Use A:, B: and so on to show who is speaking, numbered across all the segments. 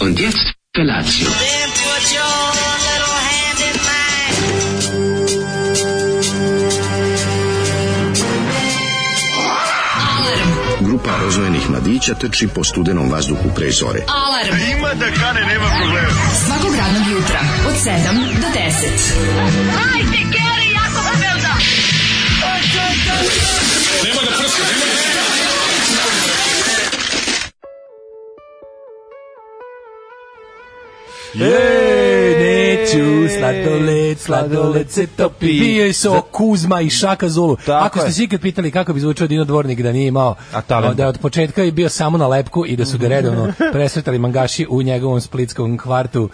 A: Und jetzt Felatio.
B: Grupa rozvojenih mladića trči po studenom vazduhu pre zore.
C: Alarm. Ima da kane, nema problema. Svakog radnog jutra, od 7 do 10.
D: Jej, neću sladoled, sladoled se topi.
E: Bio je so
D: Za-
E: Kuzma i Šaka Zulu.
D: Tako
E: Ako ste
D: je.
E: se ikad pitali kako bi zvučao Dino Dvornik da nije imao,
D: A talent.
E: da je od početka je bio samo na lepku i da su ga redovno presretali mangaši u njegovom splitskom kvartu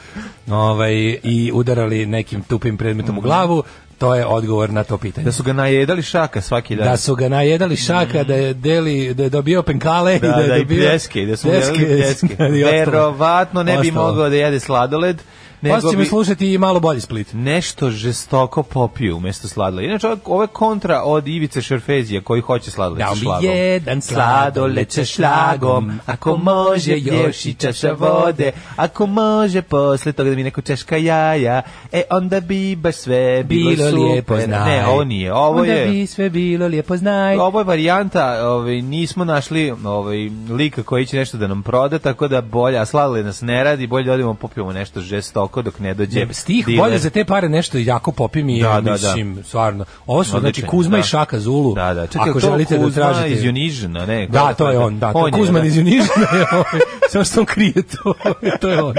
E: ovaj, i udarali nekim tupim predmetom u glavu, to je odgovor na to pitanje.
D: Mhm. Da su ga najedali šaka svaki dan.
E: Da su ga najedali šaka, da je, deli, da je dobio penkale i da
D: da,
E: je
D: da, i
E: dobio
D: pljeske, da su mu jedali pljeske.
E: i ostalo.
D: Verovatno ne bi
E: Ostalo.
D: mogao da jede sladoled,
E: Posle
D: nego
E: ćemo
D: bi
E: slušati i malo bolji split.
D: nešto žestoko popio umesto sladoleda. Inače, ovo- ovo je kontra od Ivice Šerfezija koji hoće sladoled
E: Da
D: sa
E: mi
D: šlagom.
E: jedan sladoled sa šlagom, ako može još i čaša vode,
D: ako može posle toga da mi neko češka jaja, e onda bi baš sve bilo,
E: Bilo
D: super.
E: lijepo znaj.
D: Ne, ovo nije, ovo
E: Onda
D: je...
E: bi sve bilo lijepo znaj.
D: Ovo je varijanta, ovaj, nismo našli ovaj, lika koji će nešto da nam proda, tako da bolje, a sladoled nas ne radi, bolje da odemo popijemo nešto žestoko dok ne dođe
E: Jer Stih
D: diler.
E: bolje za te pare nešto jako popim i
D: Da, da,
E: ja
D: da.
E: mislim, stvarno. Ovo su, znači,
D: Odličan,
E: Kuzma
D: da.
E: i Šaka Zulu.
D: Da, da. Čekaj,
E: ako
D: to
E: želite da
D: Kuzma
E: tražite...
D: iz Jonižina, ne?
E: Da,
D: Kako
E: to je on, da. to
D: dakle, On
E: je
D: je,
E: Kuzman
D: da.
E: iz Jonižina je ovaj, samo što on krije to, to je on.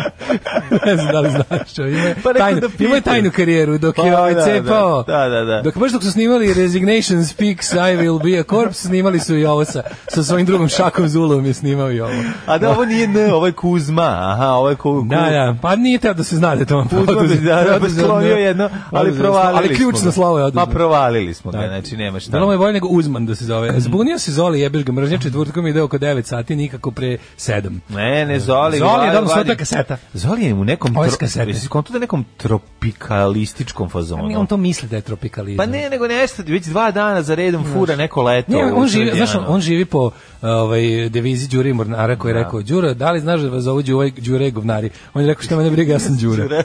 E: Ne znam da li znaš čo, ima, je
D: Pa rekao
E: tajnu,
D: da
E: imao je
D: pitam.
E: tajnu karijeru dok je
D: Pa,
E: ovaj
D: da, da.
E: cepao.
D: Da, da, da.
E: Dok baš dok su snimali Resignation Speaks, I Will Be a Corpse, snimali su i ovo sa, sa svojim drugom Šakom Zulom je snimao i ovo.
D: A da, ovo nije N, ovo je Kuzma. Aha, ovo je Ku-
E: Da,
D: Ku-
E: da, pa nije teo da se zna da je to on
D: Kuzma bi da, da,
E: preuzeo,
D: sklonio
E: ne.
D: jedno, ali
E: Oduzeo,
D: provalili
E: Ali ključno
D: smo ga.
E: slovo je oduzeo.
D: Pa provalili smo ga,
E: Da.
D: znači nema šta.
E: Bilo mu je bolje nego Uzman da se zove. Zbunio se Zoli, jebeš ga mržnja, četvrtkom ide oko 9 sati, nikako pre 7.
D: Ne, ne, Zoli.
E: Zoli je
D: vadi-
E: dobro, sve
D: vadi-
E: to je kaseta.
D: Zoli je u nekom...
E: Ovo je s
D: tro-
E: kasete.
D: Jesi skonto da je nekom tropikalističkom fazonu?
E: Pa On to misli da je tropikalizam.
D: Pa ne, nego nešto, već dva dana za redom fura neko leto.
E: Ne,
D: u
E: on živi,
D: Srbijanu.
E: znaš, on, on živi po ovaj devizi Đuri Mornara koji je rekao Đura, da li znaš da vas zovu Đure, Đure i govnari? On je rekao šta mene briga, ja sam Đure.
D: Ne,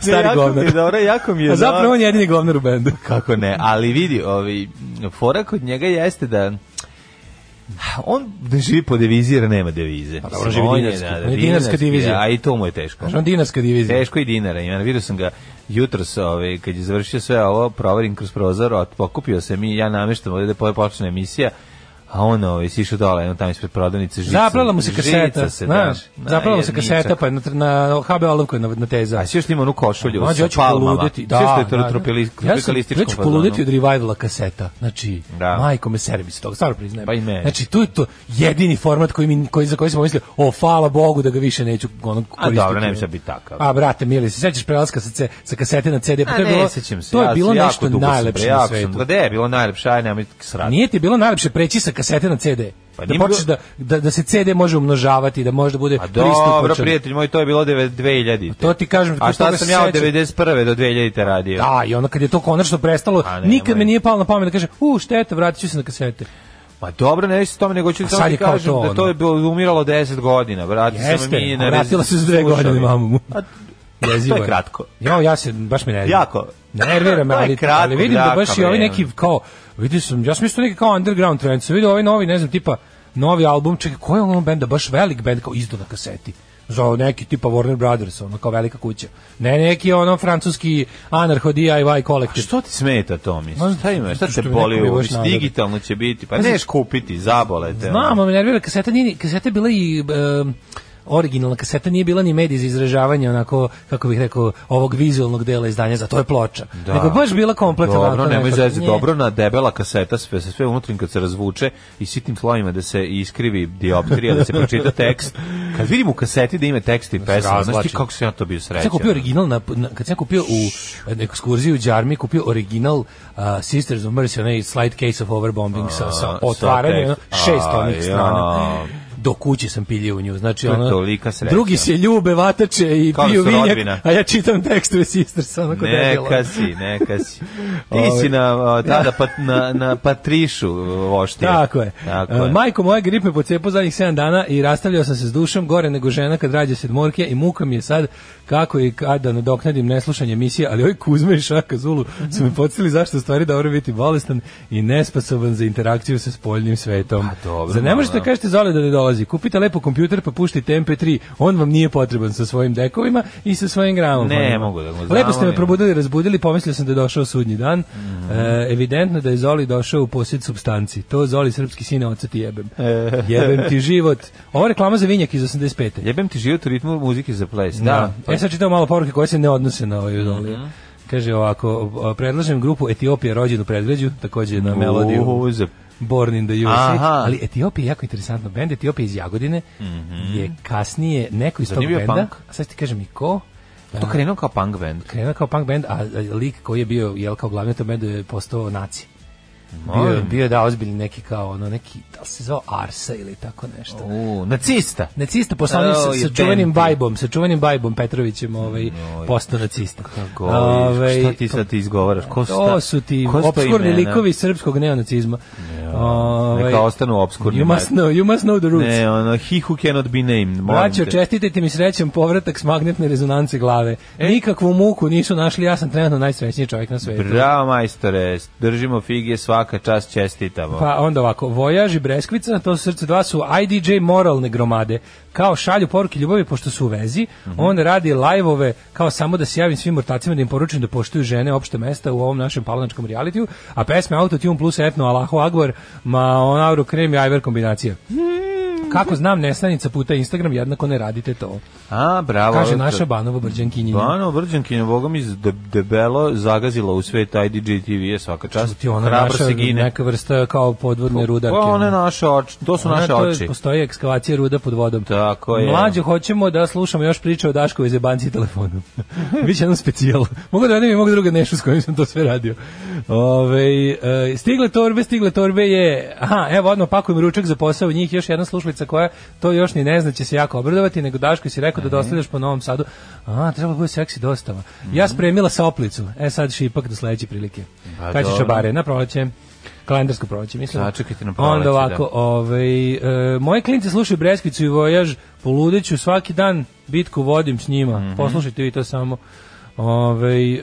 E: Stari
D: jako mi je
E: govnar.
D: dobro, jako mi je
E: A zapravo
D: dobro.
E: on je jedini govnar u bendu.
D: Kako ne, ali vidi, ovi, fora kod njega jeste da on ne živi po devizi jer nema devize. Pa
E: dobro, živi dinarski. On je dinarska divizija.
D: A i to mu je teško.
E: Znaš, on dinarska divizija.
D: Teško i dinara ima. Vidio sam ga jutro sa ove, kad je završio sve ovo, proverim kroz prozor, ot- pokupio se mi, ja nameštam ovdje da poje počne emisija, a on ove, si išao dole, on tamo ispred prodavnice žica.
E: Zaplala mu se
D: žica
E: kaseta,
D: se,
E: znaš.
D: da,
E: Zaplala mu se
D: jedničak.
E: kaseta, pa je na, na HB olovku je na, na teza.
D: A si još imao onu košulju
E: Mlađe,
D: sa
E: ja ću
D: palmama.
E: poludeti.
D: Sve što
E: Da,
D: je to
E: da, da.
D: tropikalističkom
E: Ja sam ja ću
D: fazonu.
E: poludeti od revivala kaseta. Znači,
D: Da.
E: majko me servis toga, stvarno priznajem.
D: Pa i mene.
E: Znači, tu je to jedini format koji mi, koji, za koji sam mislio, o, hvala Bogu da ga više neću ono,
D: A
E: koristiti.
D: dobro, ne bi sad biti takav.
E: A, brate, mili, se sećaš prelaska sa, ce, sa kasete na CD? Pa
D: A
E: to je bilo,
D: ne, sećam se.
E: To je
D: ja
E: bilo
D: sam jako
E: nešto
D: dugo sam
E: najlepše
D: pre-
E: na
D: jako sam-
E: svetu.
D: Pa da je bilo najlepše, aj nemoj srati.
E: Nije ti bilo najlepše preći sa kasete na CD?
D: Pa
E: da
D: nije
E: počneš da,
D: bilo-
E: da, da se CD može umnožavati, da može da bude
D: A dobro,
E: pristupačan.
D: prijatelj moj, to je bilo deve- 2000.
E: To ti kažem,
D: A
E: kod toga
D: šta sam ja
E: se
D: od
E: sećam.
D: 91. do 2000. radio?
E: Da, i onda kad je to konačno prestalo,
D: A nemoj.
E: nikad me nije palo na pamet da kažem, u, šteta, vratit ću se na kasete.
D: Pa dobro, ne se tome, nego ću
E: A
D: samo
E: sad
D: ti
E: je kao
D: kažem
E: to, ono.
D: da to je bilo umiralo 10 godina. Vrati se
E: Jeste,
D: mi
E: a
D: na
E: vratila se za dve
D: slušali.
E: godine mamu.
D: A,
E: Jezivo
D: to je kratko.
E: Jo, ja se baš me nervira.
D: Jako.
E: Nervira me,
D: To je
E: ali,
D: kratko,
E: ali vidim da
D: jaka,
E: baš i ovi
D: bre.
E: neki kao, vidio sam, ja sam mislio neki kao underground trend, sam vidio ovaj novi, ne znam, tipa, novi album, čekaj, koji je ono benda, baš velik bend, kao izdo na kaseti za neki tipa Warner Brothers, ono kao velika kuća. Ne neki ono francuski anarcho DIY kolektiv.
D: Što ti smeta to,
E: Ma,
D: mislim? Šta ima? Šta
E: zato što
D: te
E: mi neko
D: boli
E: mi
D: ovo?
E: baš nađe.
D: Digitalno će biti. Pa
E: Pa
D: neš
E: znači-
D: kupiti, zabole te. ono.
E: Znam, ali me nervira kaseta nije, kaseta je bila i em, originalna kaseta nije bila ni medij za izražavanje onako kako bih rekao ovog vizualnog dela izdanja za to je ploča.
D: Da.
E: Nego je baš bila kompletna
D: Dobro,
E: onako
D: nemoj
E: nekako,
D: zezi,
E: nje.
D: dobro na debela kaseta sve sa sve unutrim kad se razvuče i sitnim slovima da se iskrivi dioptrija, da se pročita tekst. Kad vidim u kaseti da ima tekst i pesma, znaš ti
E: razvlači.
D: kako sam ja to bio
E: Kad sam
D: srećan. ono.
E: kupio original na, na kad sam kupio u na ekskurziji u Đarmi kupio original uh, Sisters of Mercy onaj slight case of overbombing sa, sa
D: A, sa
E: otvaranjem
D: tekst-
E: ono, šest
D: A,
E: onih strana.
D: ja.
E: do kuće sam piljio u nju. Znači,
D: To je
E: ono,
D: tolika sreća.
E: drugi se ljube, vatače i
D: Kao da
E: piju
D: su
E: vinjak,
D: rodbina.
E: a ja čitam tekstove Sisters, ono, onako debilo.
D: Neka si, neka si. Ti si na, o, tada pat, na, na Patrišu voštije.
E: Tako je.
D: Tako
E: E,
D: je.
E: Majko moja grip me pocepo zadnjih 7 dana i rastavljao sam se s dušom gore nego žena kad rađa sedmorke i muka mi je sad kako i kada nadoknadim neslušanje emisije, ali ovaj Kuzme i Šaka Zulu su me podsjetili zašto je u stvari dobro biti bolestan i nesposoban za interakciju sa spoljnim svetom.
D: Pa dobro,
E: Zar ne možete
D: malo,
E: da kažete Zoli da ne dolazi? Kupite lepo kompjuter pa puštite MP3, on vam nije potreban sa svojim dekovima i sa svojim gramom. Pa
D: Ne mogu da ga
E: Lepo ste me
D: zamolim.
E: probudili probudili, razbudili, pomislio sam da je došao sudnji dan.
D: Mhm.
E: E, evidentno da je Zoli došao u posjed substanci. To Zoli, srpski sine, oca ti jebem.
D: E.
E: jebem ti život. Ovo je reklama za vinjak iz 85.
D: Jebem ti život u ritmu muzike za ples.
E: Da. E,
D: Da. Pa Mhm.
E: Ja sad čitao malo poruke koje se ne odnose na ovaj Zoli. Kaže ovako, o, predlažem grupu Etiopija rođenu predgrađu, takođe na melodiju.
D: U, za-
E: Born in the USA,
D: Aha.
E: ali Etiopija je jako interesantno. Bend Etiopija iz Jagodine je kasnije neko iz tog
D: Mhm. Zanimljiv je
E: benda,
D: punk.
E: a sad ti kažem i ko,
D: Pa To krenuo kao punk band.
E: krenuo kao punk band, a a lik koji je bio jel kao glavni u tom bendu je postao naci. Bio,
D: Molim.
E: bio je, da ozbiljni neki kao ono neki da li se zvao Arsa ili tako nešto.
D: U, nacista.
E: Nacista postao onim
D: Oh,
E: sa, sa
D: je pa
E: čuvenim
D: bend.
E: bajbom, sa čuvenim bajbom Petrovićem, ovaj postao nacista.
D: Kako,
E: Ovaj,
D: šta ti sad ti izgovaraš? Ko sta,
E: To su ti
D: ko sta
E: obskurni
D: imena?
E: likovi srpskog neonacizma. Ovaj,
D: Neka ostanu obskurni.
E: You must know, you must know the roots.
D: Ne, ono, he who cannot be named. molim
E: Braćo,
D: te.
E: čestitite mi srećan povratak s magnetne rezonance glave. Nikakvu muku nisu našli, ja sam trenutno najsrećniji čovjek na svetu.
D: E? Bravo, majstore. Držimo fige, svaka čast čestitamo.
E: Pa onda ovako, Vojaž i Breskvica, to su srce dva, su IDJ moralne gromade. Kao šalju poruke ljubavi pošto su u vezi,
D: Mhm.
E: on radi lajvove kao samo da se javim svim ortacima da im poručim da poštuju žene opšte mesta u ovom našem palanačkom realitiju, a pesme Autotune plus etno Allahu Agvar, ma on auro krem i ajver kombinacija. Kako znam, neslanica puta Instagram, jednako ne radite to.
D: A, bravo.
E: Kaže
D: Aleksa.
E: naša Banova Brđankinjina.
D: Bano Brđankinja, boga mi de, debelo zagazila u svet IDJ TV je svaka čast.
E: Ti ona
D: Hrabro
E: naša
D: se gine.
E: neka vrsta kao podvodne rudarke.
D: Pa one
E: ono.
D: naše oči, to su
E: Ona,
D: naše
E: to je-
D: oči.
E: Postoji ekskavacija ruda pod vodom.
D: Tako je.
E: Mlađo, hoćemo da slušamo još priče o Daškovoj zebanci telefonom. Biće jedan specijal. Mogu da radim i mogu druga nešu s kojim sam to sve radio. Ove, e, stigle torbe, stigle torbe je... Aha, evo, odmah pakujem ručak za posao u njih. Još jedna slušalica koja to još ni ne zna će se jako obradovati, nego Daško si rekao da
D: Mhm.
E: dostavljaš po Novom Sadu. A, treba bude seksi dostava. Ja spremila sa oplicu. E, sad šipak do sledeće prilike.
D: Mhm. Pa
E: Kad će
D: dobro.
E: čabare? Na proleće. Kalendarsko proleće, mislim.
D: Sačekajte na proleće,
E: Onda ovako,
D: da.
E: Ovaj, e, moje klinci slušaju Breskvicu i Vojaž, poludeću svaki dan, bitku vodim s njima.
D: Mhm.
E: Poslušajte vi to samo. Ovaj, e,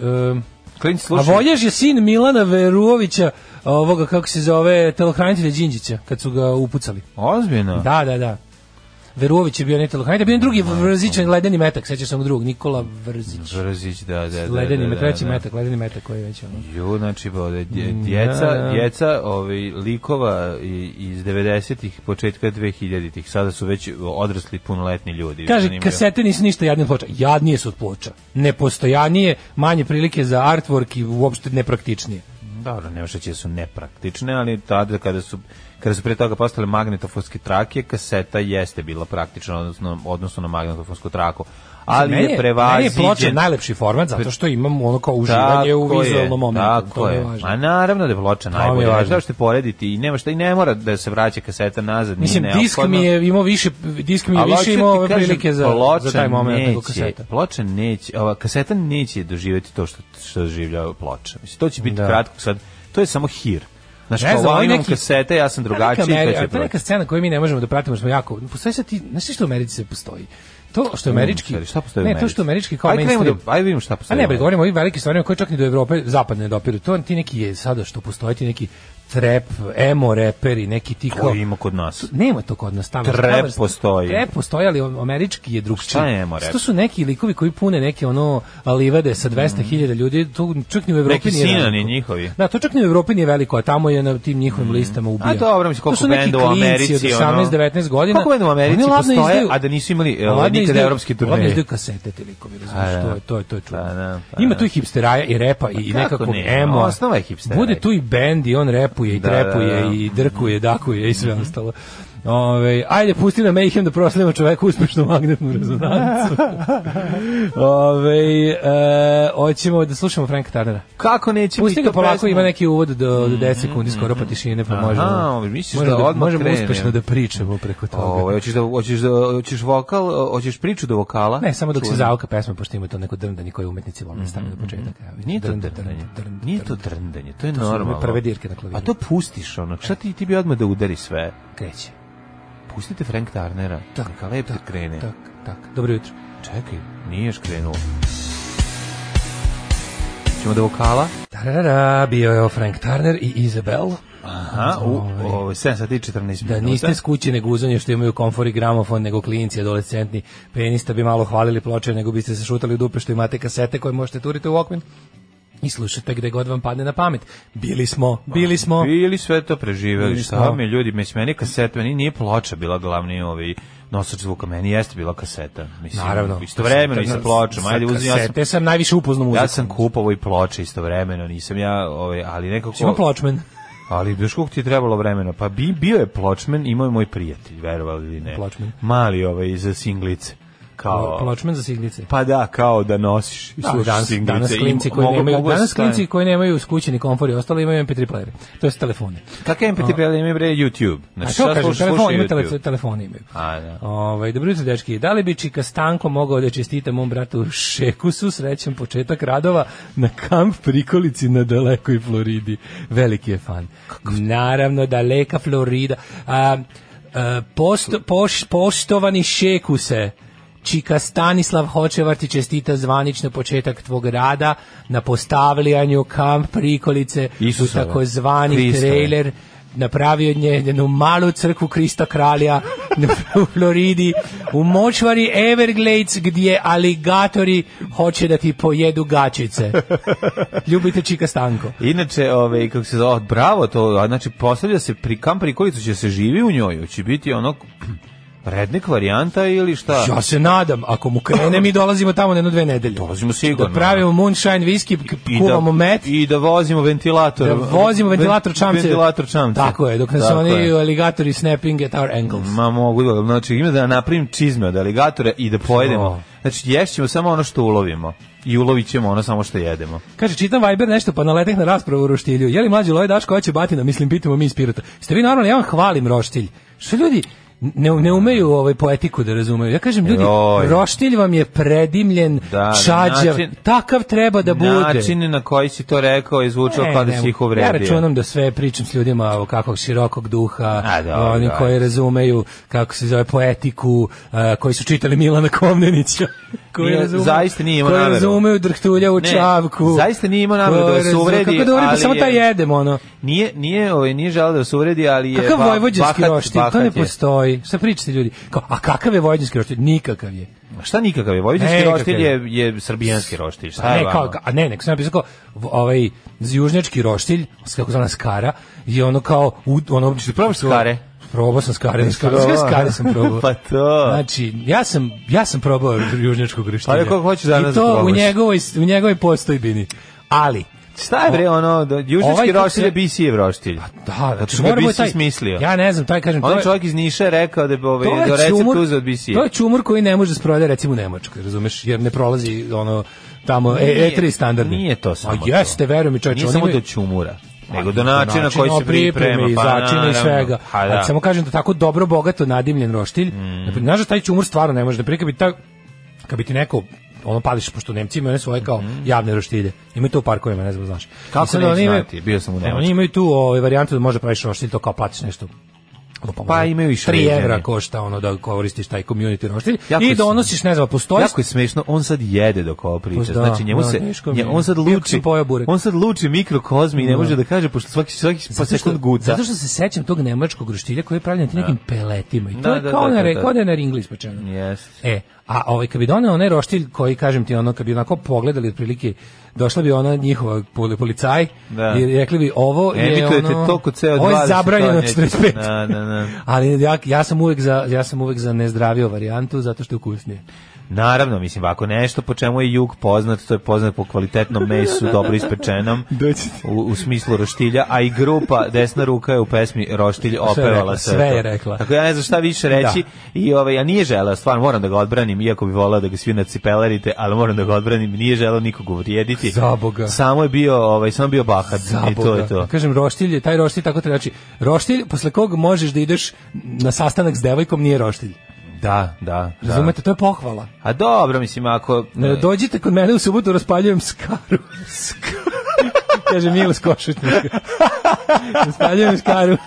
D: Klinci
E: a
D: slušaju.
E: Vojaž je sin Milana Veruovića, ovoga kako se zove, telohranitelja Đinđića, kad su ga upucali.
D: Ozbiljno?
E: Da, da, da. Veruović je bio ne telohranitelj, bio je drugi vrzičan ledeni metak, sećaš se onog drugog, Nikola Vrzić.
D: Brzić, da, da, da.
E: Ledeni
D: da,
E: metak,
D: da,
E: treći
D: da.
E: metak, ledeni metak koji je već ono.
D: Ju, znači, bo, da, dje- djeca,
E: Da.
D: djeca ovaj, likova i- iz 90-ih, početka 2000-ih, sada su već odrasli punoletni ljudi.
E: Kaže,
D: zanimljivo.
E: kasete nisu ništa jadnije od ploča. Jadnije su od ploča. Nepostojanije, manje prilike za artwork i uopšte nepraktičnije.
D: Dobro, nema šta će da su nepraktične, ali tada kada su kada su pre toga postale magnetofonske trake, kaseta jeste bila praktična odnosno odnosno na magnetofonsku traku. Ali
E: Meni
D: je
E: Meni je ploča
D: prevaziđen.
E: najlepši format, zato što imam ono kao
D: Tako
E: uživanje u
D: je,
E: vizualnom momentu.
D: Tako
E: to
D: je.
E: je važno.
D: Ma naravno da je ploča
E: mi je
D: najbolja. Ne
E: važno.
D: znaš te porediti i nema šta i ne mora da se vraća kaseta nazad, nije
E: Mislim, disk
D: neophodno.
E: mi je imao više, disk mi je
D: Ali hoću
E: više
D: ti
E: imao ove
D: kažem,
E: prilike za,
D: ploča
E: za taj moment nego
D: neće,
E: kaseta.
D: Ploča neće, ova kaseta neće doživjeti to što što doživljava ploča. Mislim to će biti
E: Da.
D: kratko sad. To je samo hir. Znači,
E: Ne znam,
D: ovo
E: ovo je
D: imam
E: neki-
D: kasete, ja sam drugačiji.
E: Neka Ameri-
D: to će
E: a to je
D: proći.
E: neka scena koju mi ne možemo da pratimo, jer smo jako... Postoji sad ti, znaš što u Americi se postoji? To što je američki...
D: Stari, Mm, šta postoji u
E: ne, to
D: Americi?
E: što je američki kao
D: Ajde, krenemo
E: mainstream.
D: Da, ajde vidimo šta
E: A
D: postoji. u
E: ne, bre,
D: Americi.
E: govorimo o ovim velikim stvarima koje čak ni do Evrope zapadne ne dopiru. To ti neki je sada što postoje, ti neki trap, emo reperi, neki ti kao...
D: Ko ima kod nas?
E: Nema to kod nas tamo.
D: Trap
E: Tamo-
D: postoji.
E: Trap postoji, ali američki je drugčiji.
D: Šta je emo rap?
E: To su neki likovi koji pune neke ono livade sa 200.000 ljudi, to čak ni u Evropi
D: Neki
E: nije veliko.
D: sinoni njihovi.
E: Da, to čak ni u Evropi nije veliko, a tamo je na tim njihovim listama ubija.
D: Mm. A dobro, mislim,
E: To
D: koliko
E: su neki
D: bendova u
E: klinci
D: Americi,
E: od
D: ono...
E: 18-19 godina.
D: Koliko bendova u Americi
E: Oni ladno
D: postoje,
E: izdaju-
D: a da nisu imali e,
E: Ladno
D: nikada
E: izdaju-
D: evropski
E: Ladno
D: turneje?
E: izdaju kasete te likovi, razumiješ,
D: A, da.
E: to je, to je, to je čudno.
D: Pa da, pa
E: Ima
D: da. Pa
E: tu i hipsteraja i repa i, i
D: kako
E: nekakvog
D: ne,
E: emo.
D: osnova je hipsteraj.
E: Bude tu i bend i on repuje i
D: Da,
E: trepuje
D: da, da.
E: i drkuje, dakuje i sve ostalo. Ove, ajde, pusti na Mayhem da proslavimo čoveku uspešnu magnetnu rezonancu. Ove, e, hoćemo da slušamo Franka Tarnera.
D: Kako neće
E: Pusti
D: biti
E: ga
D: to
E: polako,
D: pesma?
E: ima neki uvod do, do 10 sekundi, skoro pa tišine, pa
D: Mhm. Aha,
E: možemo,
D: misliš
E: možemo,
D: da
E: da,
D: odmah
E: možemo
D: krenem?
E: uspešno da pričamo preko toga.
D: Ovo, hoćeš da hoćeš da hoćeš vokal, hoćeš priču do vokala?
E: Ne, samo dok se
D: Čuvenu.
E: zauka pesma, pošto ima to neko drndanje koje umetnici vole da stavljaju na početak. evo,
D: Mhm, Nije to
E: drnd,
D: drndanje.
E: drnd, drnd,
D: Nije to
E: drnd.
D: drndanje, to je
E: su one
D: normalno.
E: prve dirke na klaviru.
D: A to pustiš ono. Šta ti ti bi odmah da udari sve?
E: Kreće.
D: Pustite Frank Tarnera. Neka lepo krene.
E: Tak, tak. Dobro jutro.
D: Čekaj, nije još krenuo. Ćemo do vokala?
E: Tarara, bio je ovo Frank Turner i Izabel.
D: Aha, u, ovo, 7 sati i 14 minuta.
E: Da niste s kući nego uzanje što imaju komfor i gramofon, nego klinici, adolescentni penista bi malo hvalili ploče, nego biste se šutali u dupe što imate kasete koje možete turiti u Walkman i slušate gde god vam padne na pamet. Bili smo, bili smo.
D: Bili sve to preživeli,
E: Bili
D: šta
E: smo.
D: mi ljudi, mislim, meni kaset, meni nije ploča bila glavni ovaj nosač zvuka, meni jeste bila kaseta. Mislim,
E: Naravno.
D: Istovremeno i sa pločom, ajde uzim, ja sam,
E: Kasete sam najviše upoznao muziku.
D: ja sam kupovao i ploče istovremeno, nisam ja, ovaj, ali nekako...
E: Ima pločmen.
D: Ali još koliko ti je trebalo vremena? Pa bi, bio je pločmen, imao je moj prijatelj, verovali ili ne.
E: Pločmen.
D: Mali ovaj, za singlice. Kao,
E: Pločmen za siglice.
D: Pa da, kao da nosiš i
E: Da,
D: slušaš
E: danas,
D: singlice.
E: danas
D: I
E: klinci koji
D: mogu-
E: nemaju,
D: mogu da
E: danas
D: stavim-
E: klinci koji nemaju u kući ni komfor i ostalo imaju MP3 playere. To su telefoni.
D: Kakve MP3 prijatelje imaju bre YouTube?
E: A
D: Znači,
E: što
D: šta
E: kažem,
D: slušaš,
E: telefon,
D: slušaj
E: ima
D: YouTube.
E: tele, telefoni imaju.
D: A, da.
E: Ovaj, dobro jutro, dečki. Da li bi Čika Stanko mogao da čestita mom bratu Šekusu srećan početak radova na kamp prikolici na dalekoj Floridi? Veliki je fan. Naravno, daleka Florida. A, a, posto, poš, poštovani Šekuse, Čika Stanislav Hočevar ti čestita zvanično početak tvog rada na postavljanju kamp prikolice
D: Isusove.
E: u takozvani
D: Kristove.
E: trailer Hitler napravio od nje jednu malu crkvu Krista Kralja u Floridi, u močvari Everglades gdje aligatori hoće da ti pojedu gačice. Ljubite Čika Stanko.
D: Inače, ovaj kako se zove, o, bravo to, a, znači postavlja se pri kamp prikolicu će se živi u njoj, će biti ono rednik varijanta ili šta?
E: Ja se nadam, ako mu krene mi dolazimo tamo na jedno dve nedelje.
D: Dolazimo sigurno.
E: Da pravimo moonshine whisky, k-
D: I
E: kuvamo met.
D: I da vozimo ventilator.
E: Da vozimo ventilator čamce.
D: Ventilator čamce.
E: Tako je, dok nas
D: Tako
E: oni
D: je.
E: aligatori snapping at our ankles.
D: Ma mogu da, znači ima da napravim čizme od aligatora i da pojedemo.
E: O.
D: Znači ješćemo samo ono što ulovimo i ulovit ćemo ono samo što jedemo.
E: Kaže, čitam Viber nešto, pa naleteh na raspravu u roštilju. Je li mlađi Loj Daško hoće batina? Mislim, pitamo mi iz Pirota. Ste vi normalni, ja vam hvalim roštilj. Što ljudi, ne, ne umeju ovaj poetiku da razumeju. Ja kažem, ljudi,
D: Joj.
E: roštilj vam je predimljen,
D: Da,
E: da, čađav,
D: način-
E: takav treba da bude.
D: Način na koji si to rekao je zvučao
E: Ne,
D: kao da
E: ne,
D: si ih
E: Ja
D: uvredio.
E: računam da sve pričam s ljudima o kakvog širokog duha,
D: A, dobro,
E: oni
D: ajde.
E: koji razumeju kako se zove poetiku, a, koji su čitali Milana Komnenića. Koji
D: Nije,
E: razumeju,
D: zaista nije imao
E: koji
D: nameru.
E: razumeju drhtulja u
D: Ne,
E: čavku.
D: zaista nije imao nameru
E: koji
D: da vas
E: razumeju-
D: uvredi,
E: Kako da uvredi, pa
D: ali
E: samo
D: je-
E: taj jedem, ono.
D: Nije, nije, ovaj, nije želeo da se uvredi, ali je...
E: Kakav
D: va-
E: vojvođanski
D: bahat-
E: roštilj? To
D: bahat
E: ne
D: je.
E: postoji. Šta pričate ljudi? Kao, a kakav je vojvođanski roštilj? Nikakav je.
D: Ma Šta nikakav je? Vojvođanski
E: Nekakav
D: roštilj
E: je.
D: je, je srbijanski roštilj. Šta
E: Pa
D: je
E: ne, kao,
D: vama?
E: a ne, nek sam napisao kao, v- ovaj, južnjački roštilj, s- kako zove skara, je ono kao, u, ono,
D: Jesi probaš skare?
E: Probao sam skare, skare,
D: probao?
E: skare, skare sam probao.
D: Pa to.
E: Znači, ja sam, ja sam probao južnjačkog roštilja.
D: Pa kako hoćeš danas
E: I
D: da
E: to u
D: probaš?
E: njegovoj, u njegovoj postojbini. Ali,
D: Šta je bre ono, da, južnički
E: Ovaj kako
D: roštilj je
E: se-
D: BC-ev roštilj.
E: da,
D: Zato
E: znači,
D: što ga
E: moramo
D: BC
E: taj-
D: smislio.
E: Ja ne znam, taj kažem, to
D: Onaj
E: je,
D: čovjek iz Niša je rekao da bi ovaj,
E: to je
D: do recept
E: čumur-
D: uzeo od BC-a.
E: To je čumur koji ne može da se prodaje recimo u Nemačkoj, razumeš? Jer ne prolazi ono tamo E, E3 standardni.
D: Nije to samo
E: A jeste,
D: to.
E: verujem mi čoveče,
D: Nije
E: oni
D: samo
E: imaju-
D: do čumura,
E: Pa
D: nego do načina na koji se priprema.
E: pripreme i začina i
D: naravno.
E: svega.
D: Pa
E: Ali
D: da.
E: samo kažem da tako dobro bogato nadimljen roštilj, mm. znaš da taj čumur stvarno ne može da prikabi ta kad bi ti neko ono pališ pošto Nemci imaju one svoje kao javne roštilje. Imaju to u parkovima, ne znam, znaš. I
D: Mhm. Kako
E: sad
D: neću
E: oni imaju-
D: znati, bio sam u
E: Oni
D: Nemačkoj.
E: imaju tu ovaj varijantu da može praviš roštilj to kao platiš nešto pa,
D: Pa imaju i
E: 3 evra
D: šveđani.
E: košta ono da koristiš taj community roštilj
D: Jako je
E: i
D: smešno.
E: donosiš ne znam postoji
D: Jako je smešno, on sad jede dok ovo priča.
E: Pa da,
D: znači njemu
E: da,
D: se
E: teško mi
D: nje,
E: je.
D: on sad
E: Iako
D: luči.
E: sam pojeo burek.
D: On sad luči mikrokozmi i ne
E: Da.
D: može da kaže pošto svaki svaki pa
E: Zato što-
D: sekund guca.
E: Zato što se sećam tog nemačkog roštilja koji je pravljen na tim nekim peletima. I to
D: Da,
E: je
D: da,
E: kao
D: da,
E: na
D: da,
E: re-
D: da.
E: kao da je na pa ringli ispačeno.
D: Jeste.
E: E, a ovaj kad bi doneo onaj roštilj koji kažem ti ono kad bi onako pogledali otprilike došla bi ona njihova poli- policaj
D: Da.
E: i rekli bi ovo je
D: Emitujete
E: ono
D: to kod CO2.
E: ovo je
D: da se
E: zabranjeno
D: to
E: od
D: neće-
E: 45.
D: Da, da, da.
E: Ali ja, ja sam uvek za ja sam uvek za nezdraviju varijantu zato što je ukusnije.
D: Naravno, mislim, ako nešto po čemu je jug poznat, to je poznat po kvalitetnom mesu, dobro ispečenom, u, u smislu roštilja, a i grupa Desna ruka je u pesmi Roštilj
E: Sve je
D: opevala
E: rekla,
D: sve.
E: sve je
D: to.
E: rekla.
D: Tako ja ne znam šta više reći i ovaj, ja nije želeo, stvarno moram da ga odbranim, iako bi volao da ga svi nacipelerite, ali moram da ga odbranim, nije želeo nikog uvrijediti.
E: Zaboga.
D: Samo je bio, ovaj, samo je bio bahat i to je to.
E: Kažem, roštilj je, taj roštilj tako treba. Znači, roštilj posle kog možeš da ideš na sastanak s devojkom nije roštilj.
D: Da, da, da.
E: Razumete, to je pohvala.
D: A dobro, mislim, ako... e,
E: Ne, dođite kod mene u subotu, raspaljujem skaru. Kaže Milo Skošutnik. raspaljujem skaru.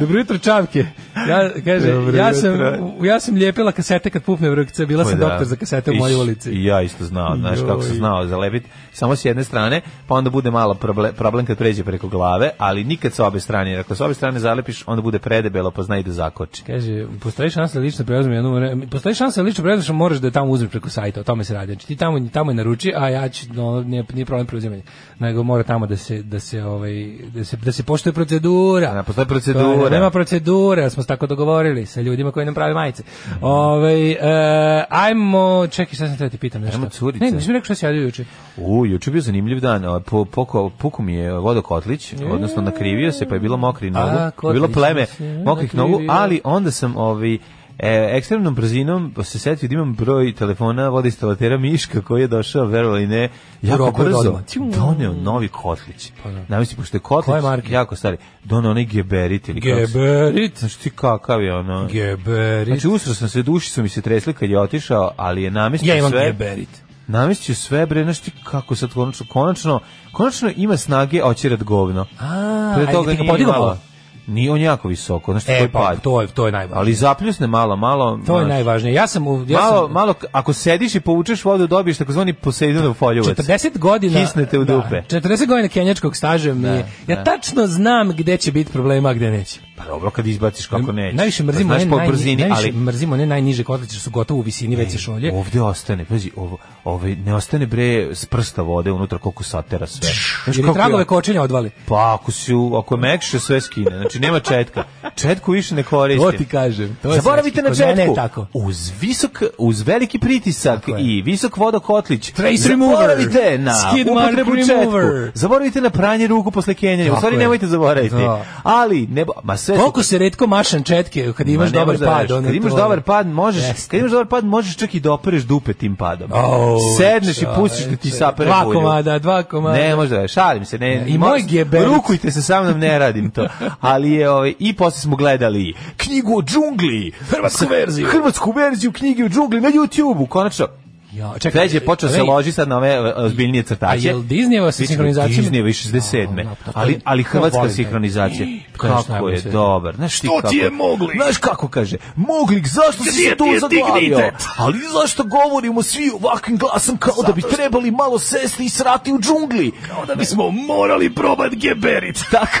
E: Dobro jutro, čavke. Ja, kaže,
D: Dobro
E: ja,
D: jutro.
E: sam, ja sam lijepila kasete kad pupne vrkce, bila
D: Pa
E: sam
D: Da.
E: doktor za kasete u mojoj
D: Iš-
E: ulici.
D: I ja isto znao, znaš kako sam
E: Joj.
D: znao zalepiti samo s jedne strane, pa onda bude malo proble- problem kad pređe preko glave, ali nikad sa obe strane, jer ako sa obe strane zalepiš, onda bude predebelo, pa zna i da zakoči.
E: Kaže, postoji šansa da lično preuzmem jednu, re- postoji šansa da lično preuzmeš, moraš da je tamo uzmeš preko sajta, o tome se radi. Znači ti tamo tamo je naruči, a ja ću no, nije, nije problem preuzimanja. Nego mora tamo da se da se ovaj da se da se poštuje procedura.
D: Da, postoji
E: To je,
D: procedura.
E: Nema procedure, ali smo se tako dogovorili sa ljudima koji nam prave majice. Ovaj e, ajmo, čekaj, šta sam te ti pitam nešto.
D: Ajmo, curice.
E: Ne, nisam rekao šta se javio juče.
D: U, juče je bio zanimljiv dan, a, po, poko, puku mi je vodokotlić, odnosno nakrivio se, pa je bilo mokri nogu,
E: kotlić
D: bilo pleme
E: mi se
D: mokrih
E: nakrivio.
D: nogu, ali onda sam ovi, E, ekstremnom brzinom se setio da imam broj telefona vodoinstalatera Miška koji je došao, verovali ili ne, jako
E: roku je
D: brzo
E: odmah. Pa
D: doneo novi kotlić. Namisli, pošto je
E: Koje
D: kotlić
E: marke?
D: jako stari, doneo onaj geberit ili kako se-
E: Geberit,
D: Znaš ti kakav je ono?
E: geberit.
D: Znači, usro sam se, duši su mi se tresli kad je otišao, ali je namestio
E: ja imam
D: sve.
E: geberit.
D: Namestio sve, bre, znaš ti kako sad konačno, konačno, konačno ima snage oćerat govno.
E: A,
D: Pre
E: ajde,
D: toga
E: ti ga
D: nije
E: podigao
D: imala.
E: malo?
D: Nije on jako visoko, znaš ti
E: E
D: koji
E: pa
D: pad.
E: to je to je najvažnije.
D: Ali zapljusne malo, malo.
E: To je
D: znaš,
E: najvažnije. Ja sam u- ja
D: Malo,
E: sam,
D: malo, k- ako sediš i povučeš vodu, dobiješ takozvani Poseidonov foljovac.
E: 40 godina
D: Kisne te u
E: Da,
D: dupe.
E: 40 godina kenjačkog staža mi je. Ja tačno znam gde će biti problema, a gde neće.
D: Pa dobro, kad izbaciš kako neće.
E: Najviše
D: Pa
E: mrzimo
D: znaš,
E: one
D: po
E: najni-
D: brzini,
E: najviše
D: ali
E: mrzimo ne najniže kotliće su gotovo u visini veće šolje.
D: Ovde ostane, pazi, ovo, ovaj ne ostane bre s prsta vode unutra koliko satera sve. Znaš
E: Ili
D: kako
E: tragove
D: ja-
E: kočenja odvali.
D: Pa ako si, u- ako je mekše sve skine, znači nema četka. Četku više ne koristim.
E: To ti kažem. To je
D: Zaboravite
E: srećki.
D: na
E: Kod mene
D: četku.
E: je tako.
D: Uz visok, uz veliki pritisak
E: Tako je.
D: i visok vodokotlić.
E: Trace
D: Zaboravite
E: remover.
D: na
E: Skid mark
D: upotrebu
E: remover.
D: četku. Zaboravite na pranje ruku posle kenjanja. U
E: Tako
D: stvari
E: je.
D: nemojte zaboraviti.
E: Da.
D: Ali ne, bo- ma sve su
E: Koliko se retko mašan četke kad imaš
D: Ma ne
E: dobar
D: možeš da
E: pad.
D: veruješ.
E: ono
D: Kad imaš
E: to-
D: dobar pad, možeš,
E: Jeste.
D: kad imaš dobar pad, možeš čak i da opereš dupe tim padom.
E: Au,
D: Sedneš i pustiš da ti
E: čoveče.
D: sapere
E: Dva
D: bulju.
E: komada, dva komada.
D: Ne, možda, je, šalim se, ne.
E: Ne, i
D: mo-
E: moj geberit.
D: Rukujte se sa mnom, ne radim to. Ali je, ovaj, i posle smo gledali knjigu o džungli. Hrvatsku verziju. Hrvatsku verziju knjige o džungli na YouTube-u, konačno.
E: Ja,
D: Već je počeo se
E: ej,
D: loži sad na ove e, ozbiljnije crtače.
E: A jel Disneyeva sa
D: Biće
E: sinhronizacijom?
D: Disneyeva iz 67.
E: A, da, to-
D: ali, ali
E: to
D: hrvatska
E: volim, da.
D: sinhronizacija.
E: To je još
D: Kako je
E: najbolje.
D: dobar. Znaš ti kako?
B: ti je Moglik?
D: Znaš kako kaže? Moglik, zašto si se tu
B: ti je
D: zaglavio?
B: dignitet?
D: Ali zašto govorimo svi ovakvim glasom kao da bi trebali malo sesti i srati u džungli? Kao da bismo morali probati geberit. Tako.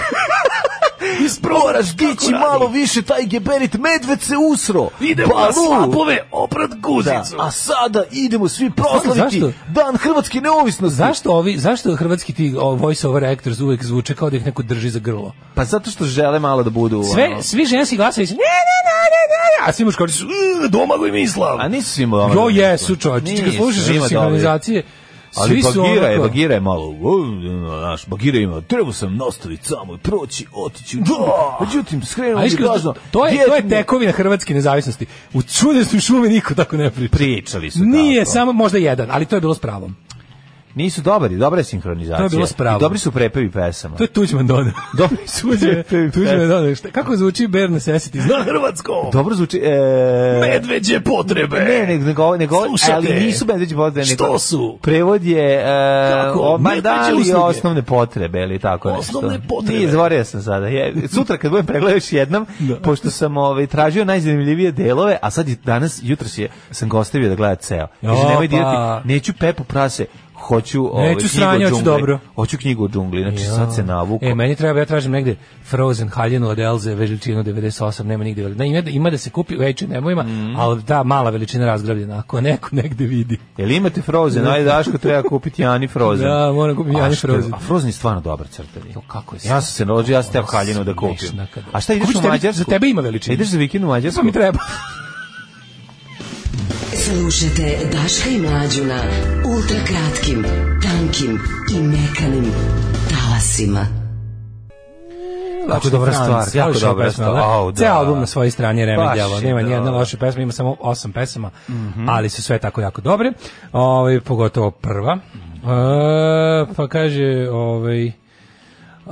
D: Moraš dići malo više taj geberit, medved se usro.
B: Idemo na
D: Balu.
B: slapove, oprat
D: Da,
B: guzicu.
D: a sada idemo svi proslaviti
E: Zašto?
D: Dan Hrvatske neovisnosti.
E: Zašto ovi, zašto hrvatski ti o, voice over actors uvek zvuče kao da ih neko drži za grlo?
D: Pa zato što žele malo da budu... ono,
E: Sve, svi ženski glasovi su ne, ne, ne, ne, ne, a svi muškarci su "E, domagoj Mislav.
D: pa, A nisu ono svima dobro.
E: Jo jesu čovječe, ti kad slušaš ove sinhronizacije,
D: Ali
E: svi su
D: Bagira je,
E: onako...
D: Bagira je malo, u, znaš, Bagira ima, trebao sam nastaviti samo i proći, otići, da, međutim, skrenuo
E: A
D: mi
E: iskreno,
D: gazno.
E: to je, to je
D: djetni-
E: tekovina hrvatske nezavisnosti. U čudesnoj šumi niko tako ne priča.
D: Pričali su
E: Nije
D: tako.
E: samo možda jedan, ali to je bilo s pravom.
D: Nisu dobri, dobra je sinhronizacija.
E: To je bilo s pravom.
D: I dobri su prepevi pesama.
E: To je Tuđman Dona.
D: Dobri su
E: Tuđman,
D: prepevi
E: Tuđman
D: pesama.
E: Dona. Šta, kako zvuči Bare Necessity? Zna
B: Hrvatsko,
D: E, Dobro zvuči, e...
B: medveđe potrebe.
D: Ne, nego, nego, nego
B: Slušate.
D: ali nisu medveđe potrebe. Nego,
B: Što su?
D: Prevod je e,
B: Kako?
D: o, ma
B: Medveđe
D: da, ali
B: usluge.
D: osnovne potrebe ili tako nešto.
B: Osnovne potrebe.
D: Nije, izvorio sam sada. Je, sutra kad budem pregledao još jednom, pošto sam ovaj, tražio najzanimljivije delove, a sad je danas, jutros je, sam ga ostavio da gleda ceo. Kaže,
E: Opa.
D: nemoj dirati, neću Pepu prase, hoću ovaj,
E: Neću
D: knjigu
E: sranje,
D: o
E: hoću
D: džungli.
E: dobro.
D: Hoću knjigu o džungli, znači sad se navuku.
E: E, meni treba, ja tražim negde Frozen haljinu od Elze, veličinu 98, nema nigde. veli- Ne, ima, da- ima da se kupi u Ejču, nema ima, ali ta mala veličina razgrabljena, ako neko negde vidi.
D: Jel imate Frozen? Ajde, Daško, treba kupiti Ani Frozen.
E: Da, moram kupiti Ani
D: A što-
E: Frozen.
D: A Frozen je stvarno dobar crtani.
E: Jo, kako je
D: Ja sam se rođio, ja sam teo haljinu da kupim.
E: Smešna kad-
D: A šta ideš
E: Kupit
D: u
E: tebi-
D: Mađarsku?
E: Pa za tebe ima veličine.
D: Ideš za vikend u Mađarsku?
E: Što mi treba?
F: Slušajte Daška i Mlađu na ultra kratkim, tankim i mekanim talasima.
E: Kako dobra stvar, jako dobra stvar. Au, da. Ceo album na svojoj strani je Mhm. remedijalo. Nema ni jedne loše pesme, ima samo osam pesama, ali su sve tako jako dobre. Ovaj pogotovo prva. E, pa kaže, ovaj Uh,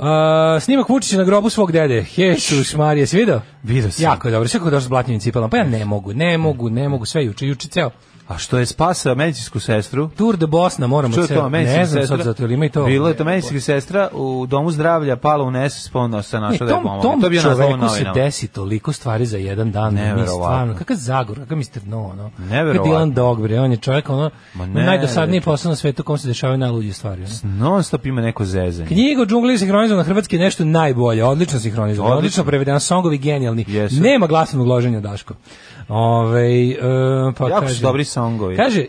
E: snimak Vučića na grobu svog dede. Jesus Marija, si video?
D: Vidio sam.
E: Jako je dobro, sve kako došlo s blatnjivim cipelama. Pa ja ne mogu, ne mogu, ne mogu, sve juče, juče ceo.
D: A što je spasao medicinsku sestru?
E: Tour de Bosna, moramo
D: Čuje
E: ceo.
D: to, medicinska
E: ne znam
D: sestra.
E: sad zato, ili ima i to.
D: Bilo je to medicinska sestra u domu zdravlja, pala u nesu, spomno se
E: Ne,
D: našla da je
E: tom,
D: pomoga.
E: tom
D: To bi je nazvao u
E: čoveku se
D: novinama.
E: desi toliko stvari za jedan dan. Mi
D: Neverovatno.
E: stvarno, kakav Zagor, kakav Mr. No, ono.
D: Neverovatno.
E: Kakav Dylan Dog, bre, on je čovjek, ono,
D: Ma ne,
E: najdosadniji
D: bre.
E: posao na svetu kom se dešavaju najluđe stvari. Ono.
D: Non stop ima neko zezanje.
E: Knjiga o džungli je sinhronizovana na hrvatski je nešto najbolje, odlično sinhronizovana,
D: Odlično.
E: odlično, prevedena, songovi genijalni.
D: Jesu.
E: Nema glasnog loženja Daško. Ovaj e, pa
D: Jako su
E: kaže-
D: dobri songovi.
E: Kaže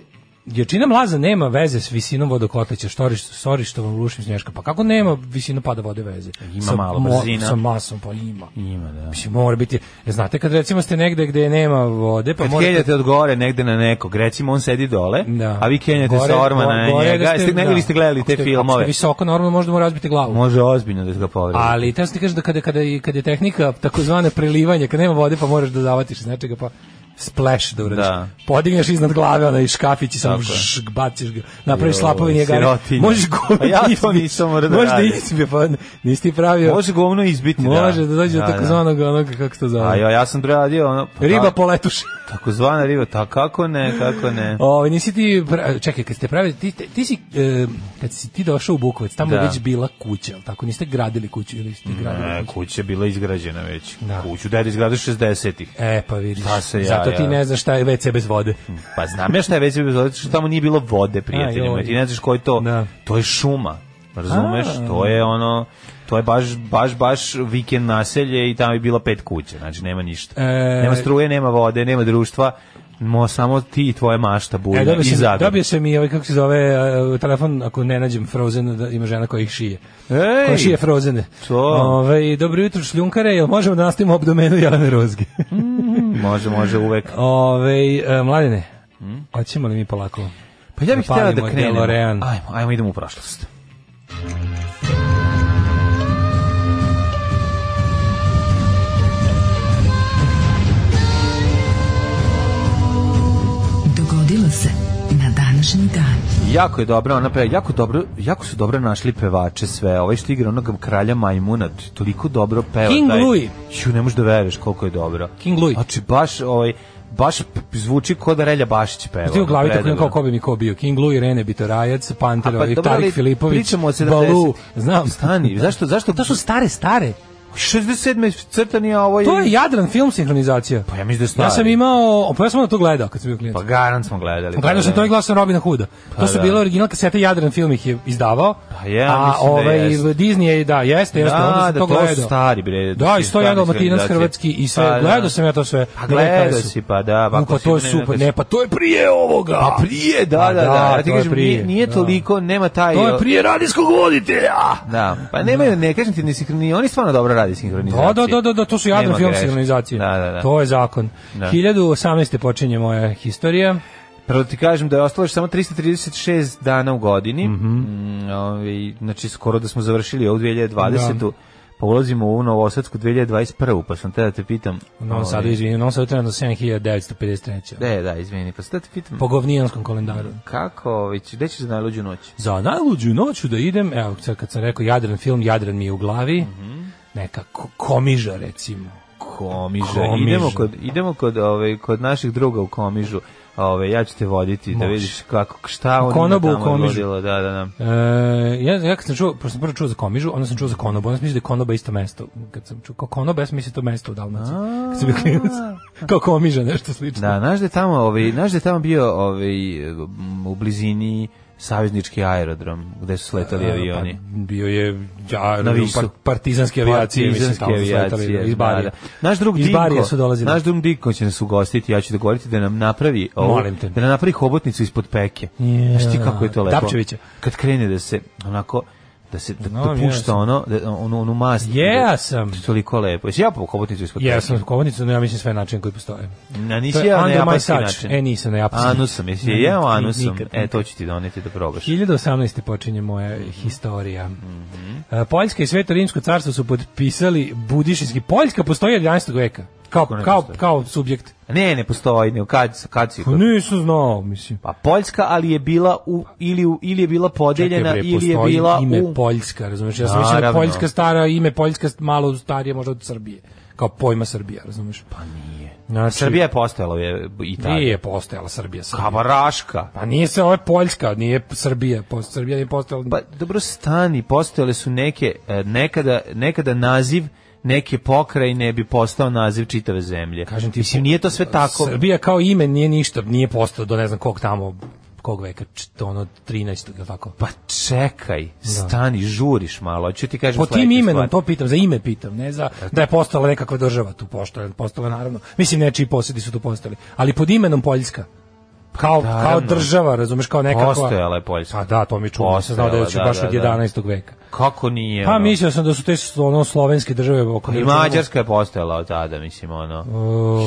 E: Jačina mlaza nema veze s visinom vodokotlića, storiš, sorištovom lušim snješka. Pa kako nema visina pada vode veze?
D: Ima malo, brzina.
E: Sa masom, pa ima.
D: Ima, da.
E: Mislim, mora biti, E, znate kad recimo ste negde gde nema vode, pa
D: Kad
E: morate...
D: kenjate od gore negde na nekog, recimo on sedi dole,
E: Da.
D: a vi kenjate sa ormana
E: gore-
D: na
E: gore
D: njega.
E: da
D: Jeste negdje
E: da.
D: li ste gledali
E: Ako
D: te
E: ste- Ako ste
D: filmove?
E: visoko, normalno možda mu razbiti glavu.
D: Može ozbiljno da se ga povredi.
E: Ali te ti kažem da kada, kada, je, kada je tehnika takozvane prelivanja, kada nema vode pa moraš da zavatiš iz nečega pa splash da uradiš.
D: Da.
E: Podigneš iznad glave onaj škafić i samo
D: Tako je.
E: žšk, baciš ga. Napraviš slapove
D: Joj,
E: nije gara.
D: sirotinja.
E: Možeš govno
D: A ja to
E: izbiti.
D: nisam morao da
E: Možeš
D: radim.
E: izbiti, pa nisi ti pravio.
D: Može govno izbiti, da.
E: Može da dođe do takozvanog onog, kako se to
D: A
E: zove.
D: ja, ja sam radio ono... pa
E: Riba
D: tak-
E: poletuš.
D: Takozvana riba, ta kako ne, kako ne.
E: O, nisi ti, pra- čekaj, kad ste pravili, ti, ti, ti si, e, kad si ti došao u Bukovac, tamo
D: Da.
E: je već bila kuća, jel tako? Niste gradili kuću ili ste gradili
D: E,
E: kuću?
D: kuća je bila izgrađena već.
E: Da.
D: Kuću deda izgradio 60-ih.
E: E, pa vidiš,
D: Pa se ja,
E: zato ti
D: ja.
E: ne znaš šta je WC bez vode.
D: Pa znam ja šta je već bilo, zato što tamo nije bilo vode, prijatelji
E: Aj,
D: moji.
E: joj.
D: Ti ne znaš koji to,
E: Da.
D: to je šuma. Razumeš? To je ono, to je baš, baš, baš vikend naselje i tamo je bilo pet kuća. Znači, nema ništa.
E: E,
D: Nema struje, nema vode, nema društva. Mo, samo ti i tvoja mašta bujna
E: E, dobio,
D: i
E: sam,
D: zadar.
E: dobio sam i ovaj, kako se zove, e, telefon, ako ne nađem Frozen, da ima žena koja ih šije.
D: Ej!
E: Koja šije Frozene.
D: To.
E: Ove, dobro jutro, šljunkare, jel možemo da nastavimo obdomenu Jelene Rozge?
D: Može, može uvek.
E: Ove, e, mladine,
D: Hm?
E: hoćemo li mi polako?
D: Pa ja bih
E: Zapalimo
D: htjela da krenemo.
E: DeLorean.
D: Ajmo, ajmo, idemo u prošlost.
F: Dogodilo se na današnji dan.
D: Jako je dobro, ona pe, jako dobro, jako su dobro našli pevače sve. Ovaj što igra onog kralja Majmuna, t- toliko dobro peva
E: King
D: taj.
E: Louis.
D: Ju, ne možeš da veruješ koliko je dobro.
E: King Louis.
D: Znači baš ovaj baš p- zvuči kao da Relja Bašić peva.
E: Ti u glavi tako
D: Predobro.
E: imam kao ko bi mi ko bio. King Louis, Rene Bitorajac, Panter,
D: A pa
E: ovaj,
D: dobro, ali
E: Tarik Filipović,
D: pričamo o 70.
E: Balu, znam.
D: Stani, zašto zašto
E: To su stare, stare.
D: 67 je crtani, a ovo je
E: To je Jadran film sinhronizacija.
D: Pa ja mislim da je stari.
E: Ja sam imao, pa ja sam onda to gledao kad sam bio klijent.
D: Pa garant smo gledali.
E: Gledao sam to i gledao sam Robina Hooda. to su
D: Pa da.
E: bile original kasete, Jadran film ih je izdavao.
D: Pa ja
E: a
D: mislim da
E: ovaj
D: jeste.
E: Disney je, da, jeste, jeste.
D: Da,
E: onda sam
D: da,
E: to
D: to su
E: gledao.
D: stari, bre,
E: Da, i
D: stvarni
E: sto jedan Dalmatinac
D: sinhronizacije.
E: hrvatski i sve.
D: Pa, da.
E: gledao sam ja to sve.
D: Pa gledao
E: Rekao
D: si,
E: su.
D: pa da,
E: U,
D: ako
E: pa
D: si
E: to je
D: ne,
E: super.
D: neko-
E: Ne, pa to je prije ovoga.
D: A prije, da,
E: Pa
D: da, da. Ja ti
E: to je
D: kažem,
E: prije,
D: nije, nije
E: da.
D: toliko, nema taj...
E: To je prije radijskog voditelja.
D: Da, pa nemaju, ne kažem ti, ne sinhroni, oni stvarno dobro radi sinhronizaciju.
E: Pa Da, da, da, da, da, to su jadne
D: znači, Nema
E: film
D: greške.
E: sinhronizacije.
D: Da, da, da.
E: To je zakon.
D: Da.
E: 1018. počinje moja historija.
D: Prvo ti kažem da je ostalo još samo 336 dana u godini.
E: Mhm.
D: Mm ovi, znači, skoro da smo završili ovu 2020. Pa ulazimo u Novosadsku 2021. Pa sam te da te pitam...
E: U Novom
D: ovi,
E: Sadu, izvini, u Novom Sadu trenutno 7953.
D: Da, da, izvini. Pa sam te da te pitam...
E: Po govnijanskom kalendaru.
D: Kako, ovi, će- gde ćeš za najluđu noć?
E: Za najluđu noću da idem, evo sad kad sam rekao Jadran film, Jadran mi je u glavi,
D: Mhm.
E: neka ko- komiža recimo.
D: Komiža.
E: Komiža.
D: Idemo kod idemo kod ovaj kod naših druga u Komižu. Ovaj ja ću te voditi da
E: Može.
D: vidiš kako šta on
E: konobu u Komižu.
D: Da, da, da.
E: E, ja, ja kad sam čuo, pošto sam prvo čuo za komižu, onda sam čuo za konobu, onda sam mislio da je konoba isto mesto. Kad sam čuo kao konoba, ja sam mislio da je to mesto u Dalmaciji. Kad sam bio klinac. kao komiža, nešto slično.
D: Da, znaš da je tamo, ovaj, znaš da je tamo bio ovaj m, u blizini saveznički aerodrom gde su sletali avioni.
E: Pa, bio je ja,
D: Na Visu.
E: par, partizanske avijacije,
D: Partizanske
E: mislim, tamo su
D: avijacije,
E: sletali iz Barija.
D: da, da. Naš drug
E: iz Barija
D: Dinko,
E: su dolazili.
D: naš drug Dinko će nas ugostiti, ja ću da govoriti da nam napravi ovu,
E: Molim te.
D: da nam napravi hobotnicu ispod peke.
E: Ja.
D: Znaš ti kako je to lepo?
E: Tapčevića.
D: Kad krene da se onako da se da,
E: Znam,
D: da pušta
E: jesam.
D: ono da, onu onu mast.
E: Ja sam.
D: Da, toliko lepo. Jesi ja po hobotnicu iskod?
E: Ja sam kovanicu, no ja mislim sve načine koji postoje.
D: Na
E: To
D: nisi
E: je
D: ja na
E: under my
D: japanski
E: touch.
D: način.
E: E, nisam na japanski.
D: Anusom, jesi
E: Ne,
D: je jeo
E: nikad,
D: anusom?
E: nikad,
D: E, to ću ti doneti da probaš.
E: 1018. počinje moja historija.
D: Mhm.
E: E, Poljska i Sveto Rimsko carstvo su potpisali budišinski. Poljska postoji od 11. veka. Kao,
D: Kako ne
E: kao,
D: postoji?
E: kao subjekt.
D: Ne, ne postoji, ne, kad, kad si
E: Pa nisam znao, mislim.
D: Pa Poljska, ali je bila u, ili, u, ili je bila podeljena,
E: Čekaj, bre,
D: ili je
E: postoji
D: bila
E: ime
D: u...
E: Poljska, razumeš? Ja sam mislio da
D: Naravno.
E: Poljska stara, ime Poljska malo starije možda od Srbije. Kao pojma Srbija, razumeš? Pa nije. Znači,
D: Srbija je postojala E- je Italija.
E: Nije postojala Srbija. Srbija.
D: Kavaraška.
E: Pa nije se, ovo je Poljska, nije Srbija. Post, Srbija nije postojala.
D: Pa dobro stani, postojale su neke, e, nekada, nekada naziv neke pokrajine bi postao naziv čitave zemlje.
E: Kažem ti,
D: Mislim, nije to sve tako.
E: Srbija kao ime nije ništa, nije postao do ne znam kog tamo, kog veka, čt- ono 13. ili tako.
D: Pa čekaj, stani, žuriš malo. Ću ti kažem
E: Po tim
D: sledeću
E: imenom,
D: stvar.
E: to pitam, za ime pitam, ne za da je postala nekakva država tu pošto, postala naravno. Mislim nečiji posjedi su tu postali, ali pod imenom Poljska. Kao, kao
D: Pa, naravno.
E: država, razumeš, kao nekakva...
D: Postojala je Poljska.
E: Pa da, to mi čuo, nisam znao da je
D: Postojala, da,
E: baš
D: da,
E: od
D: da.
E: 11. veka.
D: Kako nije?
E: Pa
D: ono?
E: mislio sam da su te ono, slovenske države oko
D: I
E: ne računamo-
D: Mađarska je postojala od tada, mislim, ono,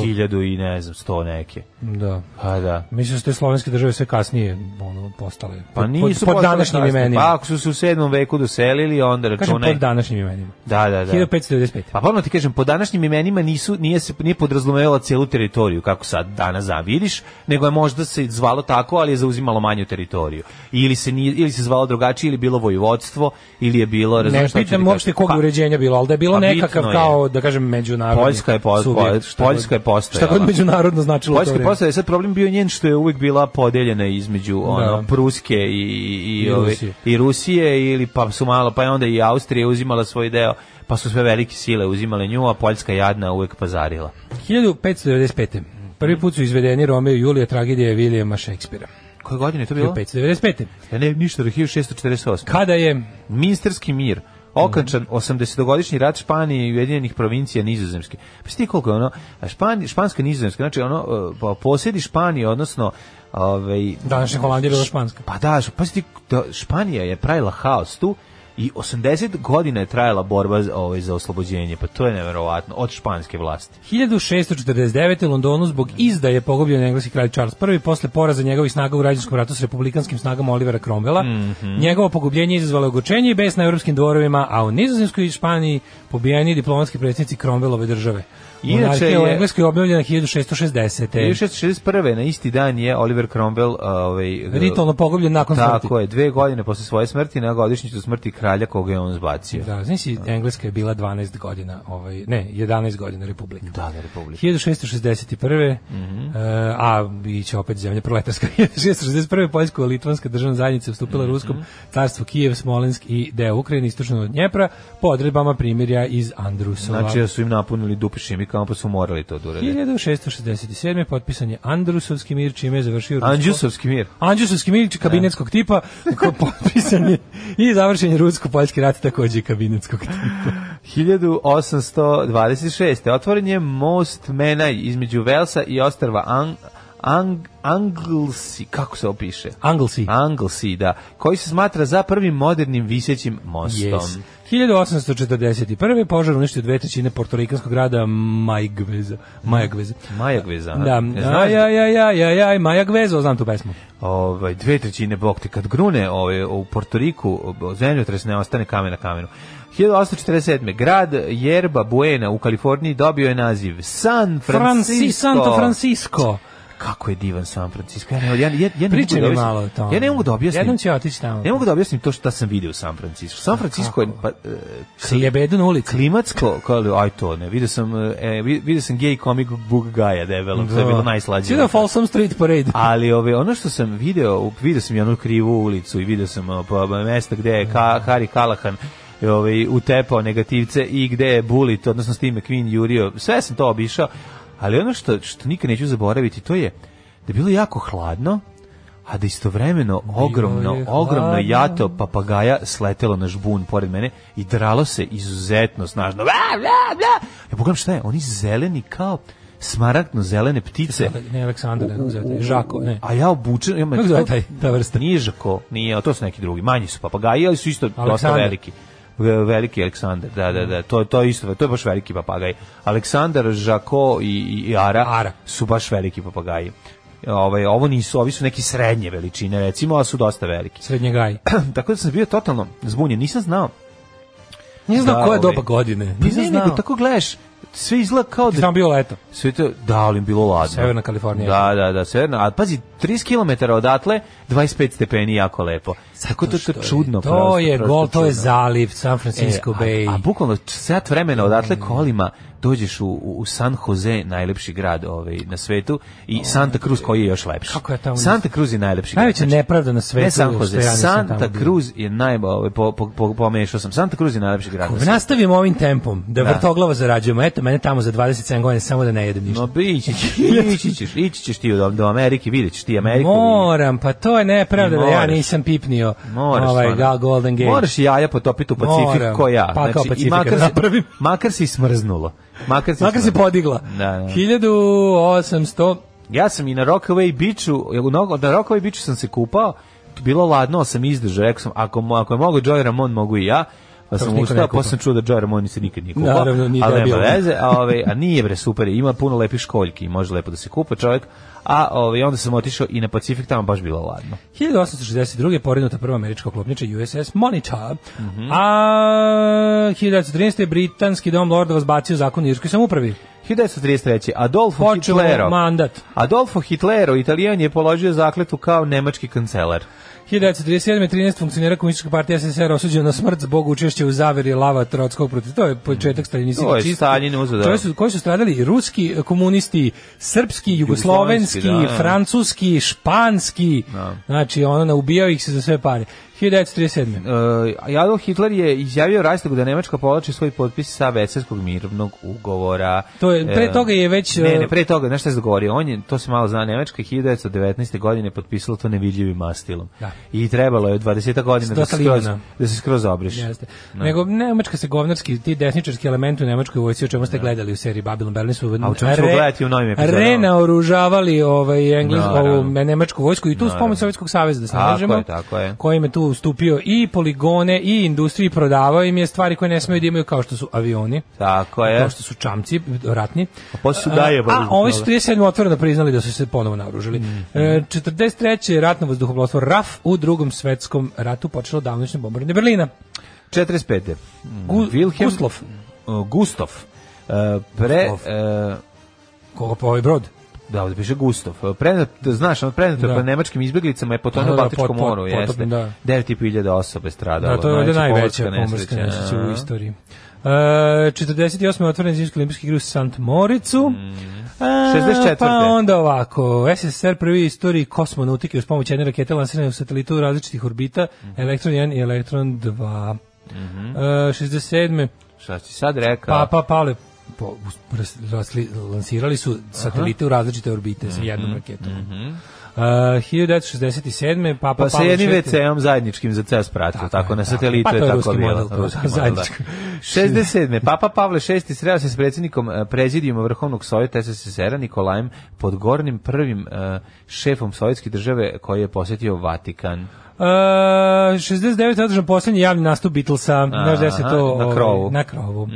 D: hiljadu i ne znam, sto neke.
E: Da.
D: Pa da.
E: Mislio sam da te slovenske države sve kasnije ono, postale.
D: Pa
E: Pod-
D: nisu
E: pod, pod
D: postale
E: današnjim
D: kasnije.
E: imenima.
D: Pa ako su se u 7. veku doselili, onda
E: Kažem
D: računaj.
E: pod današnjim imenima.
D: Da, da, da.
E: 1595.
D: Pa ponovno ti kažem, po današnjim imenima nisu, nije se nije podrazumevala cijelu teritoriju kako sad danas zavidiš, nego je možda se zvalo tako, ali je zauzimalo manju teritoriju. Ili se, nije, ili se zvalo drugačije, ili je bilo vojvodstvo, ili je bilo...
E: Ne
D: razumeš šta ću ti
E: pitam
D: kažem?
E: uopšte kog
D: Pa,
E: uređenja bilo, ali da je bilo
D: pa
E: nekakav
D: bitno je.
E: kao, da kažem, međunarodni
D: Poljska je po-
E: subjekt,
D: po-
E: šta god-
D: Poljska je postojala.
E: Šta god međunarodno značilo u to
D: Poljska je
E: vrijeme.
D: postala, sad problem bio njen što je uvijek bila podeljena između ono, Pruske i, i,
E: I
D: ove-
E: Rusije.
D: i Rusije, ili pa su malo, pa je onda i Austrija uzimala svoj deo, pa su sve velike sile uzimale nju, a Poljska jadna uvijek pazarila.
E: 1595. Prvi put su izvedeni Romeo i Julija tragedije Vilijama Šekspira.
D: Koje godine je to bilo?
E: 1595.
D: Ja ne, ništa, 1648.
E: Kada je
D: Minsterski mir, okančan 80-godišnji rat Španije i Ujedinjenih provincija Nizozemske. Pa sti koliko je ono, a Špan, španska Nizozemska, znači ono, e, pa posjedi Španije, odnosno, ovaj,
E: današnja Holandija bila španska?
D: pa da, š- pa sti, da, Španija je pravila haos tu, I 80 godina je trajala borba za- ovaj, za oslobođenje, pa to je neverovatno, od španske vlasti.
E: 1649. u Londonu zbog izdaje pogubljen engleski kralj Charles I posle poraza njegovih snaga u građanskom ratu s republikanskim snagama Olivera Cromwella.
D: Mhm.
E: Njegovo pogubljenje izazvalo je ogorčenje i bes na europskim dvorovima, a u Nizozemskoj i Španiji pobijeni diplomatski predsjednici Cromwellove države.
D: Inače
E: Monarhija u
D: je-
E: Engleskoj obnovljena 1660.
D: 1661. na isti dan je Oliver Cromwell ovaj,
E: Ritualno pogubljen nakon ono smrti.
D: Tako je, dve godine posle svoje smrti na godišnjicu smrti kralja koga je on zbacio.
E: Da, znaš si, Engleska je bila 12 godina, ovaj, ne, 11 godina republika.
D: Da, Mhm. da, republika.
E: 1661. e, a biće opet zemlja proletarska. 1661. Poljsko-Litvanska državna zajednica vstupila
D: Mhm.
E: Ruskom carstvu Kijev, Smolensk i deo Ukrajine istočno od Dnjepra po odredbama primirja iz Andrusova.
D: Znači da su im napunili dupe šimikama pa su morali to da urade.
E: 1667. potpisan je Andrusovski mir, čime je završio rusko-
D: Andžusovski mir.
E: Anđusovski milić kabinetskog tipa, ko- potpisan je i završen je rusko-poljski rat takođe kabinetskog tipa.
D: 1826. Otvoren je most Menaj između Velsa i ostrava Ang, Ang, Anglesi, kako se opiše?
E: Anglesi.
D: Anglesi, da, koji se smatra za prvim modernim visećim mostom.
E: Yes. 1841. požar uništio dve trećine portorikanskog grada Majagveza. Majagveza.
D: Majagveza. aha.
E: Da,
D: Ne E, znaš
E: aj,
D: da-
E: aj, aj, aj, aj, aj, Majagveza, znam tu pesmu.
D: Ovaj dve trećine bog te kad grune ovaj u Portoriku zemljotres ne ostane kamen na kamenu. 1847. grad Yerba Buena u Kaliforniji dobio je naziv San Francisco.
E: Franci, Santo Francisco.
D: Kako je divan San Francisco. Ja ne, ja, ja, ja ne
E: Pričaj mi
D: mogu da objasnim-
E: malo o tome.
D: Ja ne mogu da objasnim.
E: Jednom ću ja otići tamo.
D: Ne mogu da objasnim to šta sam video u San Francisco. San Francisco je pa, e,
E: Slijebedu na ulici.
D: klimatsko, kao, aj to ne, video sam, e, vi- video sam gay comic book gaja debelog, to je bilo najslađe.
E: Sviđa Folsom Street Parade.
D: Ali ove, ono što sam video, u- video sam i onu krivu ulicu i video sam o, pa, ba, mesta gde je
E: Mhm.
D: Ka, Kari Kalahan ove, utepao negativce i gde je Bullet, odnosno s time Queen jurio, sve sam to obišao, ali ono što, što nikad neću zaboraviti, to je da je bilo jako hladno, a da istovremeno ogromno,
E: je
D: ogromno
E: hladno.
D: jato papagaja sletelo na žbun pored mene i dralo se izuzetno snažno. Bla, bla, bla. Ja pogledam šta je, oni zeleni kao smaragdno zelene ptice.
E: Ne, Aleksandar, ne, kako zove taj, Žako, ne.
D: A ja obučen, ja me-
E: Kako zove taj, ta vrsta?
D: Nije Žako, nije, a to su neki drugi. Manji su papagaji, ali su isto dosta
E: Aleksandar.
D: veliki. Ve- Veliki Aleksandar, da, da, da, to, to je isto, to je baš veliki papagaj. Aleksandar, Žako i, i Ara,
E: Ara.
D: su baš veliki papagaji. Ovaj, ovo nisu, ovi su neki srednje veličine, recimo, ali su dosta veliki.
E: Srednje gaj.
D: Tako da sam bio totalno zbunjen, nisam znao.
E: Nisam znao
D: Da,
E: koja je
D: ovaj,
E: doba godine.
D: Nisam
E: Ne,
D: znao.
E: Pa nego
D: tako gledaš, sve izgleda kao da
E: Samo bio leto.
D: sve to, da, ali im bilo ladno.
E: Severna Kalifornija.
D: Da, da, da, severna. A pazi, 30 km odatle, 25 stepeni, jako lepo. Tako to, to
E: Što je-
D: čudno.
E: To
D: prosto,
E: je
D: prosto
E: gol, to je
D: čudno.
E: zaliv, San Francisco
D: E,
E: Bay.
D: A, a bukvalno č- sat vremena odatle
E: Mm.
D: kolima dođeš u, u u San Jose, najlepši grad ovaj, na svetu, i Santa Cruz koji je još lepši.
E: Kako ja tamo nisam-
D: Santa Cruz je najlepši grad.
E: Najveća nepravda na svetu
D: Znači, Ne San
E: što
D: Jose,
E: ja nisam
D: Santa
E: tamo bio.
D: Cruz je naj... Ovaj, po, po, po, pomešao sam. Santa Cruz je najlepši grad na
E: Ako
D: svetu.
E: nastavimo ovim tempom, da, vrtoglavo zarađujemo, eto mene tamo za 27 godina samo da ne jedem ništa.
D: No, bi- ići ćeš, ići ćeš, ići ćeš ti do, do Amerike, vidjet ćeš ti Ameriku.
E: Moram, pa to je nepravda da ja
D: Moraš.
E: nisam pipnio
D: Moraš,
E: ovaj
D: stvarno.
E: Gal Golden Gate.
D: Moraš i jaja potopiti u Pacifik
E: Moram.
D: ko ja. Znači,
E: Pa kao
D: i
E: Pacifika
D: makar,
E: da
D: si-
E: napravim.
D: makar si smrznulo. Makar si,
E: Makar se
D: smrznulo.
E: podigla.
D: Da, da.
E: 1800
D: Ja sam i na Rockaway Beachu, ja u Nog- na Rockaway Beachu sam se kupao, bilo ladno, ali sam izdržao, rekao sam, ako, mo- ako je mogao Joy Ramon, mogu i ja. Pa
E: se
D: sam
E: niko ne
D: ustao,
E: kupa.
D: pa sam čuo da Joy Ramon se nikad nije kupao.
E: Naravno, nije
D: ali nema
E: debil.
D: veze, a, ove, a nije bre, super, je, ima puno lepih školjki, i može lepo da se kupa čovjek. A ove, onda sam otišao i na Pacifik, tamo baš bilo ladno.
E: 1862. je porinuta prva američka oklopnjača USS Monica,
D: Mhm.
E: a 1913. je britanski dom lordova zbacio zakon o irskoj samupravi.
D: 1933. Adolfo
E: Počeo
D: Hitlero.
E: mandat.
D: Adolfo Hitlero, italijan, je položio zakletu kao nemački kancelar.
E: 1937. je 13 funkcionera komunističke partije SSR osuđeno na smrt zbog učešća u zaveri lava Trotskog protiv. To je početak staljinističke
D: To je
E: čistke.
D: Staljin uzeo, da.
E: Čovjek su, koji su stradali i ruski komunisti, srpski, jugoslovenski,
D: Jugoslovenski, da.
E: francuski, španski. Znači, ono, ubijao ih se za sve pare. 1937.
D: Uh, Adolf Hitler je izjavio Reichstagu da Nemačka povlači svoj potpis sa Veselskog mirovnog ugovora.
E: To je- pre
D: E,
E: toga je već,
D: Ne,
E: e,
D: ne, pre toga, znaš šta je dogovorio? On je, to se malo zna, Nemačka je 1919. godine potpisala to nevidljivim mastilom.
E: Da.
D: I trebalo je 20. godina da
E: Do
D: se skroz,
E: Talibana.
D: da se skroz obriše.
E: Jeste. Nego Nemačka se govnarski, ti desničarski elementi u Nemačkoj vojsci, o čemu ste gledali u seriji Babylon Berlin su
D: A o čemu ćemo gledati u novim epizodama?
E: Renaoružavali ovaj Engles,
D: Naravno.
E: ovu nemačku vojsku i tu uz pomoć Sovjetskog saveza da se
D: Tako
E: nađemo.
D: je, tako je.
E: Koji im je tu ustupio i poligone i industriji prodavao im je stvari koje ne smeju da imaju kao što su avioni.
D: Tako je.
E: Kao što su čamci ratni. A
D: posle E. su daje
E: A,
D: barutu,
E: ovi su
D: jel da?
E: 37 otvoreno priznali da su se ponovo naoružali.
D: Mhm.
E: E, 43. je ratno vazduhoplovstvo RAF u drugom svetskom ratu počelo davnoćno bombardovanje Berlina.
D: 45. Mm,
E: Gu- Guslov.
D: Uh, Gustav. Uh, pre,
E: Gustav.
D: uh,
E: Koga pa ovaj brod?
D: da, ovdje piše Gustav. Uh, Prenet, znaš, on prenet
E: Da.
D: po nemačkim izbjeglicama je
E: Da,
D: potonuo u
E: da,
D: Baltičkom
E: pot- pot-
D: moru,
E: potop,
D: jeste.
E: da.
D: 9.500 osobe stradalo. Znači,
E: Da, to je valjda najveća
D: Najveća
E: pomorska nesreća u istoriji. E, 48. je otvoren zimski olimpijski igre u Sant Moricu.
D: Mm. 64..
E: Pa onda ovako, SSR prvi u istoriji kosmonautike uz pomoć jedne rakete lansirane u satelitu različitih orbita,
D: Mhm.
E: Elektron 1 i Elektron 2. E, 67.
D: Šta si sad rekao?
E: Papa Pavle po, us- rasli- lansirali su satelite u različite orbite
D: Mhm.
E: sa jednom raketom. E, 1967. Papa
D: pa sa
E: Pavle
D: jednim
E: VI.
D: WC-om zajedničkim za ceo spratu, tako, na satelitu
E: Pa to
D: je,
E: je
D: tako
E: ruski
D: bilo.
E: model, to je
D: Ruski model, da.
E: zajedničko.
D: 67. Papa Pavle VI sreo se s predsjednikom eh, prezidijuma Vrhovnog sovjeta SSSR-a Nikolajem Podgornim prvim eh, šefom sovjetske države koji je posjetio Vatikan.
E: Uh, 69. je održan poslednji javni nastup Beatlesa, znaš da se
D: Aha,
E: to...
D: na
E: ovaj,
D: krovu. Mhm.
E: na krovu.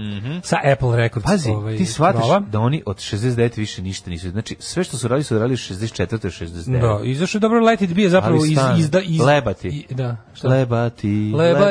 E: Sa Apple Records.
D: Pazi,
E: ovaj,
D: ti shvataš
E: krova.
D: da oni od 69 više ništa nisu. Znači, sve što su radili su radili od 64. do 69.
E: Da, izašao je dobro Let It Be je zapravo
D: Ali
E: iz,
D: stan,
E: iz, da, iz...
D: lebati.
E: I, da, šta?
D: Lebati,
E: Lebati,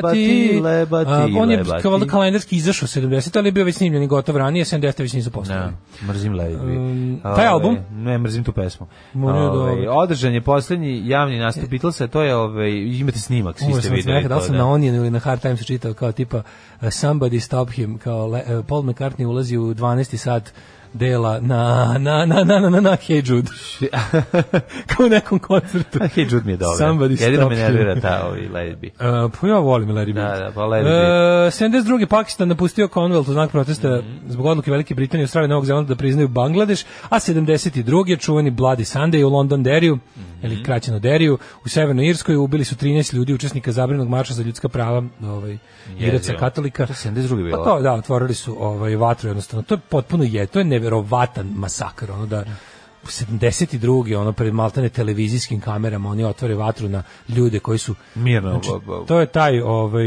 D: lebati, lebati,
E: a, on je
D: lebati.
E: kao valjda kalendarski izašao 70, ali je bio već snimljen i gotov ranije, 70 već nisu postali.
D: Da, mrzim Lady B.
E: Um, taj
D: Ovaj,
E: album?
D: Ne, mrzim tu pesmu.
E: Mora je
D: Ovaj,
E: dobro.
D: održan je posljednji javni nastup Beatlesa, to je, ovaj, imate snimak, svi
E: Umro
D: ste
E: sam od
D: videli
E: smeha, da li
D: to,
E: sam
D: da.
E: na Onionu ili na Hard Timesu čitao kao tipa uh, Somebody Stop Him, kao le, uh, Paul McCartney ulazi u 12. sat dela na, na, na, na, na, na, na Hey Jude. kao u nekom koncertu.
D: A Hey Jude mi je dobro.
E: Somebody
D: Jedino
E: stop
D: me nervira ta ovaj Lady B.
E: Uh, pa ja volim Larry Bird.
D: Da, da, pa Larry
E: Uh, 72. Pakistan napustio Commonwealth u znak protesta
D: Mhm.
E: zbog odluke Velike Britanije, Australije i Novog Zelanda da priznaju Bangladeš, a 72. je čuveni Bloody Sunday u London Deriju,
D: Mhm.
E: ili kraćeno Deriju, u Severnoj Irskoj ubili su 13 ljudi učesnika zabrinog marša za ljudska prava ovaj, Iraca katolika.
D: To je 72.
E: Pa
D: bilo.
E: to, da, otvorili su ovaj, vatru jednostavno. To je potpuno je, to je neverovatan masakr, ono da 72. ono pred maltene televizijskim kamerama oni otvore vatru na ljude koji su
D: Mirno,
E: znači,
D: ba- ba-
E: to je taj ovaj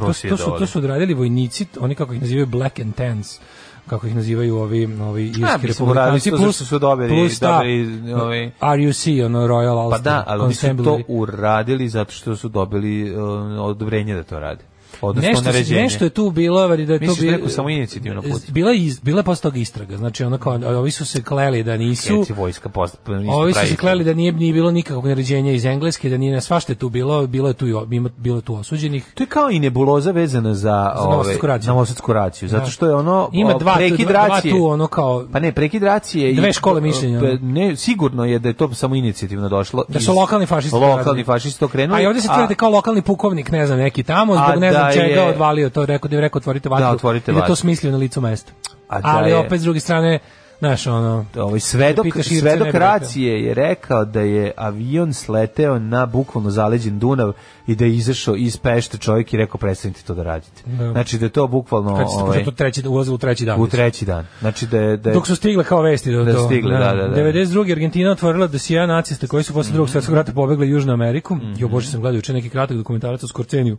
E: to, su- to su to
D: Prosvjedovali.
E: su odradili vojnici, oni kako ih nazivaju black and tans kako ih nazivaju ovi ovi irski
D: mislim, uradili su
E: republikanci
D: to zato što su dobili- dobili, ovaj-
E: RUC ono Royal
D: Pa
E: Ulster
D: da, ali oni su to
E: Constabulary.
D: uradili zato što su dobili uh, odobrenje da to rade. Odnosno
E: Nešto, se-
D: naređenje.
E: nešto je tu bilo, vadi da je to
D: Misliš da je
E: bilo
D: neko samoinicijativno pucao?
E: Bila je iz- bila je posle toga istraga. Znači ono kao ovi su se kleli da nisu.
D: Keci vojska post,
E: Ovi su se kleli da nije, nije bilo nikakvog naređenja iz Engleske, da nije svašta je tu bilo, bilo je tu i o- ima- bilo je tu osuđenih.
D: To je kao i nebuloza vezana za,
E: Za novosadsku raciju.
D: za novosadsku raciju, zato
E: Da.
D: što je ono
E: Ima
D: o,
E: dva, tu,
D: prekid
E: dva, dva
D: racije.
E: tu ono kao
D: Pa ne, prekid racije i
E: Dve škole mišljenja,
D: pa
E: ono.
D: Ne, sigurno je da je to samo inicijativno došlo.
E: da su
D: iz-
E: lokalni fašisti.
D: Lokalni
E: radili.
D: fašisti to krenuli.
E: A i ovdje se tvrde kao lokalni pukovnik, ne znam, neki tamo, zbog
D: A
E: ne znam
D: da
E: čega
D: je-
E: odvalio to, rekao da je rekao otvorite vatru.
D: Da, otvorite
E: i da to
D: vatru.
E: smislio na licu mesta.
D: A da
E: Ali
D: je-
E: opet s druge strane, znaš, ono...
D: ovaj svedok
E: Pitaš Irce, ne
D: svedok
E: bi rekao.
D: racije je rekao da je avion sleteo na bukvalno zaleđen Dunav i da je izašao iz Pešta čovjek i rekao prestanite to da radite.
E: Da.
D: Znači da je to bukvalno
E: Kad se
D: ovaj,
E: to treći, ulazilo u treći dan.
D: u treći dan. Znači da je, da je
E: Dok su stigle kao vesti do
D: Da
E: do-
D: stigle, da, da, da.
E: 92. Argentina otvorila dosija nacista koji su posle drugog svjetskog rata pobegli u Južnu Ameriku.
D: Mhm.
E: Jo bože, sam gledao juče neki kratak dokumentarac o Skorceniju.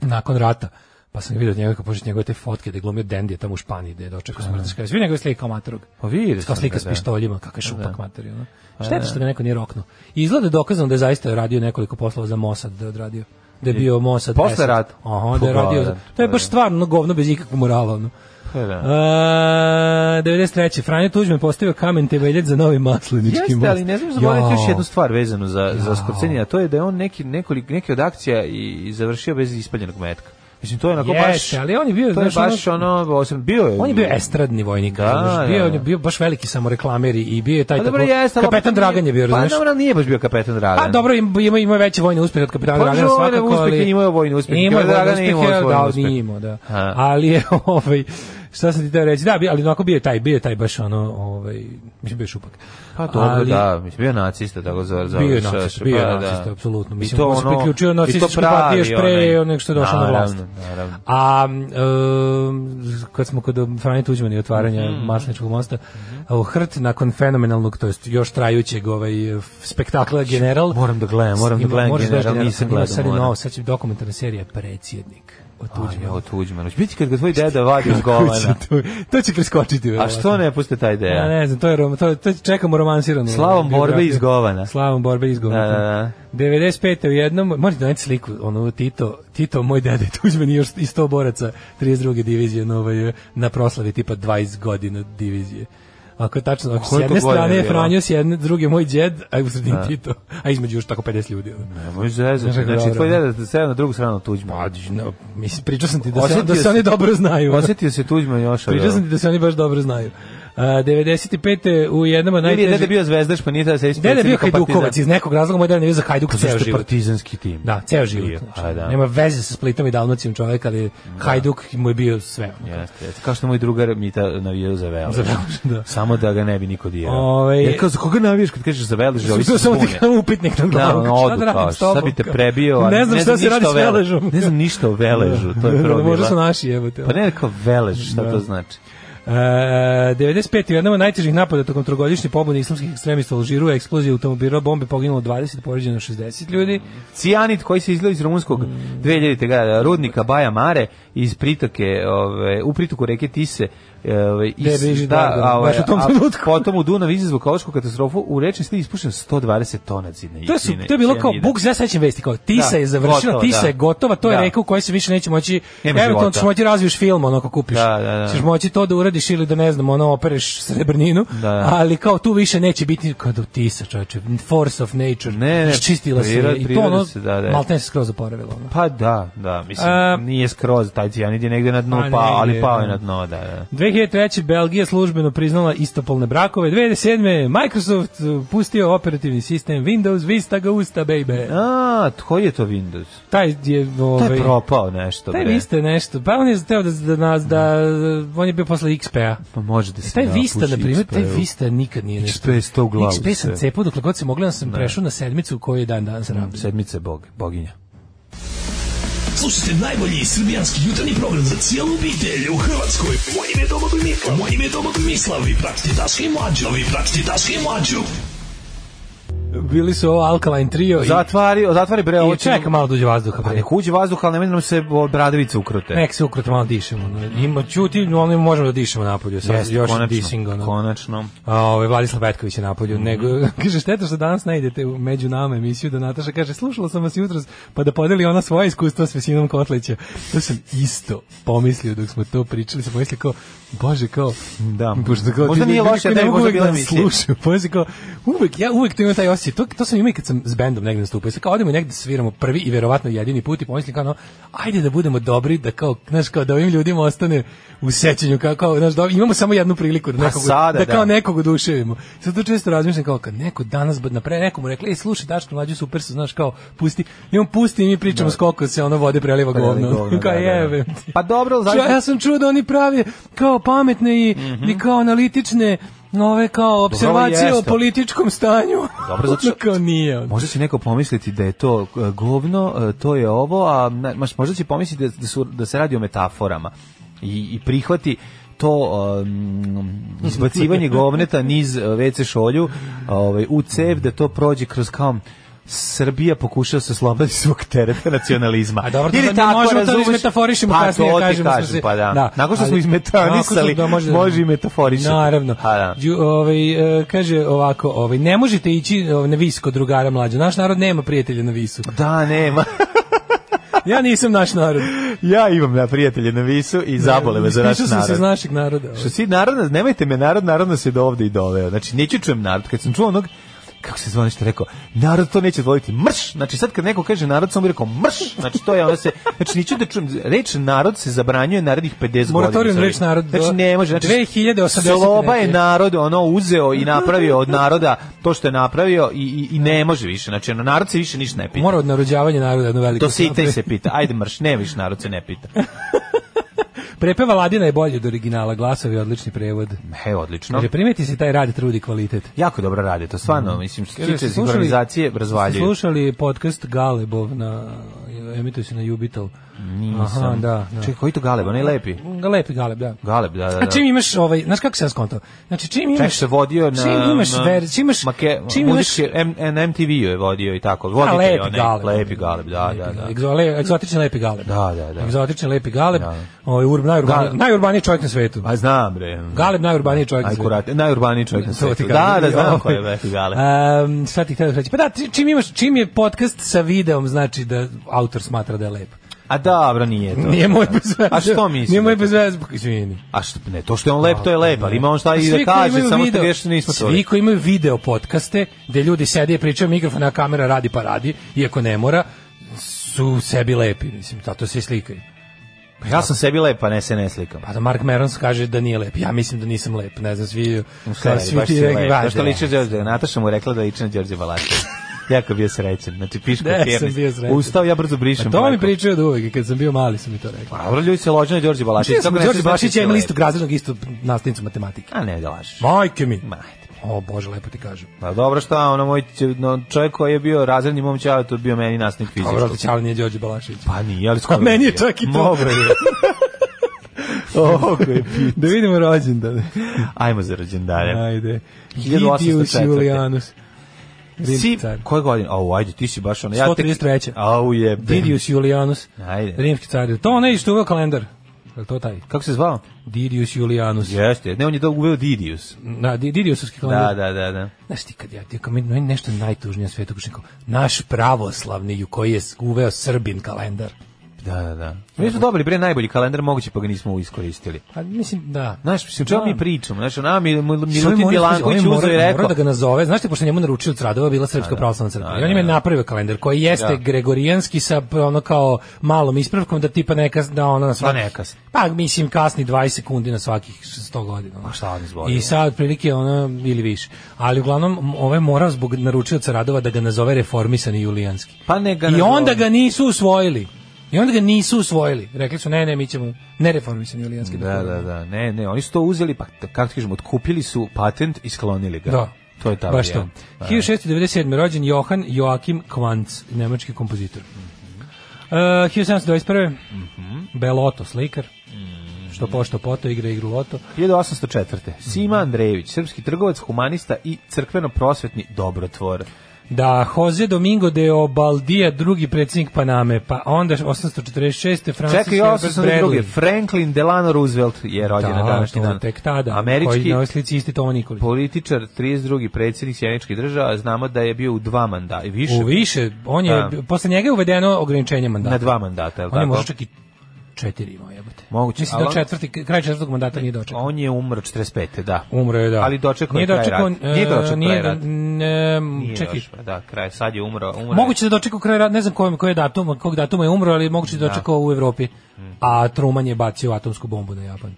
E: Nakon rata. Pa sam vidio njega kako pošto njegove te fotke da je glumio Dendija tamo u Španiji da je dočekao smrt. Kaže, vidi njegove slike kao matorog.
D: Pa vidio
E: Kao
D: sam
E: slika
D: ga,
E: s
D: da. Pa,
E: pištoljima, kakav je šupak matori, ono. Šteta što ga neko nije roknuo. I izgleda je dokazano da je zaista radio nekoliko poslova za Mossad, da je odradio da je bio Mossad.
D: Posle
E: 10.
D: rata?
E: Aha, da je
D: Pa,
E: radio.
D: da,
E: za- To je
D: pa,
E: baš
D: da.
E: stvarno govno bez ikakvog morala, ono.
D: Pa da.
E: E, 93. Franjo Tuđman postavio kamen temeljac za novi maslinički most.
D: Jeste, ali ne znam zaboraviti
E: Jao.
D: još jednu stvar vezanu za, za Skorcenija, a to je da je on neki, nekolik, neki od akcija i, i završio bez ispaljenog metka. Mislim, to je onako
E: Jeste,
D: baš...
E: ali on je bio,
D: to je
E: znaš,
D: baš ono, osim, bio je...
E: On je bio estradni vojnik,
D: Da,
E: znaš, bio,
D: da.
E: on je bio baš veliki samoreklamer i- i bio je taj
D: Pa dobro,
E: tako-
D: jeste, ali
E: kapetan
D: opet
E: Dragan je bio,
D: Pa
E: znaš.
D: dobro, ali nije baš bio kapetan Dragan.
E: Pa dobro, im- ima ima veće vojne uspehe od kapitana
D: Pa,
E: Dragana
D: dobro,
E: svakako,
D: uspeh je
E: ali
D: imao vojni uspeh.
E: Imao je
D: Kapitan
E: vojne
D: Dragan je
E: uspehe,
D: imao svoj
E: da,
D: uspeh.
E: nije imao, da.
D: Ha.
E: Ali je ovaj šta sam ti teo reći? Da, bi, ali onako bio je taj, bio je taj baš ono, ovaj, mislim bio je šupak.
D: Pa dobro,
E: Ali-
D: da, mislim, bio je nacista, tako za za
E: Bio je
D: za-
E: nacista,
D: pa
E: bio je
D: da, da.
E: nacista, apsolutno.
D: I
E: Mislim,
D: to
E: on se
D: ono-
E: priključio
D: i to
E: nacističkoj partiji još
D: pravi
E: pre
D: onaj.
E: nego što je došao na vlast.
D: Naravno, naravno.
E: A um, kad smo kod Franje Tuđmana i otvaranja
D: Mhm.
E: Masleničkog mosta, u Hrt nakon fenomenalnog, to jest još trajućeg ovaj, f- spektakla General.
D: Moram da gledam, moram da
E: Ima-
D: gledam
E: moraš
D: General,
E: gledati
D: nisam
E: Ima
D: gledao,
E: Sad je
D: moram.
E: novo, sad će dokumentarna serija Predsjednik o
D: Tuđman.
E: Tuđmanu.
D: Evo Tuđman. Hoće biti kad ga tvoj deda vadi uz govana.
E: to, to će preskočiti.
D: A što ne puste taj
E: Ja
D: ideja?
E: ne znam, to je rom- to, to čekamo romansirano.
D: Slavom borbe iz govana.
E: ovaj, Slavom borbe iz govana.
D: Da, da, da.
E: 95. u jednom, možete doneti sliku, ono, Tito, Tito, moj dede Tuđman i još i 100 boraca 32. divizije na, ovaj, na proslavi tipa 20 godina divizije. Ako je tačno, ako s
D: Koliko
E: jedne strane
D: godina
E: je
D: je bilo?
E: Franjo, s jedne, druge moj djed, a u sredini Tito, a između još tako 50 ljudi. ono.
D: Nemoj zezati.
E: Znaš kako
D: Znači,
E: dobro.
D: tvoj deda da sede na drugu stranu Tuđman.
E: No, mislim, pričao sam ti da se, da
D: Osjetio
E: se
D: se-
E: oni dobro znaju. ono.
D: Osjetio se Tuđman još.
E: Pričao sam ti da se oni baš dobro znaju. A, 95. u jednom od
D: Najteže.
E: najtežih...
D: Dede bio zvezdaš, pa nije tada se ispred.
E: Dede je bio Hajdukovac, iz nekog razloga moj dede ne bio za
D: Pa
E: Hajduk ceo život.
D: partizanski tim.
E: Da, ceo
D: Bio,
E: život. znači,
D: a da.
E: Nema veze sa Splitom i Dalmacijom čovjek, ali Hajduk mu je bio sve. ono.
D: Jeste, jeste. Kao što moj drugar mi ta navijao za Veliš.
E: Za Veleš, da.
D: Samo da ga ne bi niko dirao.
E: Ovaj-
D: Jer kao za koga navijaš kad kažeš za Veliš, ovi
E: To
D: se
E: samo ti
D: zbune.
E: kao upitnik nad
D: Da,
E: glavom.
D: ono,
E: kao, šta
D: odu
E: da radim
D: kao,
E: s tobom?
D: sad bi te prebio, a
E: Ne znam šta se
D: ništa
E: radi
D: o
E: s
D: Veležu.
E: Veležom.
D: Ne znam ništa o Veležu, to je
E: Da,
D: prvo.
E: da, Možda
D: bila.
E: su naši jebote. ono.
D: Pa ne kao Velež, šta to znači?
E: E, 95. u jednom od najtežih napada tokom trogodišnje pobune islamskih ekstremista u Alžiru, eksplozija automobila, bombe poginulo 20, poređeno 60 ljudi.
D: Mhm. Cijanit koji se izlio iz rumunskog 2000. ga rudnika Baja Mare iz pritoke, ove, u pritoku reke Tise, ove,
E: Gde je bliži Dragan,
D: a, ove,
E: baš u tom
D: a
E: trenutku.
D: potom u Dunav izazvu ekološku katastrofu, u rečni ste ispušen 120 tona cine.
E: To, su, to je bilo kao, Bog ja sećam vesti, kao Tisa
D: Da,
E: je završila,
D: gotovo,
E: Tisa
D: da.
E: je gotova, to je
D: Da.
E: reka u kojoj se više neće moći,
D: Nema
E: eventualno
D: života.
E: ćeš moći razviješ film, ono ako kupiš,
D: Da, da, da.
E: ćeš moći to da uradiš ili da ne znam, ono opereš srebrninu,
D: Da, da.
E: ali kao tu više neće biti, kao do Tisa čoveče, force of nature,
D: Ne, ne,
E: čistila se
D: priroda-
E: je i to
D: priroda
E: ono,
D: se, da, da.
E: maltene se skroz oporavilo. Ono.
D: Pa da, da, mislim,
E: A-
D: nije skroz, taj cijanid je negde na dnu,
E: Pa
D: pa, ali
E: negde,
D: pao je
E: da.
D: na dno, da, da.
E: 2003. Belgija službeno priznala istopolne brakove. 2007. Microsoft uh, pustio operativni sistem Windows Vista ga usta, baby.
D: A, koji je to Windows?
E: Taj je... Ovaj,
D: Taj je propao nešto,
E: Taj
D: bre.
E: Vista je nešto. Pa on je teo da, da, nas, da on je bio posle XP-a.
D: Pa može da se
E: E, Taj
D: napuši
E: Vista, na primjer, taj
D: XP-u.
E: Vista nikad nije nešto.
D: XP je sto u glavu
E: XP sam
D: sve.
E: cepao dokle god sam mogla, sam prešao na sedmicu koju je dan danas rabim.
D: Sedmice bog, boginja.
G: Slušajte najbolji srbijanski jutarnji program za cijelu obitelj u Hrvatskoj. Moje ime je Domagoj Mislav. Moje ime je Domagoj Mislav. Vi pratite Daška i Mlađu. Vi pratite Daška i Mlađu.
E: Bili su ovo Alkaline trio i...
D: Zatvari, zatvari bre, ovo
E: I čeka malo dođe vazduha.
D: Pa
E: bre.
D: nek uđe vazduh, ali nemoj nam se bradovice ukrute.
E: Nek se ukratko malo dišemo. ono. Ima čuti, no ono možemo da dišemo napolju. Sad
D: Jeste,
E: još
D: konačno,
E: dising, ono.
D: Konačno.
E: A, ovaj Vladislav Petković je napolju.
D: Mhm.
E: Nego kaže šteta što danas ne idete u među nama emisiju da Nataša kaže slušala sam vas jutros pa da podeli ona svoje iskustva s Vesinom Kotlića. To sam isto pomislio dok smo to pričali, sam pomislio kao bože kao
D: Da.
E: Pošto kao,
D: Možda
E: ti-
D: nije
E: ljudi
D: loše,
E: koji
D: da je
E: ne mogu
D: možda
E: uvek
D: bila
E: da
D: emisija.
E: Slušaju, pomisli kao, uvek, ja uvek to imam taj osjećaj, to, to sam imao i kad sam s bendom negde nastupao, sad kao odemo i negde sviramo prvi i verovatno jedini put i pomislim kao, no, ajde da budemo dobri, da kao, znaš, kao da ovim ljudima ostane u sećanju, kao, kao znaš, da imamo samo jednu priliku da,
D: Pa
E: nekog,
D: sada,
E: da kao
D: da.
E: nekog oduševimo. Sad to često razmišljam kao, kad neko danas, na pre nekomu rekli, ej, slušaj, Daško, mlađu, super su, znaš, kao, pusti, i on pusti i mi pričamo s koliko se ono vode preliva govno.
D: govno,
E: kao,
D: da, da, da.
E: jebem ti.
D: Pa dobro, ali
E: Ču-
D: zašto-
E: Ja sam čuo da oni prave kao pametne i, i kao analitične ove kao observacije
D: Mhm. jeste.
E: o političkom stanju.
D: Dobro, zato što-
E: Ono kao nije. ono.
D: Možda će neko pomisliti da je to e, govno, e, to je ovo, a na- maš- možda će pomisliti da, da, su, da se radi o metaforama i, i prihvati to um, izbacivanje govneta niz e, WC šolju ovaj, u cev, da to prođe kroz kao Srbija pokušava se sloboditi svog tereta nacionalizma.
E: A dobro, to sad ne možemo to da izmetaforišemo
D: pa,
E: kasnije,
D: to ti
E: kažemo,
D: kažem,
E: smo se-
D: pa da.
E: da,
D: Nakon što
E: ali-
D: smo
E: nakon
D: izmetanisali,
E: što- da, može
D: može,
E: da-
D: i metaforisati.
E: Naravno.
D: A, da.
E: Đu- ovaj, e, kaže ovako, ovaj, ne možete ići ovaj, na vis kod drugara mlađa. Naš narod nema prijatelja na visu.
D: Da, nema.
E: Ja nisam naš narod.
D: ja imam na prijatelje na visu i zabole me za naš
E: Ispričao sam se iz
D: narod.
E: našeg naroda. ovaj.
D: Što si narodno, nemajte me narod, narodno se do ovde i doveo. Znači, neću čujem narod. Kad sam čuo onog, kako se zove nešto rekao, narod to neće voliti, mrš! Znači, sad kad neko kaže narod, sam bi rekao mrš! Znači, to je ono se, znači, neću da čujem, reč narod se zabranjuje narednih 50 godina.
E: Moratorium
D: Znači,
E: reč narod do
D: Znači, ne može, znači,
E: 2080
D: Sloba je
E: neke.
D: narod, ono, uzeo i napravio od naroda to što je napravio i, i, i ne može više. Znači, ono, narod se više ništa ne pita.
E: Mora od narođavanja naroda jedno veliko.
D: To se i taj se pita. Ajde mrš, ne više narod se ne pita.
E: Prepeva Ladina je bolje od originala, glasovi odlični prevod.
D: He, odlično.
E: Kaže, primeti se taj rad, trudi kvalitet.
D: Jako dobro rade to, stvarno, mislim, što se
E: Mm. Kaže,
D: tiče
E: ste slušali-
D: sinhronizacije, razvaljuju.
E: ste Slušali podcast Galebov na emituje se na Jubital. Aha, da. da.
D: Čekaj, koji to Galeb, onaj lepi?
E: Lepi Galeb, da.
D: Galeb, da, da, da.
E: A čim imaš ovaj, znaš kako se ja skonto? Znači čim imaš
D: Čak se vodio na...
E: čim imaš
D: na-
E: ver, čim imaš
D: Make,
E: čim imaš
D: muzičke, M, na MTV-u je vodio i tako. Voditelj
E: Lepi
D: onaj,
E: Galeb.
D: Lepi Galeb, da,
E: Lepi
D: da, da.
E: Galeb, egzo- le- egzotični lepi Galeb.
D: Da, da, da.
E: Egzotični lepi Galeb,
D: Da.
E: ovaj urban, najurbaniji,
D: Galeb.
E: najurbaniji čovjek na svetu.
D: A Pa znam, bre.
E: Galeb najurbaniji čovjek na
D: Aj,
E: svetu.
D: kurate, najurbaniji čovjek na
E: To ti
D: svetu.
E: kažem.
D: Da, da,
E: Ovaj,
D: znam ko je Lepi Galeb.
E: em, šta ti htio reći? Pa da, ti- čim, imaš, čim je podcast sa videom, znači da autor smatra da je lep.
D: A dobro, nije to.
E: Nije moj bez veze.
D: A što misliš?
E: Nije moj bez veze, pa izvini.
D: A što, ne, to što je on lep, to je lep, ali ima on šta i
E: Pa Svi
D: da
E: koji
D: kaže,
E: imaju
D: samo što
E: video-
D: vješ nismo to.
E: Svi koji imaju video podcaste, gde ljudi sede i pričaju mikrofon, a kamera radi pa radi, iako ne mora, su sebi lepi, mislim, zato se i slikaju.
D: Ja sam sebi lepa, ne se ne slikam.
E: Pa da Mark Merons kaže da nije lep, ja mislim da nisam lep, ne znam, svi,
D: Šta
E: kao
D: radi, baš si
E: svi ti rekli,
D: lep.
E: ba,
D: Znaš što
E: ovaj, da.
D: liči Đorđe, Nataša mu je rekla da liči na Đorđe Balašević. jako bio srećen, znači piško
E: Da, sam
D: pjernic.
E: bio srećen.
D: Ustao, ja brzo
E: Pa
D: brišem.
E: to mi
D: rekao.
E: pričaju od uvek, i kad sam bio mali su mi to rekli.
D: Pa, dobro, ljudi se lože na Đorđe Balašević.
E: Čio sam
D: kako ne
E: Đorđe
D: znaš
E: Bašić,
D: da
E: ja imam
D: je
E: istog razrednog, istog nastavnicu matematike.
D: lep? A ne, da lažeš.
E: Majke mi!
D: Ma, ajde.
E: O, Bože, lepo ti kažem.
D: Pa dobro šta, ono moj će- no, čovjek koji je bio razredni mom čao, to bio meni nastavnik
E: Dobro,
D: fizičkog.
E: ti ali nije Đorđe Balašević.
D: Pa nije, ali skoro.
E: A meni je čak i to.
D: Dobro je. Oko je pit.
E: Da vidimo rođendane.
D: Ajmo za rođendane.
E: Ajde.
D: 1804.
E: Gidius Julianus.
D: Si,
E: Rimski car.
D: koje godine? Au, ajde, ti si baš ono. Ja tek-
E: 133.
D: Au, je.
E: Didius Julianus.
D: Ajde.
E: Rimski car. To onaj što je uveo kalendar. Je li to taj?
D: Kako se zvao?
E: Didius Julianus.
D: Jeste, ne, on je to uveo Didius.
E: Na, Di- Didiusovski kalendar.
D: Da, da, da, da.
E: Znaš ti kad ja, ti kad meni nešto najtužnije na svetu, kažem kao, naš pravoslavni u koji je uveo Srbin kalendar.
D: Da, da, da. Mi smo dobili pre najbolji kalendar, moguće pa ga nismo iskoristili.
E: Pa mislim, da.
D: Znaš, mislim, čemu
E: Da.
D: mi pričamo? Znaš, ona mi
E: Što je
D: Milutin
E: morao-
D: Milanković
E: on je morao-
D: uzeo i rekao,
E: morao da ga nazove, znaš ti, pošto je njemu naručio Radova bila Srpska pravoslavna crkva. I on im je napravio kalendar koji jeste
D: Da.
E: gregorijanski sa ono kao malom ispravkom da tipa neka da ona na svaki,
D: ne kasni.
E: Pa mislim kasni 20 sekundi na svakih 100 godina. ono.
D: Pa šta oni zbog
E: I
D: toga?
E: sad otprilike ono ili više. Ali uglavnom m- ovaj mora zbog naručioca Radova da ga nazove reformisani julijanski.
D: pa ne ga
E: I
D: nazove.
E: onda ga nisu usvojili. I onda ga nisu usvojili. Rekli su ne, ne, mi ćemo nereformisani julijanski.
D: Da, da, da, ne, ne, oni su to uzeli, pa t- kako ti kažemo, otkupili su patent i sklonili ga.
E: Da.
D: To je ta
E: Baš to.
D: varijanta. Da. Mhm.
E: 1697. rođen Johan Joachim Kvanz, nemački kompozitor. 1721. Beloto, slikar.
D: Mhm.
E: Što pošto poto, igra igru loto.
D: 1804.
E: Mhm.
D: Sima Andrejević, srpski trgovac, humanista i crkveno-prosvetni dobrotvor.
E: Da, Jose Domingo de Obaldija, drugi predsjednik Paname, pa onda 846. Francis
D: Čekaj,
E: Herbert
D: 1802.
E: Bradley.
D: Franklin Delano Roosevelt je rođen na
E: Da,
D: današnji
E: to
D: dan.
E: tek tada. Koji
D: Američki
E: na ovoj slici isti Tomo Nikolić.
D: političar, 32. predsjednik Sjeničkih država, znamo da je bio u dva mandata, i više,
E: U više, on je,
D: Da.
E: posle njega je uvedeno ograničenje mandata.
D: na dva mandata, je li
E: On je
D: tako?
E: možda čak i četiri imao, jebate.
D: Moguće,
E: Mislim
D: ali
E: da
D: on-
E: četvrti, kraj četvrtog mandata nije dočekao.
D: On je umro 45. da.
E: Umro je, da.
D: Ali dočekao je
E: Nije
D: kraj
E: dočekao,
D: rata. Nije dočekao
E: e, nije
D: kraj rata.
E: ne,
D: Nije
E: čekaj,
D: došao, da, kraj, sad je umro. umro je.
E: Moguće da dočekao kraj rata, ne znam kojem, koji je datum, kog datuma je umro, ali moguće da je dočekao u Evropi.
D: Mm.
E: A Truman je bacio atomsku bombu na Japan.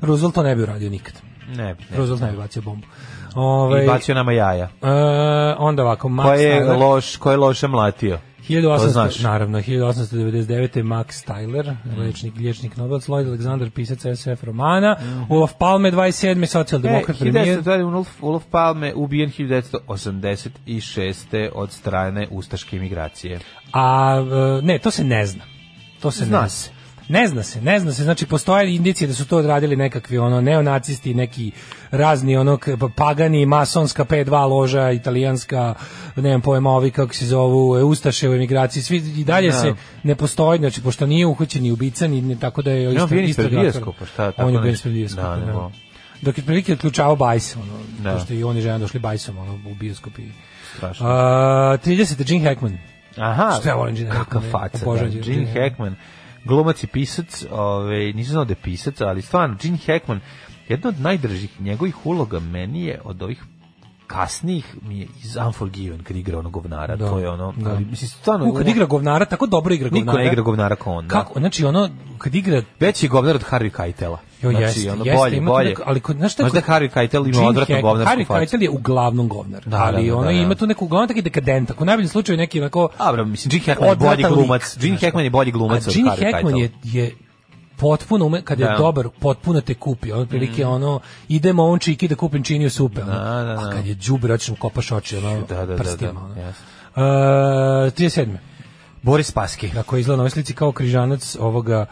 E: Roosevelt to ne bi uradio nikad.
D: Ne, ne.
E: Roosevelt ne bi bacio bombu. Ove,
D: I bacio nama jaja.
E: e, onda ovako, Max
D: Ko je
E: Tyler,
D: loš, ko je loše mlatio? To
E: 1800,
D: znaš.
E: naravno, 1899. Max Tyler, liječnik, liječnik Nobelac, Lloyd Alexander, pisac SF romana, Olaf Palme, 27.
D: E,
E: socijaldemokrat premijer.
D: 1920. Ulf, Ulf Palme ubijen 1986. od strane ustaške imigracije.
E: A e, ne, to se ne zna. To se
D: Zna
E: ne
D: se.
E: Ne zna se, ne zna se. Znači postoje indicije da su to odradili nekakvi ono neonacisti, neki razni ono k- pa- pagani, masonska P2 loža, italijanska, nemam pojma, ovi kako se zovu, e, ustaše u emigraciji, svi i dalje se ne postoji, znači pošto nije uhoćen ni ubica ni ni- tako da je
D: on
E: isto
D: bio
E: isto
D: ispred
E: dakle,
D: bioskopa, šta, tako
E: On je bio
D: nešto.
E: ispred bioskopa,
D: Da,
E: da.
D: nego.
E: Dok je prilike otključavao bajs, ono,
D: Da.
E: pošto i oni žena došli bajsom ono, u bioskopi.
D: Strašno.
E: A, 30. Gene Hackman.
D: Aha,
E: Što ja volim Gene
D: kakav
E: Hackmana,
D: faca, da,
E: obožavam Gene
D: Gene Hackman, glumac i pisac, ove, nisam znao da je pisac, ali stvarno, Gene Hackman, jedna od najdržih njegovih uloga meni je od ovih kasnijih mi je iz Unforgiven kad igra ono govnara,
E: Da,
D: to je ono,
E: da.
D: ali mislim stvarno...
E: U, kad igra govnara, tako dobro igra govnara.
D: Niko ne igra govnara kao on, da.
E: Kako, znači ono, kad igra...
D: Veći je govnar od Harry Keitel-a.
E: Jo,
D: znači,
E: jeste,
D: ono,
E: jeste,
D: bolje,
E: ima tu
D: bolje.
E: neko- ali kod- znaš šta je
D: Možda
E: kod-
D: Harry Keitel ima
E: Gene
D: odvratnu
E: Hack-
D: govnarsku
E: Harry
D: facu.
E: Keitel je uglavnom govnar,
D: Da,
E: ali
D: da, da,
E: ono
D: da, da.
E: ima tu neku uglavnom taki dekadent, ako najbolje slučaju je neki onako...
D: A, bro, mislim, Gene Hackman je
E: odvratan
D: bolji glumac.
E: lik,
D: Gene
E: znaš šta.
D: Hackman je bolji glumac
E: A
D: od
E: Gene
D: Harvey
E: Hackman je,
D: Keitel.
E: je potpuno ume, kad je
D: Da. Mm.
E: dobar, potpuno te kupi. Ono prilike ono idemo on čiki da kupim činiju supe. Ono.
D: Da, da, da.
E: A kad je đubračno kopaš oči ono,
D: Da, da, da, da,
E: prstima. ono.
D: jeste.
E: E, 37.
D: Boris Paski.
E: Tako izgleda na ovoj slici kao križanac ovoga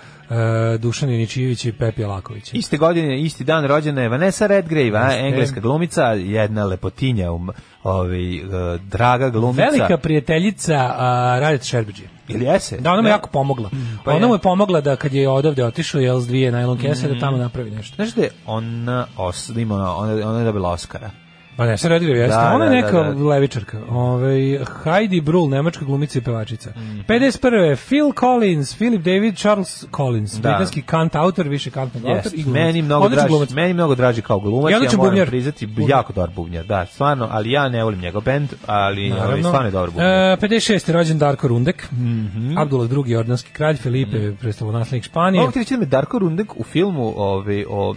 E: e, Dušana Janičijevića i Pepi Alakovića.
D: Iste godine, isti dan rođena je Vanessa Redgrave, a, engleska glumica, jedna lepotinja, um, ovaj, e, draga glumica.
E: Velika prijateljica uh, Radeta Šerbeđe.
D: Ili jese?
E: Da, ona mu je jako pomogla.
D: pa
E: ona
D: je.
E: mu je Mm. pomogla da kad je odavde otišao, jel, s dvije najlon kese, da tamo napravi nešto.
D: Znaš da je ona, os, da ima ona, ona, ona je dobila Oscara.
E: Pa ne, se Redgrave jeste.
D: Da,
E: Ona je
D: da,
E: neka
D: da, da.
E: levičarka. Ovaj Heidi Brul, nemačka glumica i pevačica. 51. Phil Collins, Philip David Charles Collins,
D: Da.
E: britanski kant autor, više kantni autor i
D: Yes.
E: glumac.
D: Meni mnogo
E: Odličan
D: draži,
E: glumac.
D: meni mnogo draži kao glumac,
E: I
D: ja
E: odličan
D: moram
E: bubnjar.
D: priznati,
E: Bubnjar.
D: jako dobar bubnjar, da, stvarno, ali ja ne volim njegov bend, ali ovaj,
E: Naravno.
D: stvarno je dobar
E: E,
D: bubnjar. Mhm.
E: 56. rođen Darko Rundek, Abdullah II. ordanski kralj, Felipe, mm. predstavonaslednik Španije.
D: Mogu ti reći da me Darko Rundek u filmu ove, o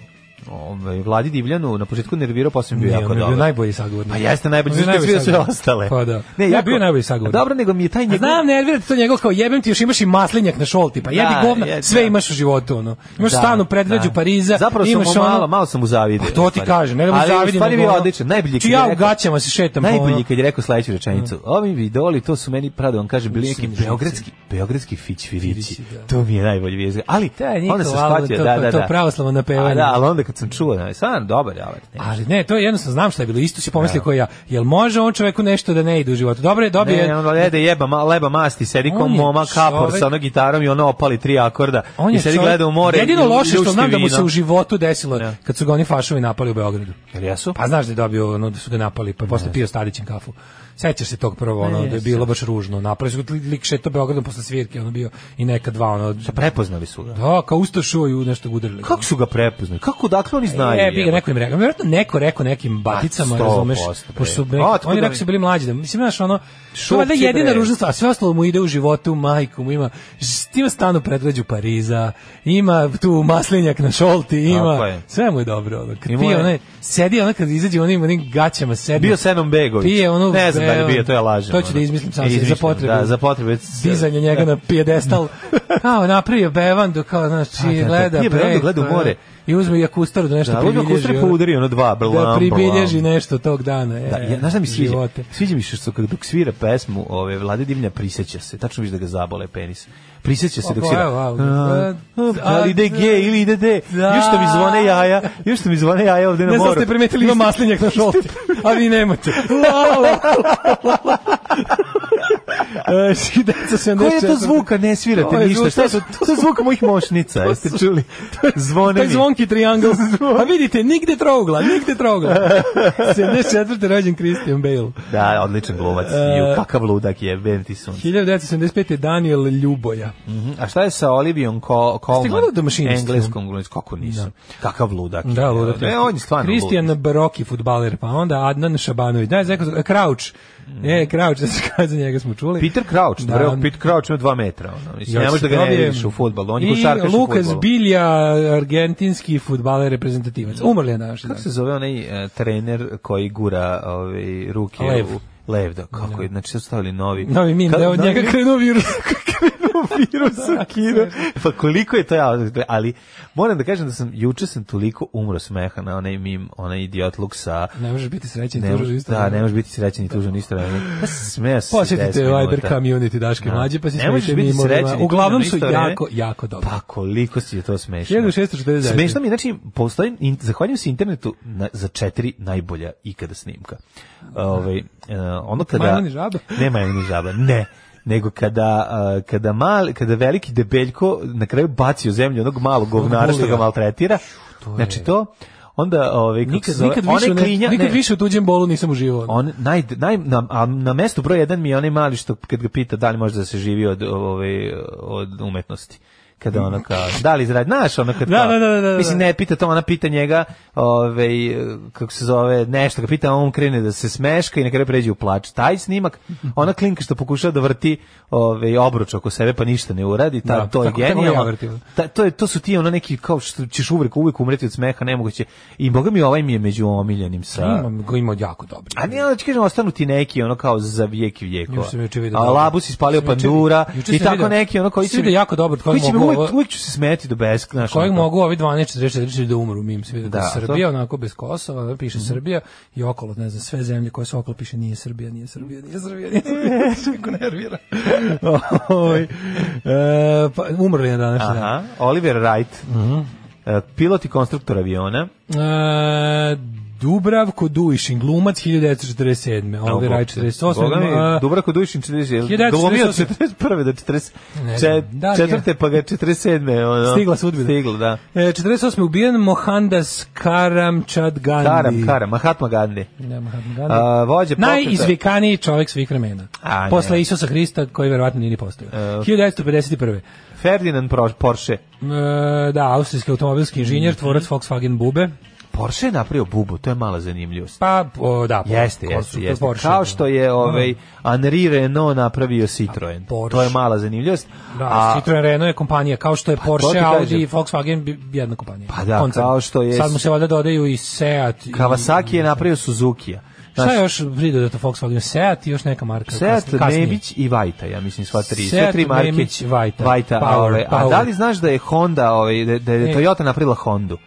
D: ove, Vladi Divljanu na početku nervirao, posle mi bio
E: Nije,
D: jako
E: on je
D: dobar.
E: bio najbolji sagovornik.
D: Pa jeste najbolji,
E: On je
D: zato što je sve
E: sagovornik.
D: ostale.
E: Pa da.
D: Ne,
E: Ne, ja
D: jako-
E: bio najbolji sagovornik.
D: Dobro, nego mi je taj njegov...
E: Znam, nervira te to njegov kao jebem ti, još imaš i maslinjak na šolti, pa jedi
D: Da,
E: govna,
D: je,
E: sve
D: da.
E: imaš u životu, ono. Imaš
D: Da,
E: stanu predgrađu
D: da.
E: Pariza,
D: Zapravo sam
E: imaš
D: mu malo,
E: ono-
D: malo sam mu zavidio.
E: Pa to ti
D: u stvari.
E: kažem, ne da mu
D: Ali, u
E: zavidim,
D: stvari
E: nego
D: bio
E: ono-
D: odličan, najbolji.
E: Ću
D: kad
E: ja
D: je
E: u
D: rekao-
E: gaćama se šetam po
D: Najbolji
E: ono-
D: kad je rekao sledeću rečenicu. Ovi mi idoli, to su meni pravo da vam kažem, bili
E: Mislim,
D: neki
E: živci.
D: beogradski, beogradski fićfirići.
E: Firići, da.
D: To mi je najbolji vijez. Ali,
E: Da, je
D: onda sam
E: Nikola, ali
D: shvatio,
E: to-
D: da,
E: to-
D: da,
E: to
D: da.
E: pravoslavno napevanje.
D: A Da, ali onda kad sam čuo, da, stvarno, dobar, ovaj. dobar. ne.
E: Ali ne, to je jednostavno znam šta je bilo, isto si pomislio koji ja. Jel može on čoveku nešto da ne ide u životu? Dobro je, dobio je
D: Ne, ono jede jeba, ma, leba masti, sedi ko
E: On je
D: moma kapor
E: čovek-
D: sa onom gitarom i ono opali tri akorda
E: On
D: i
E: je
D: sedi
E: čovjek-
D: gleda u more
E: Jedino
D: i
E: loše što
D: ljušti
E: znam da mu se
D: vino.
E: u životu desilo je
D: Ja.
E: kad su ga oni fašovi napali u Beogradu.
D: Jel jesu?
E: Pa znaš da je dobio, ono, da su ga napali, pa je posle pio Stadićem kafu. Sećaš se tog prvo,
D: Pa
E: ono, da je bilo baš ružno. Napravili su ga lik šeto Beogradom posle svirke, ono bio i neka dva, ono,
D: Prepoznali su ga.
E: da, kao ustašuo i u nešto ga udarili.
D: Kako su ga prepoznali? Kako dakle oni znaju?
E: E, bi ga
D: jebote?
E: neko im rekao. Vjerojatno neko rekao nekim baticama,
D: A, sto
E: razumeš,
D: posto, bre.
E: pošto su
D: A,
E: neki,
D: otkud
E: oni
D: oni?
E: rekao su bili mlađi, da, mislim, znaš, ono, to je
D: Šupci,
E: valjda jedina
D: bre.
E: ružna stvar, sve ostalo mu ide u životu, majku mu ima, s- ima stan u predgrađu Pariza, ima tu maslinjak na šolti,
D: Tako
E: ima,
D: je.
E: sve mu je dobro, ono, kad
D: Imao
E: pije
D: je-
E: onaj sedi ona kad izađe onim onim gaćama sedi.
D: Bio Senom Begović.
E: Pije ono
D: ne znam da li je bio, to ja lažem.
E: To ću da
D: ono.
E: izmislim sam sebi za
D: Izmišljam,
E: potrebu.
D: Da, za potrebu.
E: dizanje njega na pijedestal. Kao napravio bevandu, kao znači
D: da, da,
E: gleda
D: pije bevandu,
E: bre,
D: gleda u
E: kao,
D: more.
E: I uzme jakustaru da nešto
D: Da,
E: pribilježi.
D: ono kustre
E: ono,
D: poudari, ono dva, ono. blam,
E: Da
D: blam.
E: pribilježi nešto tog dana. e,
D: Da, ja, znaš da mi sviđa?
E: živote.
D: Sviđa mi se što kad dok svira pesmu, ove Vlade Divlja prisjeća se, tačno vidiš da ga zabole penis. Prisjeća se dok
E: Ovo,
D: svira.
E: Pa evo, evo,
D: A,
E: a,
D: Da li ide G ili ide D?
E: Da.
D: Još što mi zvone jaja, još što mi zvone jaja ovde na
E: Ne
D: moru.
E: znam ste primetili ima maslinjak na šolti, a vi nemate. E, ši- deca se
D: Koji je to
E: 74.
D: zvuka? Ne
E: To
D: svirate
E: je
D: ništa.
E: zvuk-
D: Šta je to? To je zvuk mojih mošnica, jeste čuli? Zvone
E: To je
D: mi.
E: zvonki triangle. A vidite, nigde trougla, nigde trougla. 74. rođen Christian Bale.
D: Da, odličan
E: E,
D: glumac. Ju, kakav ludak je, ben ti sunce.
E: 1975. je Daniel Ljuboja.
D: A šta je sa Olivion Ko Colman?
E: Mhm. gledali The Machinist?
D: Engleskom glumicom, kako nisam. Kakav ludak je.
E: Da, ludak.
D: Ne, on je stvarno ludak.
E: Kristijan Baroki, futbaler, pa onda Adnan Šabanović. Da, Zeko, Krauč. E, Krauč, da se kaže, njega smo čuli.
D: Peter Crouch, da,
E: Da,
D: vreo,
E: on-
D: Peter Crouch ima dva metra. Ono. Mislim,
E: Još
D: ne možeš da ga ne
E: dobijem.
D: vidiš u fudbalu. On je
E: I
D: košarkaš u fudbalu.
E: Lukas Bilja, argentinski futbaler reprezentativac. Umrli je na današnji
D: Kako
E: dan.
D: se zove onaj e, trener koji gura ove, ruke
E: Lev.
D: u... Lev, da, kako je, znači sad stavili novi...
E: Novi min,
D: Ka-
E: da je od
D: novi
E: njega
D: min.
E: krenuo virus.
D: virus u kino. Pa koliko je to ja, ali moram da kažem da sam, juče sam toliko umro smeha na onaj mim, onaj idiot luk sa...
E: Ne možeš biti srećen,
D: Ne,
E: ne,
D: mož-
E: isto. ono.
D: da, ne možeš biti srećen i tužan isto vremeno. Ja sam se smejao se 10
E: Posjetite
D: minuta.
E: Viber community Daške mlađe, pa si
D: Ne možeš
E: smijete
D: biti srećen i
E: mimovima.
D: tužan
E: Uglavnom
D: na
E: su
D: isto vreme.
E: jako, jako dobro.
D: Pa koliko si je to smešno.
E: 1649.
D: Smešno mi, je, znači, postoji, in, zahvaljujem se internetu na, za četiri najbolja ikada snimka. Ove, ono kada...
E: Majmun i žaba?
D: Ne majmun i žaba, ne. Nego kada, e, kada, mal, kada veliki debeljko na kraju baci u zemlju onog malog govnara što ga
E: Bulija.
D: maltretira. Znači to... Onda, ovaj kako se
E: Nikad,
D: zove,
E: nikad,
D: onaj
E: više, ne,
D: klinja-
E: nikad
D: ne.
E: više u tuđem bolu nisam uživao.
D: On naj naj na, a na mestu broj 1 mi je onaj mali što kad ga pita da li može da se živi od ove od umetnosti. Kada ona kao, da li izradi, znaš, ona kad
E: Mhm. Da,
D: kao-
E: da, da, da, da.
D: mislim, ne pita to, ona pita njega, ovaj, kako se zove, nešto ga pita, a on krene da se smeška i na kraju pređe u plač. Taj snimak, ona klinka što pokušava da vrti ovaj, obruč oko sebe, pa ništa ne uradi, ta, to
E: Da,
D: je
E: tako- tako ja
D: genijalno.
E: vrtim.
D: Ta, to, je, to su ti ono neki, kao što ćeš uvek, uvek umreti od smeha, nemoguće. I boga mi ovaj mi je među omiljenim sa...
E: Imam, go ima jako dobri.
D: A ne, ali ću kažem, ostanu ti neki, ono kao za vijek i vijekova.
E: Juče sam juče video
D: A
E: dobro.
D: labus ispalio
E: Juče sam juče-
D: pandura
E: juče
D: i
E: sam
D: tako
E: video-
D: neki, ono koji
E: Svi vide jako dobro,
D: koji
E: koji
D: će mi
E: mogu
D: uvek,
E: ovo-
D: uvek ću se smeti do besk, znaš.
E: Kojeg
D: ono kao.
E: mogu ovi 12 40 40 da umru mim svi vide da,
D: Da,
E: je
D: to- Mhm.
E: Srbija onako bez Kosova da piše Srbija i okolo ne znam sve zemlje koje su okolo piše nije Srbija nije Srbija nije Srbija nije Srbija Niko nervira Oj. e, pa umrli je na današnji dan
D: Aha, Oliver Wright,
E: Mhm.
D: e, pilot i konstruktor aviona.
E: E, Dubravko Duišin glumac 1947 Oliver Raj e, 48
D: Boga mi,
E: a,
D: Dubravko Dušin 40.
E: 1948.
D: Glumio od 41. do 40.
E: Ne
D: Čet,
E: znam, da li je?
D: četvrte, pa ga 47. Ono,
E: Stigla sudbina.
D: Stigla, da.
E: e, 48 ubijen Mohandas Karamchand Gandhi
D: Karam, Karam, Mahatma Gandhi.
E: Ne, Mahatma Gandhi.
D: A, vođa pokreta-
E: Najizvikaniji čovjek svih vremena.
D: A, ne. E,
E: Posle Isusa Hrista, koji verovatno nije ni postojao. 1951.
D: Ferdinand Pro- Porsche.
E: E, da, austrijski automobilski inženjer, tvorac
D: Mhm.
E: Volkswagen Bube.
D: Porsche je napravio bubu, to je mala zanimljivost.
E: Pa, o, da.
D: Jeste,
E: ko su
D: jeste,
E: to
D: jeste.
E: Porsche?
D: Kao što je ovaj Henri Renault napravio Citroen.
E: Porsche.
D: To je mala zanimljivost.
E: Da,
D: A- Pa
E: Citroen Renault je kompanija, kao što je
D: to ti
E: Porsche,
D: kažem.
E: Audi, Volkswagen bi- jedna kompanija.
D: Pa da, kao što je-
E: Sad mu se valjda dodaju i Seat. I,
D: Kawasaki je napravio Suzuki-a.
E: Šta je još pridodato Volkswagen? Seat i još neka marka.
D: Seat,
E: kasnije- kasnije.
D: Nebić i Vajta, ja mislim sva tri. sve
E: Seat,
D: tri marke.
E: Nebić, Vajta.
D: Vajta,
E: Power,
D: ovaj. A
E: power.
D: da li znaš da je Honda, ovaj, da, da je
E: Ne.
D: Toyota napravila Hondu?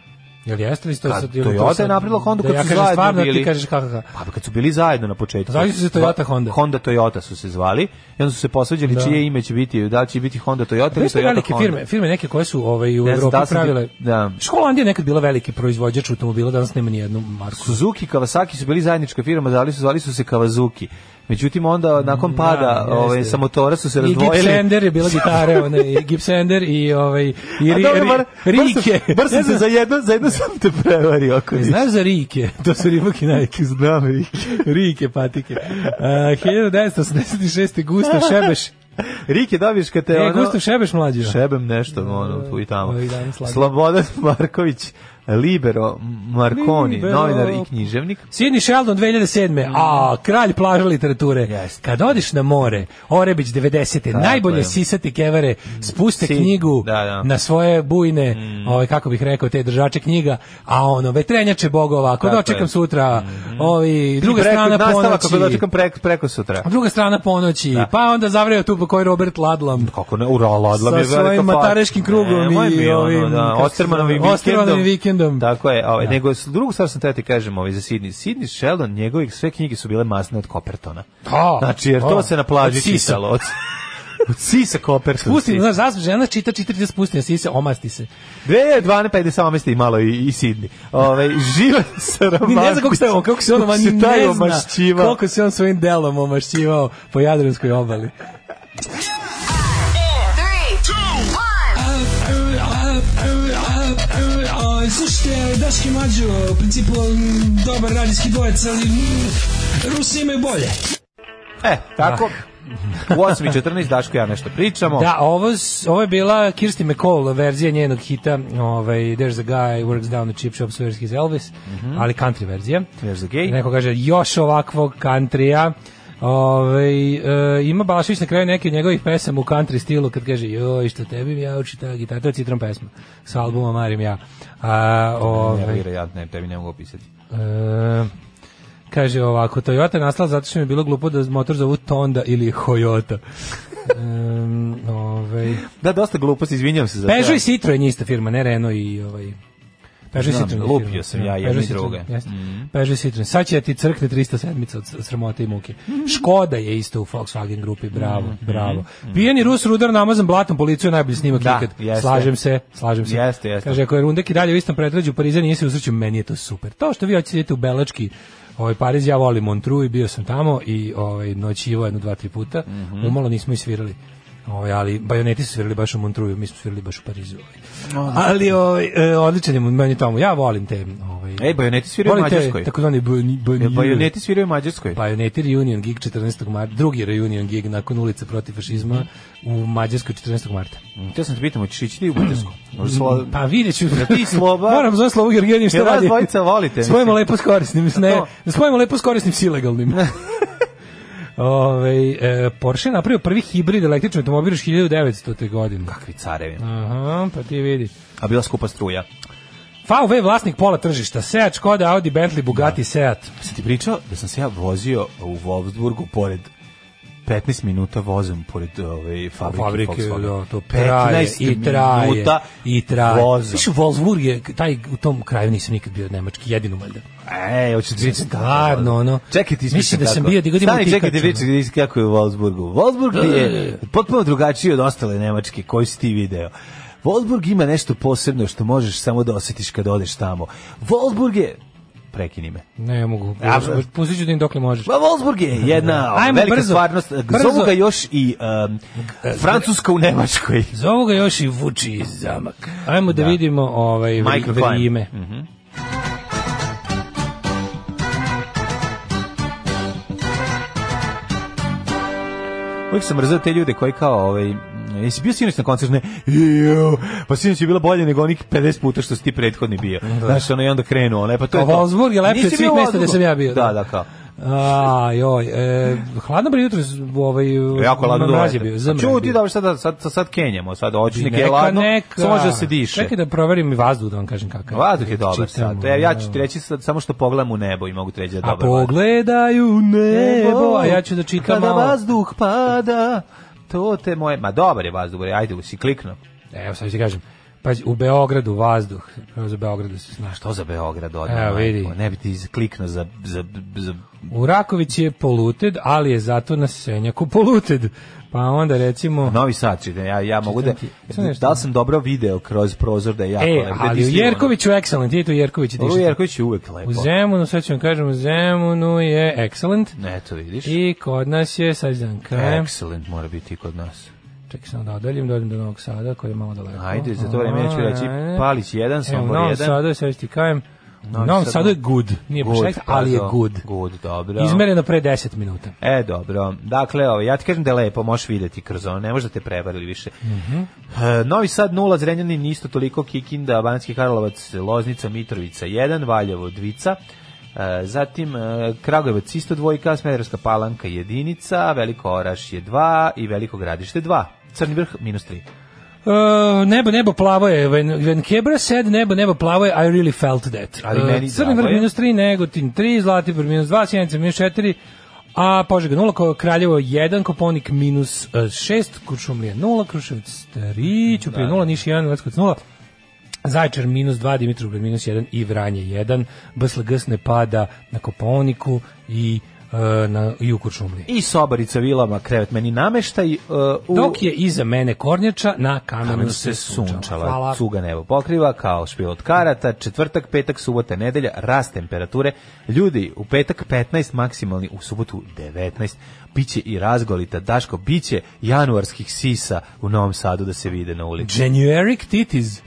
E: Jel jeste li to
D: Kad
E: sad? ili to
D: Pa, Toyota je
E: sad-
D: napravila Hondu
E: da
D: kad
E: ja
D: su
E: kažem
D: zajedno
E: stvarno,
D: bili.
E: ti kažeš kakav.
D: Pa kad su bili zajedno na početku.
E: Zvali su se Toyota, Honda.
D: Honda Toyota su se zvali. I onda su se posvađali čije ime će biti, da li će biti Honda Toyota ili
E: Sve
D: Toyota
E: velike
D: Honda.
E: firme, firme neke koje su ovaj u
D: Ne znam,
E: Evropi
D: da li su ti-
E: pravile.
D: da.
E: Školandija je nekad bila veliki proizvođač automobila, danas nema ni jednu marku.
D: Suzuki i Kawasaki su bili zajednička firma, zvali su, zvali su se Kawazuki. Međutim, onda nakon pada
E: Mm, jeste.
D: ove, sa motora su se
E: I
D: razdvojili.
E: Gibsender je bila gitare, one, i Gibsender i, ovaj, i
D: A
E: ri,
D: dobro,
E: ri-
D: bar-
E: Rike.
D: Bar sam, bar sam se za jedno, za jedno sam te prevario. Ako ništa.
E: Znaš za Rike? To su ribak i najke.
D: Znam, Rike.
E: Rike, patike. Uh, 1986. Gustav Šebeš.
D: Rike, dobiješ kad te
E: E, Mm,
D: ono...
E: Gustav Šebeš mlađi.
D: Šebem nešto, ono, tu i tamo.
E: Ovih dana slabo.
D: Slobodan Marković, Libero Marconi,
E: Libero.
D: novinar i književnik.
E: Sidney Sheldon 2007. A, kralj plaža literature.
D: Jeste.
E: Kad odiš na more, Orebić 90.
D: Tako
E: najbolje
D: je.
E: sisati kevare, spuste
D: Si-
E: knjigu
D: da, da. Mm.
E: na svoje bujne, ovaj, kako bih rekao, te držače knjiga, a ono, vetrenjače bogova, ako
D: Tako
E: dočekam
D: je. Mm-hmm.
E: sutra, ovi, druga
D: Preko-
E: strana
D: Nastavak, ako
E: ponoći,
D: dočekam preko, preko sutra.
E: druga strana ponoći, pa onda zavreo tu po koji Robert Ladlam.
D: Kako ne, ura, ladla mi je
E: Sa
D: velika
E: svojim
D: fat.
E: matareškim krugom
D: Nemoj
E: i
D: mi ono,
E: ovim,
D: da,
E: kako se
D: Ostermanovim
E: zove,
D: vikendom.
E: Ostermanovim vikendom.
D: Tako je, ovaj, nego s- drugu stvar sam teo ti kažem ovaj, za Sidney. Sidney Sheldon, njegovih sve knjige su bile masne od Kopertona.
E: Da,
D: Znači, jer
E: da.
D: to se na plaži
E: Pa, Od sisa.
D: čitalo. Od, od sisa Kopertona.
E: Pustim, znaš, zas, žena čita, čita, čita, spustim, sise, omasti se.
D: 2012, pa ide samo i malo i, i Sidney. Ovaj, Ove, živan Saramagović.
E: Ni ne znam kako se on, kako se on, ma, ni
D: taj
E: ne zna
D: omašćivao.
E: koliko se on svojim delom omašćivao po Jadranskoj obali.
G: Slušajte, Daški Mađo, u principu m, dobar radijski dvojec, ali m, Rusi imaju bolje.
D: E, tako. U 8.14 Daško i ja nešto pričamo.
E: Ah. Da, ovo, s- ovo je bila Kirsti McCall verzija njenog hita, ovaj, There's a guy works down the chip shop, so he's Elvis,
D: Mhm.
E: ali country verzija.
D: There's a gay.
E: Neko kaže, još ovakvog kantrija. Ovaj e, ima Balašić na kraju neki od njegovih pesama u country stilu kad kaže joj što tebi mi ja uči ta gitara, to je citron pesma sa albuma Marim ja. A, ovaj,
D: Ne, ja ne, tebi ne mogu opisati.
E: E, kaže ovako, Toyota je nastala zato što mi je bilo glupo da motor zovu Tonda ili Toyota. Um, ovaj.
D: Da, dosta gluposti, izvinjam se za to.
E: Peugeot i Citroen je ista firma, ne Renault i ovaj... Peugeot i
D: Znam,
E: Citroen je
D: lupio
E: firma.
D: sam ja jedno
E: Peugeot
D: i Mhm.
E: Citroen,
D: drugo.
E: jeste. Peugeot i Citroen. Sad će ti crkne 307 od s- sramote i muke. Škoda je isto u Volkswagen grupi, bravo,
D: Mhm.
E: bravo. Pijeni Rus rudar namazan blatom po licu je najbolji snimak
D: Da,
E: ikad.
D: jeste.
E: Slažem se, slažem se.
D: Jeste, jeste.
E: Kaže, ako je Rundek i dalje u istom pretrađu Pariza, nije se usreću, meni je to super. To što vi hoćete idete u Belački, ovaj Pariz, ja volim Montreux i bio sam tamo i ovaj noćivo jedno dva tri puta.
D: Mhm.
E: Umalo nismo i svirali. Ovaj, ali bajoneti su svirali baš u Montreux, mi smo svirali baš u Parizu. Ovaj. Ali ovaj, e, odličan je meni tamo. Ja volim te... Ovaj,
D: Ej, bajoneti sviraju u
E: volim te
D: Mađarskoj.
E: takozvani bajoni-
D: Jel
E: bajoni-
D: E, Bajoneti sviraju u Mađarskoj.
E: Pioneti Reunion Gig 14. marta, drugi Reunion Gig nakon ulice protiv fašizma u Mađarskoj 14. marta.
D: Te sam te pitam, hoćeš ići ti u Mađarsku? Možda slo...
E: Pa vidjet ću.
D: Jel ti Sloba?
E: Moram zove Slobu Georgijević što
D: Jel vas
E: radi.
D: dvojica volite?
E: Spojimo
D: mislim?
E: lepo s korisnim, mislim, ne,
D: To.
E: da spojimo lepo s korisnim s ilegalnim. Ove, e, Porsche je napravio prvi hibrid električni automobil još 1900. godine.
D: Kakvi carevi.
E: Aha, pa ti vidi.
D: A bila skupa struja.
E: VW je vlasnik pola tržišta, Seat, Škoda, Audi, Bentley, Bugatti, Seat.
D: Sam ti pričao da sam se ja vozio u Wolfsburgu pored 15 minuta vozom pored ove fabrike,
E: fabrike,
D: Volkswagen.
E: da, to traje
D: 15
E: i traje
D: minuta
E: i traje.
D: voza.
E: Viš, Wolfsburg je, taj, u tom kraju nisam nikad bio nemački, jedino valjda. E,
D: Ej, hoćeš da pričam kako. je
E: Stvarno,
D: Wolfsburg.
E: ono.
D: Čekaj ti ispričam
E: Mislim da
D: kako.
E: sam bio, da godinu ono.
D: Stani, čekaj ti
E: Pikachu,
D: pričam is- kako je u Wolfsburgu. Wolfsburg je potpuno drugačiji od ostale Nemačke koju si ti video. Wolfsburg ima nešto posebno što možeš samo da osjetiš kad odeš tamo. Wolfsburg je... Prekini me.
E: Ne mogu.
D: A,
E: Pustit ću da im dokle možeš.
D: Pa Wolfsburg je jedna ono,
E: Ajmo,
D: velika
E: brzo,
D: stvarnost.
E: brzo.
D: Zovu ga još i um, Francuska u Nemačkoj.
E: Zovu ga još i Vuči iz zamak. Ajmo da, vidimo ovaj
D: Michael Mm.
E: vri-
D: Klein.
E: vrijeme.
D: Uvijek sam mrzeo te ljude koji kao ovaj Jesi bio sinoć na koncertu? Ne. Iu, pa sinoć je bilo bolje nego onih 50 puta što si ti prethodni bio. Znaš, ono i onda krenuo. Ne, pa to
E: A
D: je to.
E: Wolfsburg je lepši od
D: Nisi
E: svih
D: bio u
E: mesta gde
D: Wolfsburgu?
E: sam ja bio, da.
D: Da, da, kao.
E: A, joj, e, hladno bre jutro, ovaj,
D: Jako ladno
E: mraz
D: dolaze.
E: je bio, zamraz je
D: Čuti
E: bio.
D: Pa da sad, sad, sad kenjamo, sad hoćeš neke ladno,
E: neka.
D: samo može da se diše.
E: Čekaj da proverim i vazduh da vam kažem kakav. je.
D: Vazduh je dobar
E: Čitam,
D: sad. Ja, ja ću
E: evo.
D: ti reći sad, samo što pogledam u nebo i mogu ti reći da je
E: A
D: dobar vazduh.
E: pogledaju nebo, a ja ću da čitam
D: Kada
E: malo.
D: vazduh pada, to te moje... Ma dobar je vazduh, bre, ajde, si klikno.
E: Evo sad ću ti kažem. Pazi, u Beogradu vazduh. Prvo za Beogradu se znaš što.
D: To za Beograd odmah,
E: Evo,
D: majko,
E: vidi.
D: Ne bi ti kliknuo za, za, za...
E: U Rakovići je poluted, ali je zato na Senjaku poluted. Pa onda recimo...
D: Novi Sad čitam, ja, ja mogu da...
E: ti. Sad nešto.
D: Da li sam dobro video kroz prozor da je jako
E: E,
D: lepo, da ti
E: ali u
D: sigurno-
E: Jerkoviću excellent, je tu Jerković i
D: U
E: dišite.
D: Jerković je uvek lepo.
E: U Zemunu, sve ću vam kažem, u Zemunu je excellent.
D: Ne, to vidiš.
E: I kod nas je, sad znam kaj,
D: Excellent mora biti i kod nas.
E: čekaj samo da odaljim, dođem do Novog Sada koji je malo daleko.
D: Ajde, za to vreme ja ću reći
E: Ajde.
D: Palić 1,
E: E, Evo, u
D: Sombor
E: Novom
D: 1.
E: Sadu, sad ću ti kajem, Novi, Sad je good, nije baš ekstra, ali je
D: do-
E: good.
D: pa Good, dobro.
E: Izmereno pre 10 minuta.
D: E, dobro. Dakle, ovo, ja ti kažem da je lepo, možeš vidjeti kroz ono, ne možda te prevarili više. E, Novi Sad 0, Zrenjanin isto toliko, Kikinda, Banski Karlovac, Loznica, Mitrovica 1, Valjevo dvica, e, zatim e, Kragujevac isto dvojka, Smederska palanka jedinica, Veliko Oraš je 2 i Veliko Gradište 2. Crni vrh minus 3.
E: Uh, nebo, nebo plavo je. When, when Kebra said nebo, nebo plavo je, I really felt that. Eh,
D: Ali meni
E: Crni
D: drago
E: vrh
D: je.
E: minus 3, Negotin 3, Zlatibor minus 2, Sjenica minus 4, a Požega 0, Kraljevo 1, Koponik minus 6, Kuršumlija 0, Kruševac 3, Ćuprije 0, Niš 1, Leskovac 0, Zajčar minus 2, Dimitrovgrad minus 1 i Vranje 1, BSLGS ne pada na Koponiku i, uh, na, i u Kuršumliji.
D: I Sobarica, Vilama, Krevet, meni nameštaj. e, u...
E: Dok je iza mene Kornjača na kamenu
D: Kamenu
E: se
D: Ono se sunčala,
E: Hvala.
D: cuga nebo pokriva, kao špil od karata, četvrtak, petak, subota, nedelja, rast temperature, ljudi, u petak 15, maksimalni, u subotu 19, biće i razgolita, Daško, biće januarskih sisa u Novom Sadu da se vide na ulici.
E: January titties.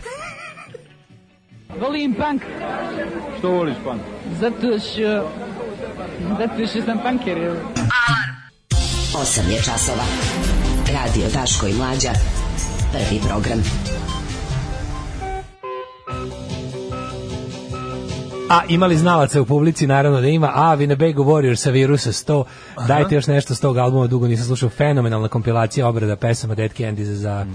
H: Volim punk.
I: Što voliš, pan?
H: Zato što... Zato što sam punker. evo.
F: 8 je časova. Radio Daško i Mlađa. Prvi program.
E: A imali znalaca u publici, naravno da ima. A, Winnebago Warrior sa virusa 100. Dajte još nešto s tog albuma, dugo nisam slušao. Fenomenalna kompilacija obrada pesama Dead Candies za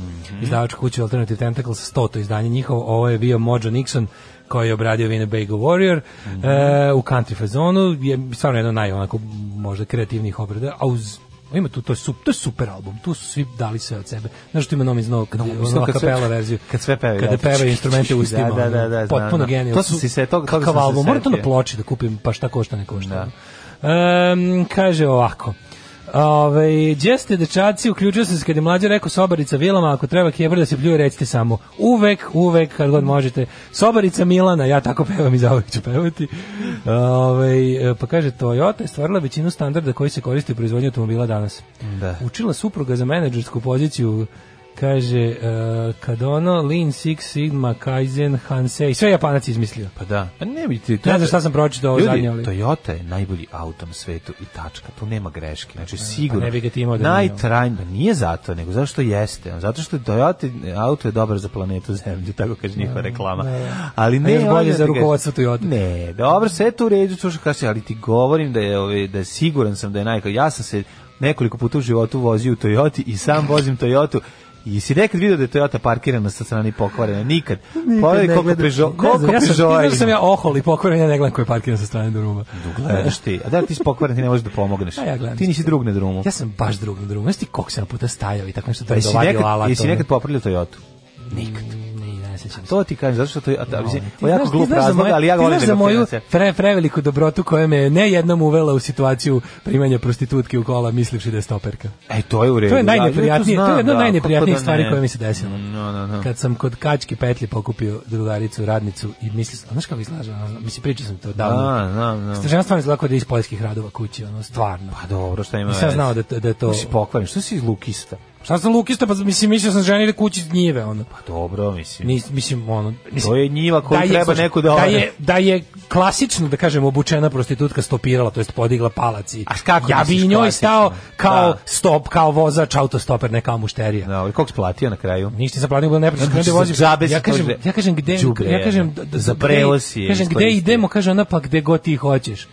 E: izdavačku kuću Alternative Tentacles 100, to izdanje njihovo. Ovo je bio Mojo Nixon koji je obradio Winnebago Warrior e, u country fazonu. Je stvarno jedno od naj, onako, možda kreativnih obrada. A uz ima tu, to je, sup, to je super album, tu su svi dali sve od sebe. Znaš što ima nomi znovu, kad, ono,
D: kad sve-
E: kapela verziju.
D: kad sve pevaju,
E: Kada
D: da.
E: pevaju instrumente u ustima.
D: Da, da, da,
E: ono,
D: da, znam,
E: Potpuno
D: da.
E: genijalno.
D: To sam si se- toga- toga
E: Kakav
D: sam se
E: album, ono moram to na
D: setio.
E: ploči da kupim, pa šta košta ne košta. Em, kaže ovako. Ove, gdje ste dečaci, uključio sam se kad je mlađe rekao Sobarica Vilama, ako treba kjebr da se pljuje recite samo uvek, uvek, kad god možete Sobarica Milana, ja tako pevam i zauvek ću pevati Ove, pa kaže Toyota je stvarila većinu standarda koji se koriste u proizvodnju automobila danas
D: Da.
E: učila supruga za menadžersku poziciju kaže e, Kadono, Lean Six Sigma, Kaizen, Hansei, sve Japanac izmislio
D: Pa da. Pa ne bi ti...
E: ne znam šta sam pročitao ovo
D: Ljudi,
E: zadnje, ali...
D: Toyota je najbolji auto na svetu i tačka, tu nema greške. Znači sigurno.
E: Pa, ne bi ga ti imao da nije.
D: Najtrajn- pa nije zato, nego zato što jeste. Zato što Toyota auto je dobar za planetu Zemlju, tako kaže njihova reklama. Ali ne,
E: Mm, A još
D: on
E: bolje
D: je
E: za
D: da ga-
E: rukovodstvo Toyota.
D: Ne, dobro, sve je tu u redu, čuš kaže, ali ti govorim da je ovaj da siguran sam da je najbolji. Ja sam se nekoliko puta u životu vozio u Toyoti i sam vozim Toyotu. I si nekad vidio da je Toyota parkirana sa strane pokvarena? Nikad. Pogledaj
E: Ne
D: koliko
E: gledam.
D: Peugeot,
E: Ne
D: koliko
E: znam, ja sam,
D: Peugeota
E: ti znaš da
D: ima.
E: sam ja ohol i pokvoren, ja ne gledam koji je parkiran sa strane druma.
D: Gledaš ti, a da li ti si pokvaren, ti ne možeš da pomogneš.
E: A ja gledam.
D: ti nisi drug na drumu.
E: Ja sam baš drug na drumu. Jesi ti koliko sam puta stajao i tako nešto da
D: Pa
E: je
D: jesi
E: dovadio
D: nekad,
E: alat.
D: jesi
E: ono?
D: nekad popravljao Toyota?
E: Nikad. Ne, ne sećam se.
D: To ti kažem, zato što to je, a, ta- mislim, ovo je
E: Ti
D: jako
E: znaš- ti
D: glup
E: znaš za
D: razlog,
E: moje-
D: ali ja
E: ti
D: ga volim
E: znaš
D: da
E: za
D: ga
E: moju
D: prenesem.
E: pre, preveliku dobrotu koja me je ne jednom uvela u situaciju primanja prostitutke u kola mislivši da je stoperka.
D: E, to je u redu.
E: To je
D: ja-
E: najneprijatnije,
D: ja
E: to je jedna od
D: znam, da,
E: najneprijatnijih
D: kako da
E: stvari
D: ne.
E: koja mi se desila.
D: No, no, no.
E: Kad sam kod Kački petlje pokupio drugaricu, radnicu i mislio sam, znaš kako izlaže, ono, mislim, pričao sam to davno.
D: Da, da, da.
E: Žena stvarno izgleda kao da je iz poljskih radova kući, ono, stvarno.
D: Pa dobro, šta ima?
E: Nisam ja
D: veze?
E: znao da, da je to...
D: Što si pokvaren, što si iz Lukista?
E: Šta sam lukista, pa mislim, mislio sam ženi da kući iz njive, ono.
D: Pa dobro, mislim.
E: Nis, mislim, ono... Mislim,
D: To je njiva koju
E: da je,
D: treba
E: slušaj,
D: neko da
E: da
D: ore.
E: je, da je klasično, da kažem, obučena prostitutka stopirala, to jest podigla palac i...
D: A kako
E: ja bi
D: misliš
E: i njoj
D: klasično?
E: stao kao
D: Da.
E: stop, kao vozač, autostoper, ne kao mušterija.
D: Dobro, koliko si platio na kraju?
E: Ništa nisam platio, bilo neprično.
D: Znači,
E: Znači, vozim,
D: džabe si
E: ja kažem,
D: to-
E: ja kažem gde,
D: đubre
E: ja kažem
D: jedno.
E: da- da-
D: Za
E: gde-
D: prevoz je
E: Kažem gde
D: iskoristio.
E: idemo, kaže ona pa gde god ti hoćeš.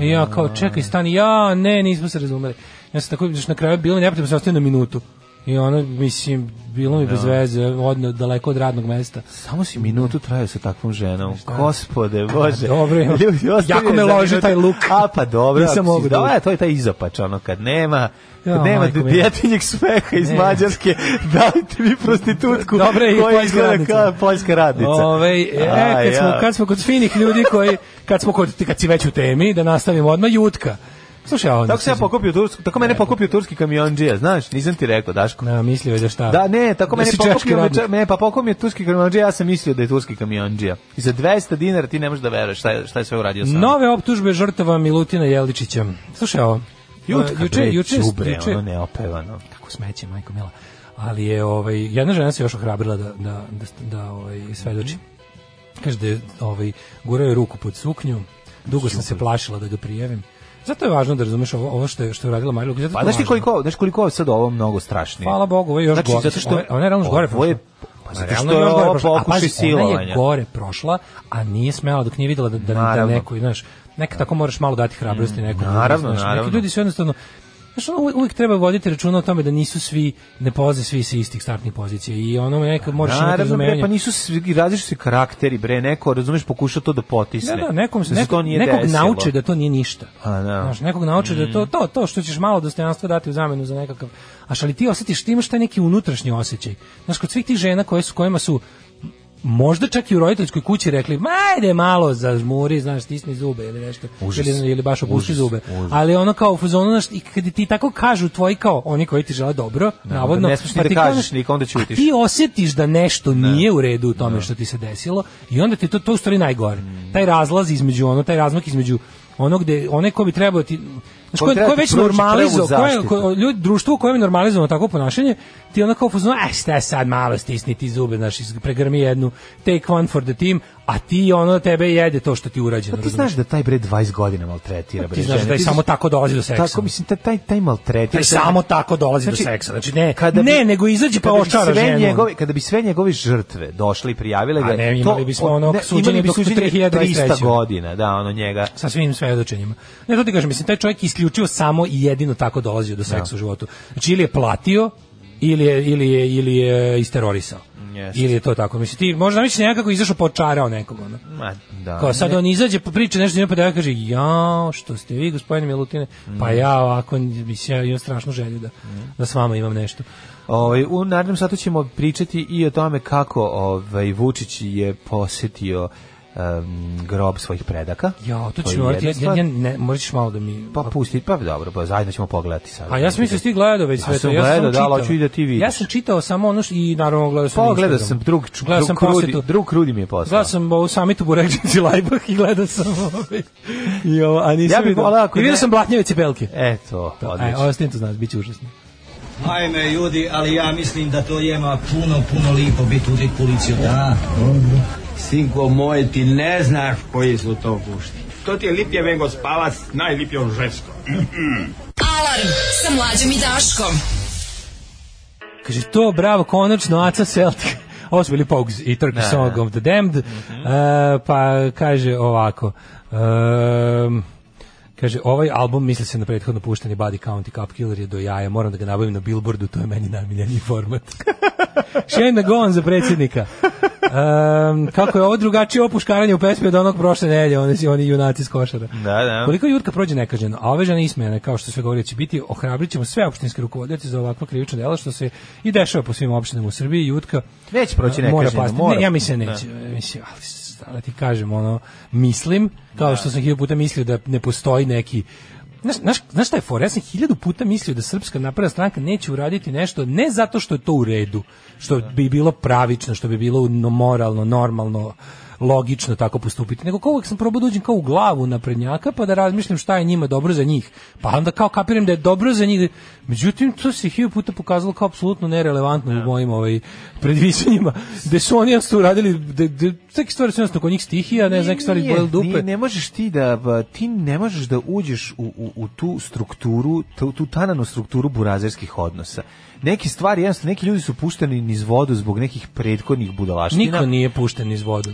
E: I ja kao čekaj stani, ja ne, nismo se razumeli. Ja sam tako znači, na kraju bilo mi neprijatno, sam ostao na minutu. I ono, mislim, bilo mi bez veze, odno, daleko od radnog mesta.
D: Samo si minutu trajao sa takvom ženom. Gospode, bože.
E: dobro, imam.
D: ostavio
E: Jako me
D: je za
E: loži
D: minutu.
E: taj luk.
D: A pa dobro.
E: Nisam
D: ako si-
E: mogu da
D: da,
E: uđem.
D: a, to je taj izopač, ono, kad nema, kad
E: Ja,
D: nema
E: majko mila.
D: djetinjeg smeha iz
E: Ne.
D: Mađarske, dajte mi prostitutku
E: Dobre, i
D: koja
E: poljska
D: izgleda
E: radnica.
D: kao poljska radnica.
E: Ove, e,
D: A,
E: kad, smo,
D: ja.
E: kad smo kod finih ljudi koji, kad smo kod, kad si već u temi, da nastavimo odmah, jutka. Slušaj, ovo.
D: Tako se ja pokupio tursku, tako mene pokupio turski kamionđija, znaš, nisam ti rekao, Daško.
E: Na, mislio je da šta.
D: Da, ne, tako mene
E: si češki
D: pokupio,
E: radnik.
D: me- me, pa pokupio je turski kamionđija, ja sam mislio da je turski kamionđija. I za 200 dinara ti ne možeš da veruješ šta je, šta je sve uradio sam.
E: Nove optužbe žrtava Milutina Jeličića. Slušaj ovo.
D: Jutka,
E: E,
D: bre,
E: juče,
D: đubre,
E: juče,
D: ono neopevano.
E: kako smeće, majko mila. Ali je ovaj, jedna žena se još ohrabrila da, da, da, da ovaj, svedoči.
D: Mhm.
E: Kaže da je, ovaj, gurao je ruku pod suknju, dugo sam se plašila da ga prijavim. Zato je važno da razumeš ovo, ovo što je, što je uradila Marija Lukić. zato
D: Pa
E: je to
D: znaš ti
E: važno.
D: koliko, znaš koliko je sad ovo mnogo strašnije?
E: Hvala Bogu, ovo je još
D: Znači,
E: gore.
D: zato što-
E: Ovo je- ona je realno još gore
D: ovo je-
E: prošla.
D: pa zato
E: Ona je
D: što je
E: realno još
D: ovo
E: gore prošla. A
D: pokušaj
E: pazi, Ona
D: silovanja.
E: je gore prošla, a nije smela dok nije videla da, da, da
D: Naravno. Mm,
E: neko, znaš, neka tako moraš malo dati hrabrosti nekom.
D: naravno,
E: znaš, neki
D: naravno.
E: Ljudi su jednostavno, Znaš, ono, uvek- uvek treba voditi računa o tome da nisu svi, ne polaze svi sa istih startnih pozicija i ono neka moraš imati
D: Naravno, bre,
E: razumevanje.
D: pa nisu svi, različiti su karakteri, bre, neko, razumeš, pokuša to da potisne.
E: Da, da, nekom se
D: Da se to
E: nekog,
D: nije
E: nekog
D: desilo.
E: nauče da to nije ništa.
D: A, da. Mm.
E: Znaš, nekog nauče da to, to, to što ćeš malo dostojanstva dati u zamenu za nekakav... Aš, ali ti osjetiš, ti imaš taj neki unutrašnji osjećaj. Znaš, kod svih tih žena koje su, kojima su možda čak i u roditeljskoj kući rekli, ma ajde malo zažmuri, znaš, stisni zube ili nešto,
D: Užas.
E: ili, ili baš opušti
D: Užas,
E: zube.
D: užas.
E: Ali ono kao u fazonu, znaš, i kada ti tako kažu tvoji kao, oni koji ti žele dobro, navodno, pa
D: ne smeš ni Pa da
E: ti kao,
D: kažeš
E: znaš,
D: nikom, onda
E: a
D: ćutiš.
E: ti osjetiš da nešto nije u redu u tome što ti se desilo i onda ti to to je u stvari najgore. Taj razlaz između ono, taj razmak između onog gde onaj ko bi trebao ti Znaš,
D: Ko
E: ko,
D: bi trebao
E: ko je
D: ti
E: već
D: pružiti
E: normalizovao,
D: prvu
E: ko je,
D: zaštitu.
E: ko- ljudi, društvo u kojem je normalizovano takvo ponašanje, ti ono kao fuzon, e šta sad malo stisni ti zube, znaš, iz- pregrmi jednu, take one for the team, a ti ono tebe jede to što ti je urađeno.
D: Pa ti
E: razumeš?
D: znaš da taj bre 20 godina maltretira bre.
E: Pa Ti znaš
D: žene.
E: da je
D: Ti
E: samo
D: znaš-
E: tako dolazi do seksa.
D: Tako mislim taj taj taj maltretira.
E: Taj samo tako dolazi do seksa. Znači, ne, ne, nego izađe pa
D: kada bi
E: očara
D: sve
E: ženu.
D: Njegove, kada bi sve njegove žrtve došle i prijavile ga,
E: A ne,
D: to-
E: imali bismo
D: o-
E: ono
D: ne,
E: suđenje
D: imali bi
E: dok do
D: suđenje
E: 3023.
D: 300 godina, da, ono njega.
E: sa svim svedočenjima. Ne, to ti kažem, mislim, taj čovjek isključivo samo i jedino tako dolazio do seksa u životu. Znači, ili je platio, ili je, ili je, ili je isterorisao.
D: Jeste.
E: Ili je to tako. Mislim, ti možda misliš nekako izašao počarao nekom, ono.
D: Ma, da.
E: Kao sad on izađe, pa priča nešto njima, pa da kaže, jao, što ste vi, gospodine Milutine, pa
D: Mm.
E: ja ovako, mislim, ja imam strašnu želju da, da s vama imam nešto.
D: Ovaj u narednom satu ćemo pričati i o tome kako ovaj Vučić je posetio em, grob svojih predaka.
E: Jao, to ćeš
D: je
E: morati,
D: jedna
E: ja,
D: stvar.
E: ja, ne, morat ćeš malo da mi...
D: Pa pusti, pa dobro, pa zajedno ćemo pogledati sad.
E: A ja sam mislio da si ti gledao već sve
D: Ja
E: to.
D: sam
E: Ja sam
D: gledao, da,
E: čitao.
D: ali hoću i da ti vidiš.
E: Ja sam čitao samo ono što, i naravno gledao sam na
D: Pogledao sam
E: Instagramu.
D: drug, ču-
E: Gledao
D: drug,
E: sam
D: krudi,
E: posetu.
D: drug krudi mi je poslao.
E: Gledao sam ovu samitu Burekđić i Lajbah i gledao sam ovaj. I ovo, a nisam
D: Ja bih
E: vidio.
D: volao ako
E: I vidio
D: ne-
E: sam blatnjeve cipelke.
D: Eto,
E: Aj,
D: odlično.
E: ovo s tim to znaš, bit će užasno.
J: Ajme ljudi, ali ja mislim da to jema puno, puno lipo biti udit policiju. Da, Sinko moj, ti ne znaš koji su to gušti. To ti je lipje vengo spavac, najlipje on žensko.
K: Alarm sa mlađom i Daškom.
E: Kaže, to, bravo, konačno, Aca Celtic. Ovo su bili Pogues i Turkish Song of the Damned.
D: Mhm.
E: E, pa kaže ovako. em, kaže, ovaj album, misli se na prethodno pušteni Body Count i Cup Killer je do jaja. Moram da ga nabavim na Billboardu, to je meni najmiljeniji format. Shane Gon za predsjednika. Em, kako je ovo drugačije opuškaranje u pesmi od onog prošle nelje, oni, oni junaci s košara.
D: Da, da.
E: Koliko Jurka prođe nekažnjeno, a ove žene ismene, kao što se govori, će biti, ohrabrit ćemo sve opštinske rukovodioce za ovakva krivična dela, što se i dešava po svim opštinama u Srbiji. Jutka
D: Neće proći
E: a, mora
D: nekažnjeno,
E: pasti.
D: mora.
E: Ne, ja mislim da neće. e, Mislim, ali stvarno ti kažem, ono, mislim, kao što sam hiljadu puta mislio da ne postoji neki Znaš, znaš, znaš šta je for? Ja sam hiljadu puta mislio da Srpska napravna stranka neće uraditi nešto ne zato što je to u redu, što bi bilo pravično, što bi bilo no- moralno, normalno, logično tako postupiti, nego kao uvek sam probao da uđem kao u glavu naprednjaka pa da razmišljam šta je njima dobro za njih. Pa onda kao kapiram da je dobro za njih. Međutim, to se hiljadu puta pokazalo kao apsolutno nerelevantno u mojim ovaj, predviđanjima. Gde su oni jednostavno uradili, da, da, neke stvari su jednostavno kod njih stihija, ne znam, neke stvari
D: Nije,
E: bojel dupe.
D: nije, ne možeš ti da ba, ti ne možeš da uđeš u, u, u tu strukturu, tu, tu tananu strukturu burazerskih odnosa. Neke stvari, jednostavno, neki ljudi su pušteni niz vodu zbog nekih prethodnih budalaština.
E: Niko nije pušten iz vodu.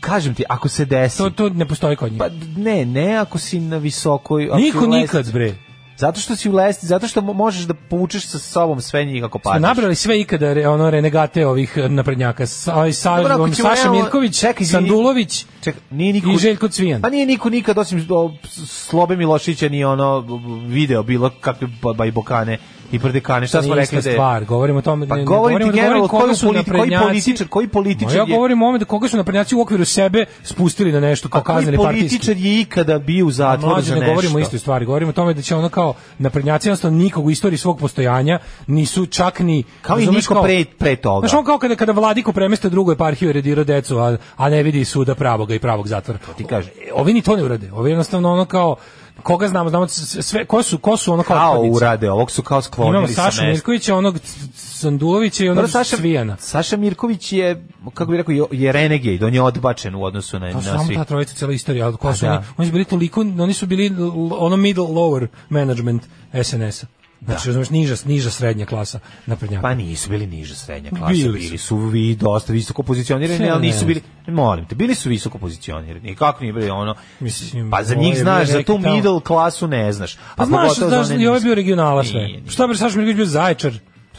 D: Kažem ti, ako se desi...
E: To, to ne postoji kod njih.
D: Pa ne, ne ako si na visokoj... ako si
E: Niko
D: u lestvici.
E: nikad, bre.
D: Zato što si u lesti, zato što mo- možeš da povučeš sa sobom sve njih ako
E: Smo
D: padneš.
E: nabrali sve ikada re- ono renegate ovih eh, naprednjaka. Sa, aj, sa,
D: Dobro, ako ćemo
E: Saša
D: realno-
E: Mirković,
D: Čekaj, izvini.
E: Sandulović
D: Ček, nije niko...
E: i Željko Cvijan.
D: Pa nije niko nikad, osim o, Slobe Milošića, ni ono video bilo kakve ba- bajbokane i prdekane. Šta
E: To
D: smo
E: nije
D: rekli
E: ista
D: da je...
E: stvar, govorimo o tome,
D: Pa
E: ne, ne
D: govorim ti
E: govorimo da
D: generalno,
E: koga
D: koju
E: su
D: politi- koji
E: naprednjaci-
D: političar- koji političar
E: Ma Ja
D: je-
E: govorim o ovome da koga su naprednjaci u okviru sebe spustili na nešto kao
D: A Pa koji
E: kaznili partijski.
D: političar je ikada bio u zatvoru
E: Mlađe,
D: za
E: ne
D: nešto?
E: govorimo o istoj stvari, govorimo o tome da će ono kao naprednjaci jednostavno nikog u istoriji svog postojanja nisu čak ni...
D: Kao i
E: razumeš,
D: niko
E: kao-
D: pre, pre toga.
E: Znaš, on kao kada, kada vladiku premeste u drugu eparhiju i redirao decu, a, a ne vidi suda pravoga i pravog zatvora.
D: ti kažem.
E: O- Ovi ni to ne urade. Ovi jednostavno ono kao koga znamo, znamo s- sve, ko su, ko su ono kao
D: Kao
E: otpadnici?
D: urade ovog su kao
E: Imamo
D: sklonili sa
E: Sašu
D: mesta.
E: Mirkovića, onog C- C- Sandulovića i
D: Prvo,
E: onog
D: Saša,
E: Svijana.
D: Saša Mirković je, kako bih rekao, je- je renegade, on je odbačen u odnosu na,
E: To
D: na
E: su Pa samo
D: svih.
E: ta trojica cijela istorija, ali ko su
D: Pa da.
E: oni? Oni su bili toliko, oni su bili l- ono middle lower management SNS-a. Znači, razumeš, niža, niža srednja klasa naprednjaka.
D: Pa nisu bili niže srednja klasa,
E: Bili
D: bili,
E: su.
D: su vi dosta visoko pozicionirani,
E: Sve
D: ali nisu
E: ne.
D: bili, molim te, bili su visoko pozicionirani. I kako nije bili ono,
E: Mislim,
D: pa za
E: ovo je
D: njih znaš,
E: bio
D: za
E: neki
D: tu
E: tamo-
D: middle klasu ne znaš.
E: Pa
D: A
E: znaš,
D: pogotovo za
E: znaš,
D: one
E: i ovaj
D: niske.
E: bio regionala sve.
D: Nije, Pa nije.
E: Šta bi Saša Mirković bio zaječar?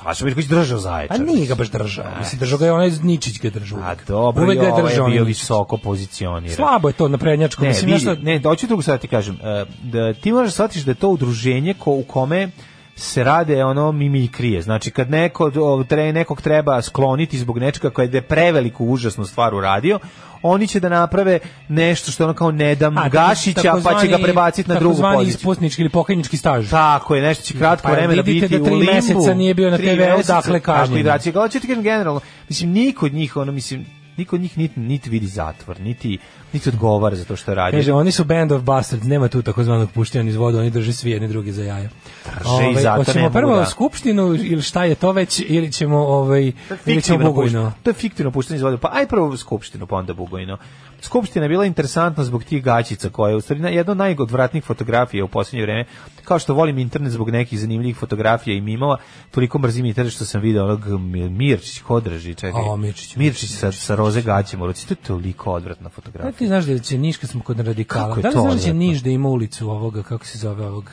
D: Saša Mirković držao zaječar.
E: A nije ga baš držao. Mislim, držao ga je onaj Ničić ga je držao.
D: A
E: uvek.
D: Pa dobro,
E: Uvek
D: Uvijek
E: ga je držao
D: je
E: onaj
D: bio
E: Ničić.
D: visoko pozicioniran.
E: Slabo je to na prednjačku.
D: Ne,
E: Mislim,
D: vidi,
E: nešto...
D: ne, da hoću drugo sad da ti kažem. E, da ti možeš shvatiti da je to udruženje ko, u kome se rade ono mimikrije. Znači kad neko o, tre, nekog treba skloniti zbog nečega koja je preveliku užasnu stvar uradio, oni će da naprave nešto što ono kao ne dam
E: A,
D: Gašića, pa će ga
E: takozvani-
D: prebaciti na drugu
E: Takozvani
D: poziciju.
E: isputnički ili pokajnički staž.
D: Tako je, nešto će kratko
E: Pa
D: vreme da biti
E: vidite da
D: u
E: tri
D: limbu.
E: meseca nije bio na
D: Tri
E: TV-u,
D: meseca,
E: dakle,
D: Tako
E: kažnjen.
D: i draci, kao ću ti kažem generalno, mislim, niko od njih, ono, mislim, niko od njih niti, niti vidi zatvor, niti, niti odgovara za to što radi.
E: Kaže, oni su band of bastards, nema tu takozvanog puštanja iz voda, oni drže svi jedni drugi za jaja.
D: Pa i zato ne
E: Ovaj, hoćemo
D: mogu
E: prvo
D: da-
E: skupštinu ili šta je to već, ili ćemo, ovaj, ili ćemo
D: Fiktivno
E: Bugojno.
D: pušt- To je fiktivno puštanje iz vode. Pa aj prvo u skupštinu, pa onda Bugojno. Skupština je bila interesantna zbog tih gaćica koja je u stvari na- jedna od najodvratnijih fotografija u posljednje vreme. Kao što volim internet zbog nekih zanimljivih fotografija i mimova, toliko mrzim internet što sam video onog Mi- Mirčić Hodraži, čekaj.
E: A, Mirčić.
D: Mirčić sa, sa roze gaćima u ruci. To je toliko odvratna fotografija.
E: Da Pa ti znaš da će Niš kad smo kod radikala.
D: Kako je
E: Da li
D: to
E: znaš da će
D: odvratno?
E: Niš da ima ulicu ovoga, kako se zove ovog,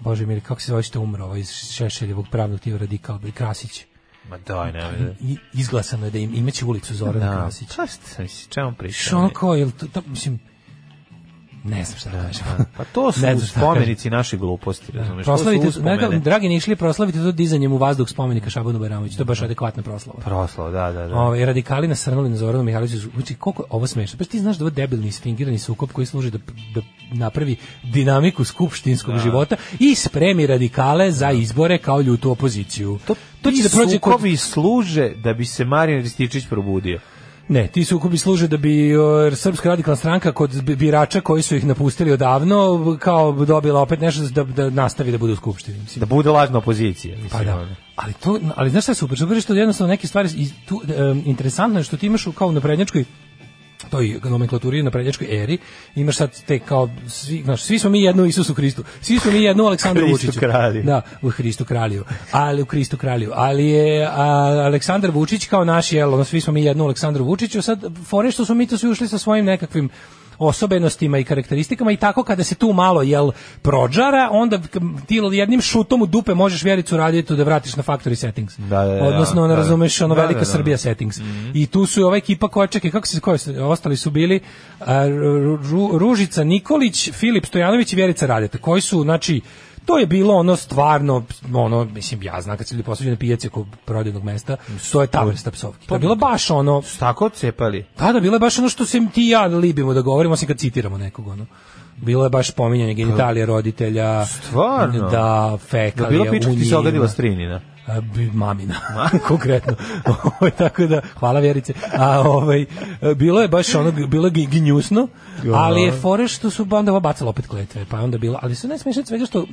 E: Bože mili, kako se zove što je umro ovaj iz Šešeljevog pravnog tio radikal, bre, Krasić.
D: Ma daj, ne, ne.
E: I, izglasano je da im, imaće ulicu Zoran
D: E. Da, Pa
E: Krasić.
D: šta ste, mislim, čemu
E: Što
D: pričamo?
E: ono kao, jel to, to, mislim, ne znam šta da kažem.
D: Pa to su
E: Ne znam šta da kažem.
D: spomenici naše gluposti, razumeš? To su
E: proslavite,
D: uspomene.
E: neka, dragi nišli, proslavite to dizanjem u vazduh spomenika Šabanu Bajramoviću, to je baš adekvatna proslava.
D: Proslava, da, da, da.
E: Ovaj radikali nasrnuli na Zoranu Mihajlovića, znači koliko je ovo smešno. Pa ti znaš da ovo debilni isfingirani sukob koji služi da, da napravi dinamiku skupštinskog života i spremi radikale za izbore kao ljutu opoziciju.
D: To, to
E: Ti
D: ti
E: da prođe kod-
D: sukovi služe da bi se Marijan Rističić probudio.
E: Ne, ti sukobi služe da bi o, Srpska radikalna stranka kod bi- birača koji su ih napustili odavno kao dobila opet nešto da, da nastavi da bude u skupštini. Mislim.
D: Da bude lažna opozicija. Mislim,
E: Pa da.
D: ono.
E: Ali to ali znaš šta je super, super je što jednostavno neke stvari iz- tu em, interesantno je što ti imaš u kao na prednjačkoj toj nomenklaturi na prednjačkoj eri imaš sad te kao svi znaš svi smo mi jedno u Isusu Hristu svi smo mi jedno u Aleksandru
D: Hristu
E: Vučiću
D: kralju.
E: da u Hristu kralju ali u Hristu kralju ali je a, Aleksandar Vučić kao naš jel ono, svi smo mi jedno u Aleksandru Vučiću sad fore što su mi to svi ušli sa svojim nekakvim osobenostima i karakteristikama i tako kada se tu malo jel prođara onda k- ti jednim šutom u dupe možeš Vjericu Radetu da vratiš na factory settings
D: Da, da, da,
E: odnosno ono,
D: da, da.
E: razumeš ono
D: Da, da,
E: velika
D: da, Mhm. da.
E: Srbija settings i tu su i ova ekipa koja čekaj kako se koji su- ostali su bili a, Ru- Ru- Ružica Nikolić, Filip Stojanović i Vjerica Radeta koji su znači To je bilo ono stvarno, ono, mislim, ja znam kad su ljudi posuđeni na pijaci oko prodajnog mesta, to je ta vrsta psovki.
D: Pa,
E: To je bilo baš ono,
D: Su tako cepali.
E: da, da, bilo je baš ono što se ti i ja libimo da govorimo, osim kad citiramo nekog, ono. Bilo je baš pominjanje genitalije roditelja,
D: Pa, Stvarno?
E: da,
D: Da
E: fekalija,
D: bilo pičko ti se
E: unijima.
D: ogadila strinina.
E: A, E, bi- mamina, konkretno. Ovaj, tako da, hvala Vjerice. A, ovaj, e, bilo je baš ono, bilo je gi- gnjusno, ali je fore što su onda ova bacala opet kletve, pa je onda bilo, ali su najsmešnije od svega što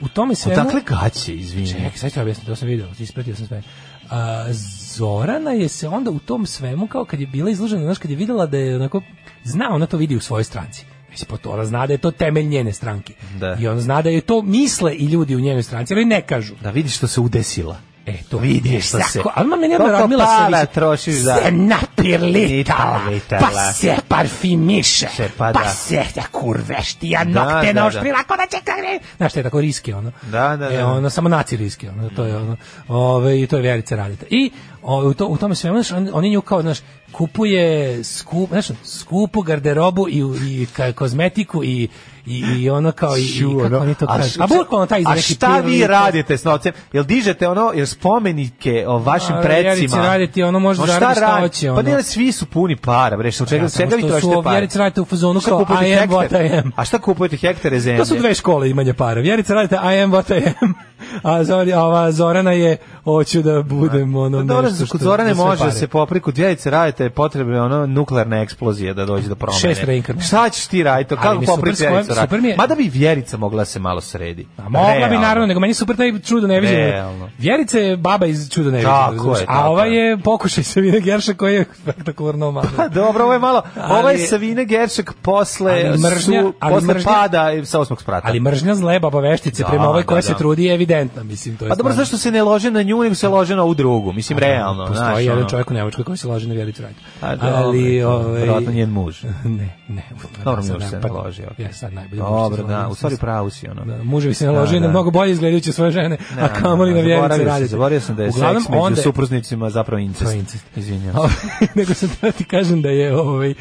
E: u tome svemu...
D: Odakle gaće, izvini.
E: Čekaj, sad ću ti objasniti, to sam video, ispratio sam sve. A, Zorana je se onda u tom svemu, kao kad je bila izložena, znaš, kad je videla da je onako, zna, ona to vidi u svojoj stranci. Mislim, pa to ona zna da je to temelj njene stranke.
D: Da.
E: I ona zna da je to misle i ljudi u njenoj stranci, ali ne kažu.
D: Da vidiš što se udesila.
E: E, to
D: Vidiš što se-
E: Sako, ali ma meni odmah
D: Koliko
E: Radmila se
D: para
E: više-
D: trošiš za-
E: Se napirlitala,
D: Napirlitala.
E: pa se parfimiše,
D: Se, pa
E: pa,
D: da.
E: se da kurveš ti ja
D: Da,
E: nokte
D: da, da.
E: naoštrila, ko da će kagre. Znaš, to je tako riski, ono.
D: Da, da,
E: E,
D: da.
E: ono, samo naci riski, ono, to je ono. Ove, I to je Vjerica Radeta. I o, u, to, u tome svemu, znaš, on, oni nju kao, znaš, kupuje skup, znaš, skupu garderobu i, i ka, kozmetiku i i, i ono kao i, i kako oni to
D: A
E: kažu.
D: š-
E: A bukvalno taj iz
D: A
E: neki
D: šta vi
E: pirlit-
D: radite s novcem? Jel dižete ono, jel spomenike o vašim
E: A, Vjerici
D: precima?
E: raditi, ono, može
D: Ma šta
E: zaradi šta
D: radi-
E: hoće,
D: Pa
E: ono.
D: ne, svi su puni para, bre, što čega,
E: Ja, samo
D: čega vi
E: što su
D: trošite
E: ovo
D: para?
E: Vjerica Radeta u fazonu
D: Šta
E: kao,
D: kupujete
E: "I am
D: hektar?"
E: what I am.
D: A šta kupujete hektare zemlje?
E: To su dve škole imanja para. Vjerica radite I am what I am. a, Zori, a ova Zorana je, hoću da budem ono
D: Da,
E: nešto što...
D: Pa kod Zorane
E: za sve
D: može da
E: pare.
D: se popri, kod Vjerice Rajeta je potrebna ono nuklearna eksplozija da dođe do promene.
E: Šest reinkarnacija.
D: Šta ćeš ti raditi?
E: Ali
D: Kako
E: mi je
D: popri
E: super s kojom-
D: Vjericu Rajeta?
E: super mi je-
D: Mada bi Vjerica mogla se malo sredi.
E: A mogla bi
D: Realno.
E: naravno, nego meni je super taj čudo neviđeno.
D: Realno.
E: Vjerica je baba iz čuda
D: Tako
E: neviđeno.
D: je,
E: razumeš?
D: tako
E: a ova
D: je.
E: je pokušaj se vina Gerša koji je spektakularno malo.
D: Pa dobro, ovo je malo,
E: Ali-
D: ovo je Savine Geršak posle,
E: Ali mržnja-
D: su,
E: ali
D: posle
E: mržnja-
D: pada i sa osmog sprata.
E: Ali mržnja zle baba veštice
D: Da,
E: prema ovoj koja
D: da,
E: se
D: da.
E: trudi je evidentna, mislim. To je
D: Pa dobro,
E: stvarno.
D: zašto se ne lože na nju, nego se lože na ovu drugu, mislim, realno.
E: Postoji
D: znaš,
E: jedan
D: ono.
E: čovjek u Nemačkoj koji se laže na Vjericu Rajtu.
D: A,
E: Ali,
D: dobro, to je
E: ovaj...
D: verovatno njen muž.
E: Ne, ne.
D: Dobro,
E: sad
D: muž se
E: ne,
D: ne
E: pa-
D: loži, okej.
E: Ja, sad najbolje. muž se
D: Dobro,
E: založio,
D: da, u
E: mislim,
D: stvari pravu si, ono.
E: Da, muževi se naložili
D: Da,
E: na
D: da.
E: mnogo bolje izgledajuće svoje žene, a kamoli na
D: zaboravio
E: vjernice
D: sam,
E: radite.
D: Zaboravio sam da je
E: Uglavnom,
D: seks među
E: onda je-
D: supružnicima zapravo incest.
E: To je incest.
D: Izvinjam se.
E: Ovaj, nego sam da ti kažem da je ovaj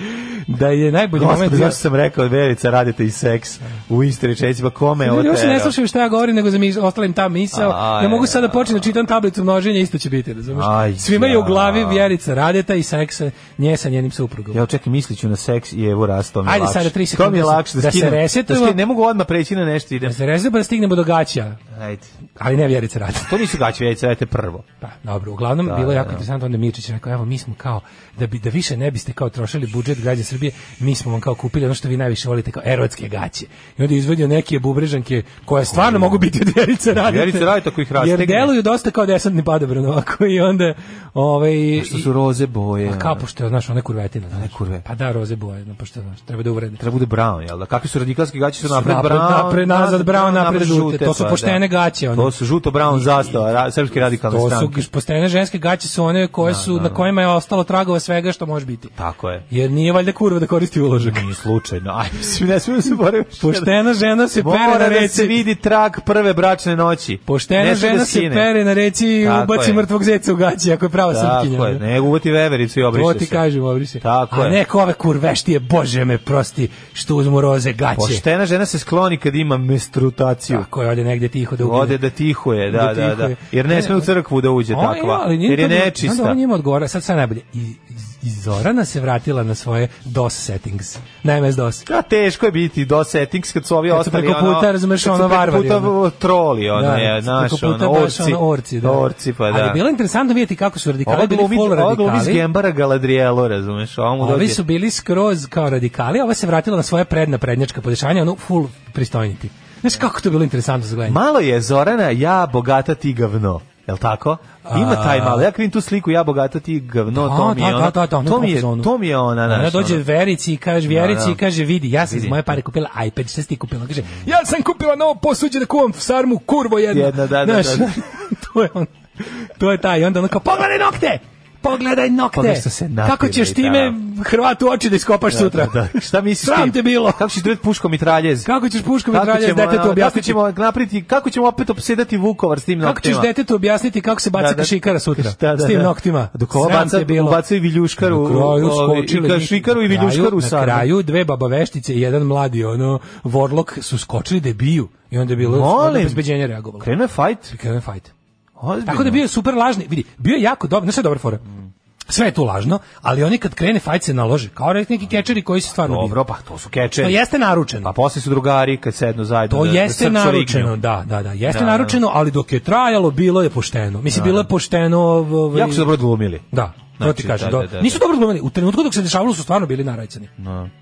E: da je najbolji moment
D: Gospod,
E: bio-
D: zašto sam rekao, Verica, radite i seks u istoj rečenici, pa kome je ovo
E: Ljudi, uopšte ne
D: tera?
E: slušaju šta ja govorim, nego za mi ostalim ta misao.
D: Aj,
E: ja mogu sada da počnem da čitam tablicu množenja, isto će biti, razumeš?
D: Aj,
E: Svima je u glavi
D: ja.
E: Vjerica Radeta i seksa nje sa njenim suprugom.
D: Ja čekaj, mislit ću na seks i evo raz, to mi je
E: Ajde,
D: lakše.
E: sada tri
D: To mi
E: sekunde
D: je lakše da,
E: da se
D: skinem.
E: resetujemo.
D: skinem, ne mogu odmah preći na nešto, idem.
E: Da se rezimo pa da stignemo do gaća,
D: Ajde.
E: ali ne Vjerica Radeta.
D: To nisu gaće, Verica, radite prvo.
E: Pa, dobro, uglavnom
D: Da,
E: bilo je
D: da,
E: jako
D: da.
E: interesantno onda Mirčić je rekao, evo mi smo kao da bi da više ne biste kao trošili budžet građana Srbije, mi smo vam kao kupili ono što vi najviše volite kao erotske gaće. I onda je izvadio neke bubrežanke koje stvarno mogu biti od Vjerice Radete.
D: Vjerice Radete ako ih rastegne.
E: Jer deluju dosta kao desantni padobran ovako i onda ovaj
D: Pa Što su roze boje. ono,
E: i- kao pošto je znaš ona kurvetina, znaš.
D: kurve.
E: Pa da roze boje, no pošto znaš, treba da urede.
D: Treba bude brown, jel da? Kakvi su radikalski gaći su
E: Su
D: napred,
E: napred,
D: brown,
E: napred, nazad brown, napred žute. To su
D: pa, da.
E: poštene gaće, one.
D: To su žuto brown zastava, ra, srpske radikalne
E: To su
D: stranke.
E: postene ženske gaće su one koje su na kojima je ostalo tragova svega što može biti.
D: Tako je.
E: Jer nije valjda kurva da koristi uložak.
D: Nije slučajno. Aj, mislim, ne smijemo se boraviti.
E: Poštena žena se pere na
D: Mora da se
E: reci.
D: vidi trak prve bračne noći.
E: Poštena
D: Ne sme
E: žena
D: da
E: se
D: skine.
E: pere na reci i
D: Tako
E: ubaci
D: je.
E: mrtvog zeca u gaći ako je prava srpkinja.
D: Tako je, ne uvati vevericu i obriše
E: To
D: se.
E: ti kažem, obriše.
D: Tako
E: A
D: je.
E: neko ove kurveštije, bože me prosti, što uzmu roze gaće.
D: Poštena žena se skloni kad ima menstruaciju.
E: Tako je, ode negde tiho da ubije.
D: Ode da tihuje, da,
E: Da
D: da, da.
E: tihuje.
D: Jer ne
E: Ne,
D: sme u crkvu da uđe
E: Ona ima,
D: takva.
E: ali nije
D: Jer je
E: to- Onda
D: nečista.
E: on njima odgovara, sad sad najbolje. I, iz- i Zorana se vratila na svoje DOS settings. Na MS DOS.
D: Da, teško je biti do settings kad su ovi
E: Kad su
D: ostali
E: preko puta,
D: kad
E: razumeš,
D: su
E: ono,
D: preko
E: varvari,
D: puta
E: ono.
D: troli, ono, je, znaš,
E: preko puta
D: ono,
E: baš
D: orci.
E: ono orci, da.
D: Orci, pa da.
E: Ali bilo je interesantno vidjeti kako su radikali,
D: Ova
E: bili
D: glumi,
E: full
D: ova glumi iz
E: radikali.
D: Gembara Galadrielo, razumeš, ovo mu
E: Ovi
D: dođe.
E: su bili skroz kao radikali, a ova se vratila na svoje predna prednjačka podešanja, ono full pristojniti. Znaš kako to je bilo interesantno za gledanje?
D: Malo je Zorana, ja bogata ti gavno. Jel tako? Ima taj malo. Ja krivim tu sliku, ja bogata ti gavno,
E: A,
D: to mi je
E: da,
D: ono.
E: da, da, da, ono
D: to,
E: je
D: mi je,
E: profazonu.
D: to mi je ona,
E: Ona
D: znaš.
E: dođe
D: ono.
E: Verici i kaže, Verici
D: da.
E: i kaže, vidi, ja sam iz
D: Vidi.
E: moje pare kupila iPad, šta si ti kupila? Kaže, ja sam kupila novo posuđe da kuvam sarmu, kurvo jedna.
D: Jedna, da, da, da, da.
E: to je on. To je taj. I onda ono kao, pogledaj nokte! Pogledaj nokte!
D: Pogledaj što se napila
E: Kako ćeš
D: i
E: time Hrvatu oči da iskopaš sutra?
D: ono. Da, da. Šta misliš
E: Sram
D: ti?
E: te bilo!
D: Kako ćeš dobiti puškom i traljez?
E: Kako ćeš puškom i traljez detetu
D: Kako
E: objasniti?
D: ćemo napriti, kako ćemo opet opsedati Vukovar s tim
E: Kako ćeš
D: noktima?
E: detetu objasniti kako se baca
D: Da, da.
E: kašikara sutra?
D: Da, da,
E: s tim
D: da.
E: noktima.
D: Dok ova
E: Sram
D: baca,
E: te bilo.
D: ubaca i viljuškaru.
E: Na kraju
D: ovi,
E: skočili
D: i kašikaru i
E: na kraju-
D: viljuškaru u sarmu.
E: Na kraju dve babaveštice i jedan mladi ono Warlock su skočili da je biju i onda je bilo
D: Molim.
E: bezbeđenje reagovalo.
D: Krenuo je fajt.
E: I krenuo je fajt.
D: Ozbiljno.
E: Tako da bio je super lažni, vidi, bio je jako dobar, ne sve dobra fora.
D: Mm.
E: Sve je tu lažno, ali oni kad krene fajt se nalože, kao neki kečeri koji se stvarno biju.
D: Dobro, pa to su kečeri.
E: To jeste naručeno.
D: Pa posle su drugari kad sednu zajedno.
E: To
D: da- da
E: jeste
D: srcu
E: naručeno,
D: lignju.
E: da, da, da, jeste
D: Da, da.
E: naručeno, ali dok je trajalo, bilo je pošteno. Mislim, bilo je pošteno... Ovaj,
D: Jako su dobro glumili.
E: Da, to
D: Znači,
E: ti kažem.
D: da,
E: do-
D: da, da,
E: Nisu dobro glumili. U trenutku dok se dešavalo su stvarno bili narajcani.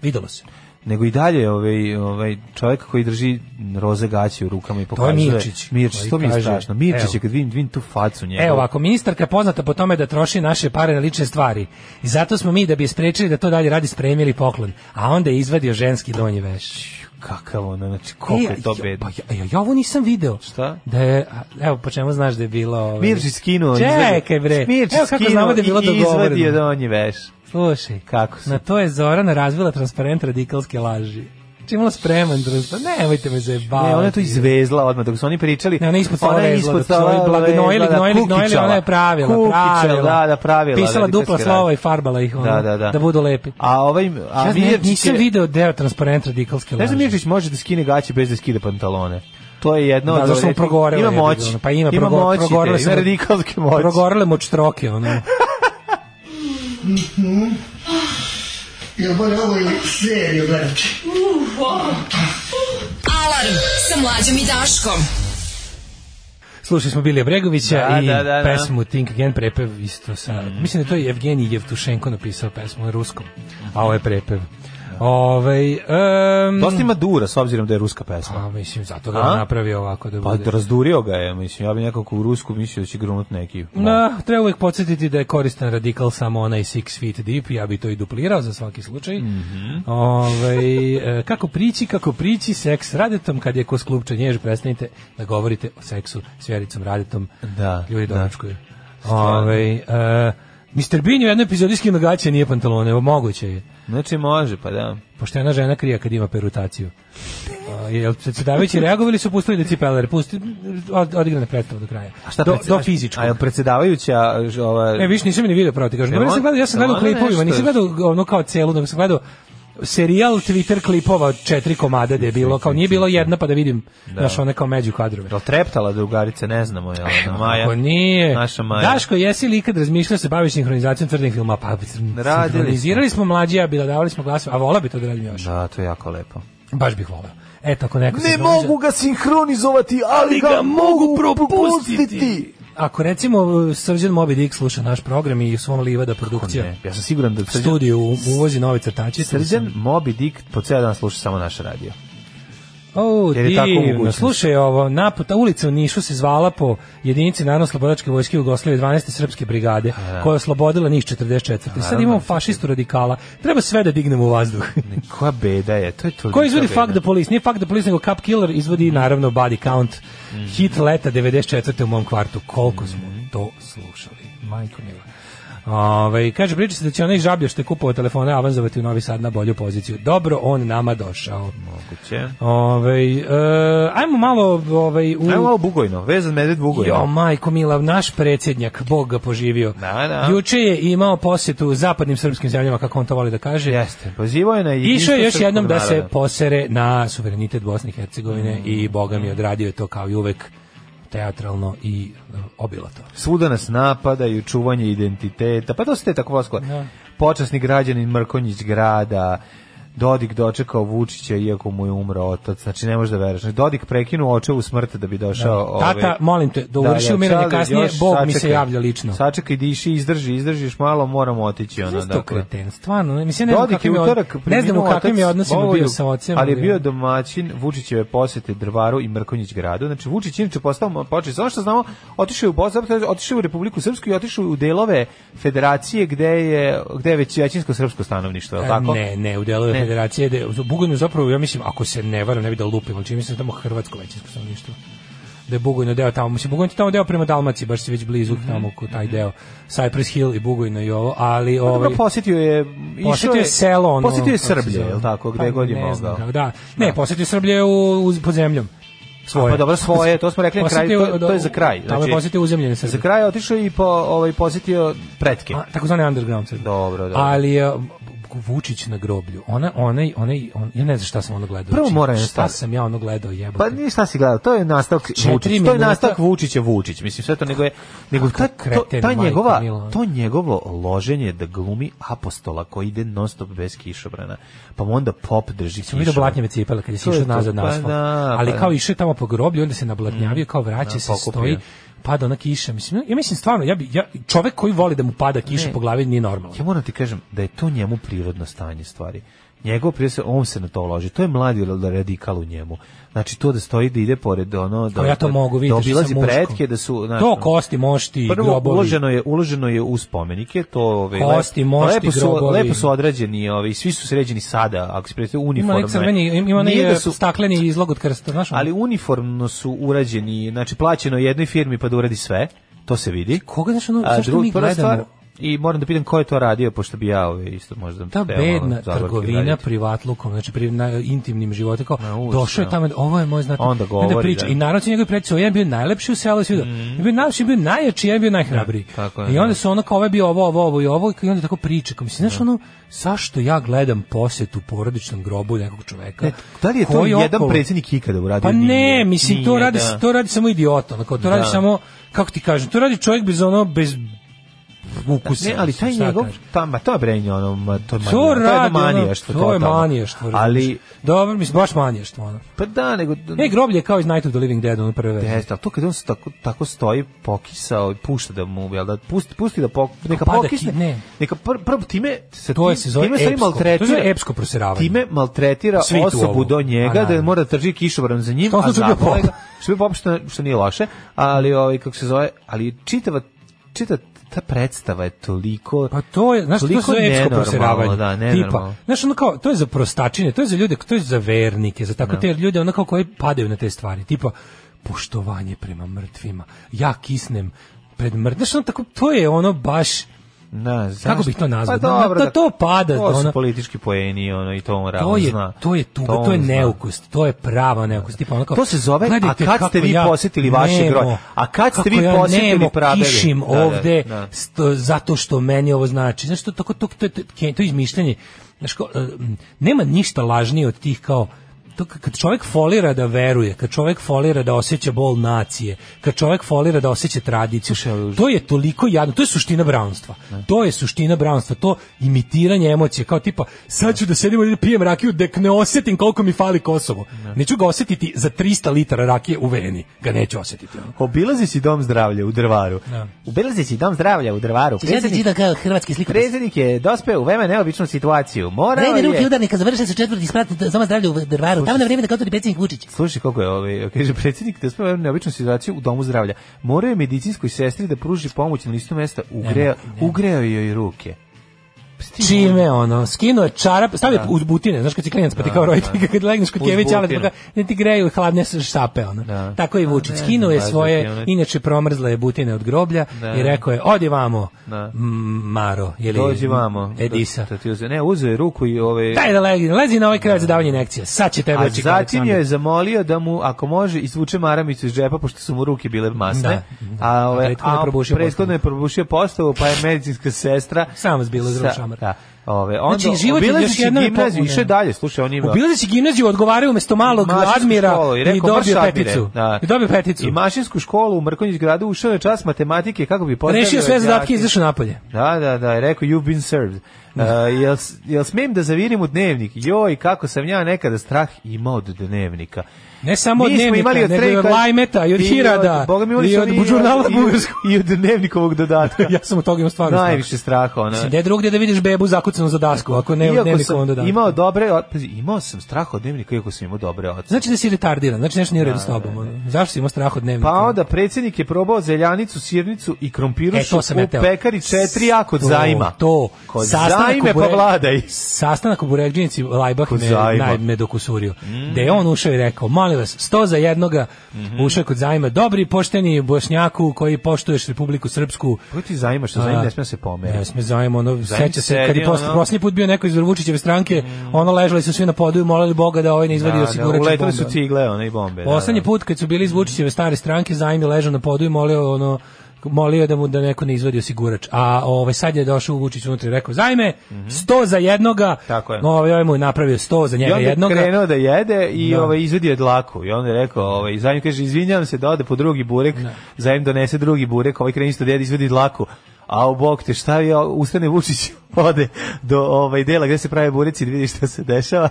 E: Videlo se.
D: Nego i dalje ovaj, ovaj čovjek koji drži roze gaće u rukama i pokazuje.
E: Mirčić,
D: Mirčić,
E: koji
D: to mi je
E: kaže,
D: strašno. Mirčić je
E: evo.
D: kad vidim, vidim tu facu njegovu.
E: Evo ovako, ministarka je poznata po tome da troši naše pare na lične stvari. I zato smo mi, da bi je sprečili da to dalje radi, spremili poklon. A onda je izvadio ženski donji veš.
D: Kakav ono, znači koliko
E: E,
D: je to
E: ja-
D: bedno.
E: Pa ja, ja, ja ovo nisam video.
D: Šta?
E: Da je, a, evo, po čemu znaš da je bilo... Ovaj...
D: Mirčić skinuo.
E: Čekaj
D: izvadio-
E: bre.
D: Mirčić
E: evo kako
D: skinuo
E: znamo da je bilo
D: i izvadio
E: dogovoreno.
D: donji veš.
E: Slušaj,
D: Kako su?
E: na to je Zorana razvila transparent radikalske laži. Čim imala spreman transparent, nemojte me zajebavati.
D: Ne, ona je to izvezla odmah dok su oni pričali.
E: Pa Ne, ona je ispod stola
D: Ona je
E: vezla,
D: ispod
E: dok su ovi
D: stola
E: blagojili,
D: vezla, da,
E: gnojili, gnojili,
D: kukičala.
E: ona je pravila,
D: Kukičala,
E: pravila.
D: Da, da, pravila.
E: Pisala
D: da,
E: dupla
D: da,
E: slova i farbala ih, ono,
D: Da, da, da.
E: da budu lepi.
D: A ovaj, a
E: ja ne,
D: Mirčić
E: nisam
D: je-
E: video deo transparent radikalske
D: Ne
E: laži.
D: znam, Mirčić može da skine gaće bez da skida pantalone. To je jedno
E: Da,
D: od...
E: zašto smo
D: retkih-
E: progorele,
D: Ima
E: jebi ga,
D: moć.
E: ono, pa ima
D: ima
E: progor-
D: moć,
E: progorele
D: ide,
E: su-
D: ima radikalske moći.
E: Progorele mu čtroke, ono.
K: Alarm sa mlađom i Daškom.
E: Slušali smo Bilija Bregovića
D: Da,
E: i
D: da, Mm. da, da.
E: pesmu Think Again prepev isto sa... Mislim da je to je Evgenij Jevtušenko napisao pesmu na ruskom, a ovo je prepev. Ovaj em,
D: Dosta ima dura, s obzirom da je ruska pesma.
E: a, mislim, zato ga
D: A?
E: je napravio ovako da
D: Pa
E: bude...
D: razdurio ga je, mislim, ja bih nekako u Rusku mislio da će grunut neki.
E: Na, treba uvijek podsjetiti da je koristan radikal samo onaj six feet deep, ja bi to i duplirao za svaki slučaj.
D: Mhm.
E: Ovaj, e, kako prići, kako prići, seks s radetom, kad je ko sklupča njež, prestanite da govorite o seksu s vjericom radetom.
D: Da,
E: Ljudi
D: da.
E: doručkuju. Ovaj, e, Mr. Bean je u jednoj epizodi skinuo gaće, nije pantalone, evo, moguće je.
D: Znači može, pa da.
E: Poštena žena krija kad ima perutaciju. A, jel predsedavajući reagovali su pustili da cipeler, pusti, od- odigrana predstava do kraja. do,
D: predse-
E: do fizičkog.
D: A je predsedavajuća ž- ova
E: Ne, E, viš, nisam ni video pravo, ti kažem.
D: Jel
E: Dobro, ja
D: on-
E: sam gledao, ja sam
D: jel ono
E: gledao klipovima,
D: nešto-
E: nisam gledao ono kao celu, nego sam gledao serijal Twitter klipova od četiri komada da je bilo, kao nije bilo jedna pa da vidim naš one kao među kadrove.
D: Jel treptala drugarica, ne znamo, jel, ona, Maja.
E: E, Ako nije.
D: Naša Maja.
E: Daško, jesi li ikad razmišljao se baviš sinhronizacijom tvrdim filma? Pa,
D: Radili
E: sinhronizirali smo mlađi, a bila davali smo glasove, a vola bi to da radim još.
D: Da, to je jako lepo.
E: Baš bih volao. E, tako neko
L: Ne
E: sinhroniza-
L: mogu ga sinhronizovati, ali ga mogu propustiti.
E: Ako recimo Srđan Moby Dick sluša naš program i u svom livada produkcija
D: Ne, ja sam siguran da Srđan,
E: studiju u- uvozi nove crtače. tu
D: Srđan Moby Dick po cijel dan sluša samo naše radio.
E: O,
D: Jer je tako
E: divno.
D: mogućnost.
E: Slušaj ovo, naputa ulica u Nišu se zvala po jedinici Narodno-slobodačke vojske Jugoslavije 12. srpske brigade, koja je oslobodila Niš 44. Sad imamo fašistu radikala. Treba sve da dignemo u vazduh.
D: Koja beda je, to je to.
E: Ko izvodi Fuck the Police? Nije Fuck the Police, nego Cup Killer izvodi naravno Body Count.
D: Mhm.
E: Hit leta 94. u mom kvartu. Koliko smo to slušali? Majko mila. Ove, kaže, priča se da će onaj žablja što je kupovao telefone avanzovati u Novi Sad na bolju poziciju. Dobro, on nama došao.
D: Moguće.
E: Ovaj e, ajmo malo ovaj u
D: Ajmo malo Bugojno, vezan medved Bugojno.
E: Jo, majko mila, naš predsjednjak, Bog ga poživio.
D: Da, da.
E: Juče je imao posjetu zapadnim srpskim zemljama, kako on to voli da kaže.
D: Jeste, pozivao je na jedinstvo
E: Išao je još
D: srpskog
E: jednom da se
D: naroda.
E: posere na suverenitet Bosne i Hercegovine
D: Mm.
E: i Boga mi odradio je to kao i uvek teatralno i e, obilato.
D: Svuda nas napadaju, čuvanje identiteta, pa to ste tako vosko. Počasni građanin Mrkonjić grada, Dodik dočekao Vučića iako mu je umro otac, znači ne možeš da veruješ. Dodik prekinuo očevu smrt da bi došao...
E: Tata,
D: ovaj,
E: molim te, dovrši
D: da,
E: umiranje
D: Čale,
E: kasnije,
D: još
E: Bog mi se javlja lično.
D: Sačekaj, diši, izdrži, izdržiš malo, moramo otići ono.
E: Znači to
D: Dakle.
E: kreten, stvarno. ne- Mislim, ja ne znam
D: Dodik je
E: kakvim je od-
D: utorak
E: ne znam u
D: preminuo
E: kakvim
D: otac
E: je odnosima bio
D: Bogoljub,
E: sa ocem.
D: Ali je bio domaćin Vučićeve posete Drvaru i Mrkonjić gradu. Znači Vučić inače postao počeo samo što znamo, otišao je u Bosnu, otišao je u Republiku Srpsku i otišao je u delove Federacije gde je gde je već većinsko srpsko stanovništvo, je li
E: E,
D: tako?
E: Ne, ne, u delove
D: Ne.
E: federacije. De, u Bugojnu zapravo, ja mislim, ako se ne varam, ne bi da lupim, ali čini mi se da je tamo hrvatsko većinsko stanovništvo. Da je Bugojno deo tamo, mislim, Bugojno je tamo deo prema Dalmaciji, baš si već blizu
D: Mhm.
E: tamo ko taj deo. Cypress Hill i Bugojno i ovo, ali...
D: Pa
E: Ovaj,
D: Dobro, posjetio je, išao
E: Posjetio je selo ono.
D: Posjetio je
E: kako se
D: Srblje,
E: zove.
D: je li tako, gde
E: Pa,
D: god je
E: ne znam
D: mogao.
E: kako, Da, ne, posjetio Srblje u, uz- pod zemljom. Svoje.
D: A, Pa dobro, svoje, to smo rekli na kraju, to, to je za kraj. znači,
E: Tamo je posjetio uzemljene Srblje.
D: Za kraj je otišao i po, ovaj, posjetio pretke.
E: A, takozvani underground Srbi.
D: Dobro, dobro.
E: Ali je Vučić na groblju. Ona, onaj, onaj, on, ja ne znam šta sam ono gledao.
D: Prvo
E: Znači,
D: moram jedna
E: Šta
D: stvar.
E: sam ja ono gledao, jebote.
D: Pa nije šta si gledao, to je nastavak
E: Četiri
D: Vučić, to je
E: minuta.
D: nastavak Vučića Vučić, mislim sve to nego je nego ta, to,
E: kreten,
D: ta
E: majko
D: njegova
E: mila.
D: to njegovo loženje da glumi apostola koji ide non stop bez kišobrana, pa mu onda pop drži
E: Sam vidio
D: kišobran.
E: blatnjave cipele kad je
D: To je
E: sišao
D: to,
E: nazad na
D: pa
E: asfalt.
D: da,
E: Ali
D: pa
E: kao
D: da. Mm.
E: išao je tamo po groblju, onda se nablatnjavio, kao vraća se,
D: pokupio.
E: stoji, pada ona kiša. Mislim, ja mislim stvarno, ja, bi, ja, čovek koji voli da mu pada kiša po glavi nije normalan.
D: Ja moram ti kažem da je to njemu prirodno stanje stvari. Njegov prijesa, on se na to loži. To je mladi radikal u njemu. Znači to da stoji da ide pored ono da
E: Kao ja to mogu
D: da
E: vidjeti.
D: obilazi pretke da su znači
E: To kosti, mošti,
D: Prvo
E: grobovi.
D: uloženo je uloženo je u spomenike, to ovaj
E: Kosti,
D: lep-
E: mošti,
D: lepo su
E: grobovi.
D: lepo su odrađeni, ovaj svi su sređeni sada, ako se prijete
E: Ima
D: uniforme.
E: neki crveni, ima onaj e,
D: Nije
E: da
D: da su
E: stakleni izlog od krsta, znaš? ono?
D: ali uniformno su urađeni, znači plaćeno je jednoj firmi pa da uradi sve, to se vidi.
E: koga znaš ono, zašto
D: druga-
E: mi
D: prva stvar,
E: gledamo?
D: I moram da pitam ko je to radio, pošto bi ja ovaj, isto možda...
E: ta
D: hteo malo
E: bedna
D: zavorke
E: trgovina
D: raditi.
E: privatlukom, znači pri na, intimnim životu, kao,
D: Na ulici,
E: došao
D: da.
E: je tamo, ovo je moj znati,
D: Onda govori,
E: priča.
D: da.
E: I narod će njegovi preći, ovo je bio najlepši u selu, svi mm. bio najlepši, bio najjači, ja bio najhrabriji.
D: tako je,
E: I onda
D: da.
E: su ono kao, ovo je bio ovo, ovo, ovo i ovo, i onda tako priča, kao, mislim, znaš ono, zašto ja gledam posjet u porodičnom grobu nekog čoveka?
D: Ne, E, da li je to
E: koji
D: jedan
E: okolo-
D: predsjednik ikada uradio?
E: Pa ne,
D: Nije,
E: mislim, to,
D: nije,
E: radi, ono,
D: da.
E: to radi samo idiot, onako, to radi
D: Da.
E: samo, kako ti kažem, to radi čovjek bez ono, bez ukusa.
D: Ne, ali taj
E: šta
D: njegov,
E: kažeš.
D: ta, ma to je brenje, ono, ma, to je manija,
E: To
D: to je jedno
E: radi, ono,
D: manijaštvo.
E: to je
D: totalno.
E: manijaštvo.
D: Ali,
E: Ali, dobro, mislim, baš manijaštvo, ono.
D: pa da, nego...
E: Ne, groblje je kao iz Night of the Living Dead, ono prve veze.
D: Jeste, ali to kad on se tako, tako stoji pokisao i pušta da mu, jel da, pusti, pusti da pok, neka
E: pada
D: pokisne,
E: ki- ne.
D: neka pr, prvo time, se
E: To je
D: tim-
E: se zove
D: time se
E: epsko.
D: maltretira,
E: To se zove epsko prosiravanje.
D: Time maltretira
E: Svi tu
D: osobu
E: ovo.
D: do njega,
E: A, naravno.
D: da mora da trži kišobran za njim,
E: Što
D: a
E: se čudio
D: zaboga
E: pop?
D: ga, što je pop, što, što nije loše, ali, ovaj, kako se zove, ali čitava, čitava ta predstava je toliko...
E: Pa to je, znaš, to
D: toliko
E: su epsko
D: nenormalno,
E: prosiravanje.
D: Da,
E: Tipa,
D: nenormalno.
E: znaš, ono kao, to je za prostačine, to je za ljude, to je za vernike, za tako te ljude, ono kao koji padaju na te stvari. Tipa, poštovanje prema mrtvima, ja kisnem pred mrtvima. Znaš, ono tako, to je ono baš,
D: Na,
E: Kako bih to nazvao?
D: Pa dobro,
E: Da to pada,
D: To su
E: ono.
D: politički poeni, ono, i to on ravno
E: to je,
D: zna.
E: to je tuga, to je
D: on zna.
E: neukost, to je prava neukost. Tipa, ono kao,
D: To se zove, a
E: gledajte
D: kad ste
E: kako
D: vi
E: ja
D: posjetili vaše
E: nemo,
D: groje? A kad ste
E: kako
D: vi
E: ja
D: posjetili
E: nemo
D: pradede?
E: kišim
D: Da, da,
E: ovde
D: da.
E: sto- zato što meni ovo znači. Znaš, to, tako, to, to, to, to, to je izmišljanje. Znaš, kao, e, m, nema ništa lažnije od tih kao to k- kad čovjek folira da veruje, kad čovjek folira da osjeća bol nacije, kad čovjek folira da osjeća tradiciju, to je toliko jadno, to je suština brownstva. To je suština brownstva, to imitiranje emocije, kao tipa, sad ću da sedim ovdje i da pijem rakiju, dek ne osjetim koliko mi fali Kosovo. Neću ga osjetiti za 300 litara rakije u veni, ga neću osjetiti. ono.
D: Obilazi si dom zdravlja u Drvaru.
E: Da.
D: Obilazi si dom zdravlja u Drvaru. Predsjednik,
M: kao hrvatski
D: predsjednik je dospeo u veoma neobičnu situaciju. Morao
M: Rejne ruke
D: je...
M: udarnika završili su četvrti sprat doma zdravlja u Drvaru. Tamo na vrijeme da kao to predsjednik Vučić.
D: Slušaj kako je ovaj, kaže predsjednik da speva neobičnu situaciju u domu zdravlja. Morao je medicinskoj sestri da pruži pomoć na listu mesta, ugreo, ugreo joj ruke. Pa
E: Čime ono, skinuo je čarap, stavio uz butine, znaš kad si klinac pa ti kao roditelj, kad legneš kod
D: Uz
E: kevića, ali
D: butine.
E: ne ti greju hladne s- šape, ono.
D: Da.
E: Tako je i Vučić, skinuo je
D: baš da ti ono-
E: svoje, inače promrzla je butine od groblja
D: Da.
E: i rekao je, odi vamo,
D: Da.
E: m, Maro, ili
D: Dođi vamo.
E: Edisa.
D: Da, da ti uze- ne, uzeo je ruku i ove...
E: Daj da legi, lezi na ovaj krevet za davanje inekcija, sad će tebe
D: A
E: očekati.
D: zatim
E: Aleksandar.
D: je zamolio da mu, ako može, izvuče maramicu iz džepa, pošto su mu ruke bile masne.
E: Da.
D: A, ove,
E: A prethodno je
D: a
E: probušio
D: prethodno je probušio postavu, pa je medicinska sestra...
E: Sam vas bilo iz
D: sa-
E: šamar.
D: Da. Ove, onda,
E: Znači, život je
D: obilazeći
E: još jednom je
D: gimnaziju,
E: potpuno-
D: išao je dalje, slušaj, on ima...
E: Obilazeći gimnaziju odgovaraju umesto malog
D: mašinsku
E: admira
D: školu
E: i,
D: rekao, "Marš,
E: dobio
D: Admire."
E: peticu.
D: Da.
E: I dobio peticu.
D: I mašinsku školu u Mrkonjić gradu ušao je čas matematike kako bi postavio...
E: Pa Rešio sve zadatke
D: đake.
E: i izašao napolje.
D: Da, da, da, je rekao you've been served. Uh, jel, s- jel smijem da zavirim u dnevnik? Joj, kako sam ja nekada strah imao od dnevnika.
E: Ne samo od
D: Mi smo
E: dnevnika,
D: imali od
E: nego i od
D: Trejka-
E: Lajmeta, i od
D: i
E: Hirada,
D: Boga mi, imali
E: i
D: smo
E: od
D: mi
E: žurnala
D: i-
E: Bugarskog.
D: I od dnevnikovog dodatka.
E: ja sam od toga imao stvarno strah.
D: Najviše straha, ona.
E: Mislim, gde drugdje da vidiš bebu zakucanu za dasku, ako ne, ne
D: Iako
E: nikom
D: sam
E: onda da.
D: imao dobre, o- pazi, imao sam strah od dnevnika, iako sam imao dobre ocene.
E: Znači da si retardiran, znači nešto nije u redu s tobom. ono. Zašto si imao strah od dnevnika?
D: Pa onda predsjednik je probao zeljanicu, sirnicu i krompiru
E: E, to sam ja
D: u
E: teo.
D: pekari 4 a kod
E: To,
D: zajma.
E: To.
D: Kod
E: Sastanak
D: zajme
E: u
D: pa
E: Bureg-
D: vladaj.
E: Sastanak u Buregđinici Lajbah
D: Kod
E: me,
D: zajma. Mm.
E: naj, me dokusurio. Da je on ušao i rekao, molim vas, sto za jednoga
D: Mhm.
E: ušao je kod zajma. Dobri i pošteni bošnjaku koji poštuješ Republiku Srpsku.
D: Kako ti zajma što zajma
E: A,
D: ne smije se pomeri?
E: Ne sme zajma, ono, seća se,
D: sedi,
E: kad je posle,
D: ono. Mm.
E: posljednji put bio neko iz Vučićeve stranke, ono, ležali su svi na podu i molili Boga da ovaj ne izvadi
D: Da, da,
E: osigurač. od
D: uletele
E: bombe.
D: su cigle, one i bombe. da,
E: Poslednji
D: da.
E: put kad su bili iz Vučićeve stare stranke, Zajm je ležao na podu i molio ono molio je da mu da neko ne izvadi osigurač. A ovaj sad je došao Vučić unutra i rekao: "Zajme, 100 za jednoga."
D: Mhm. Tako je.
E: No, ovaj ovaj mu je napravio 100 za
D: I
E: njega
D: onda je
E: jednoga.
D: krenuo da jede i
E: Da.
D: ovaj, izvedio je dlaku. I onda je rekao, ovaj, zajem kaže, izvinjam se da ode po drugi burek, zajem donese drugi burek, ovaj kreni isto da jede, izvedi dlaku. A u bok te šta je, ustane Vučić, ode do ovaj, dela gde se prave bureci i da vidi šta se dešava.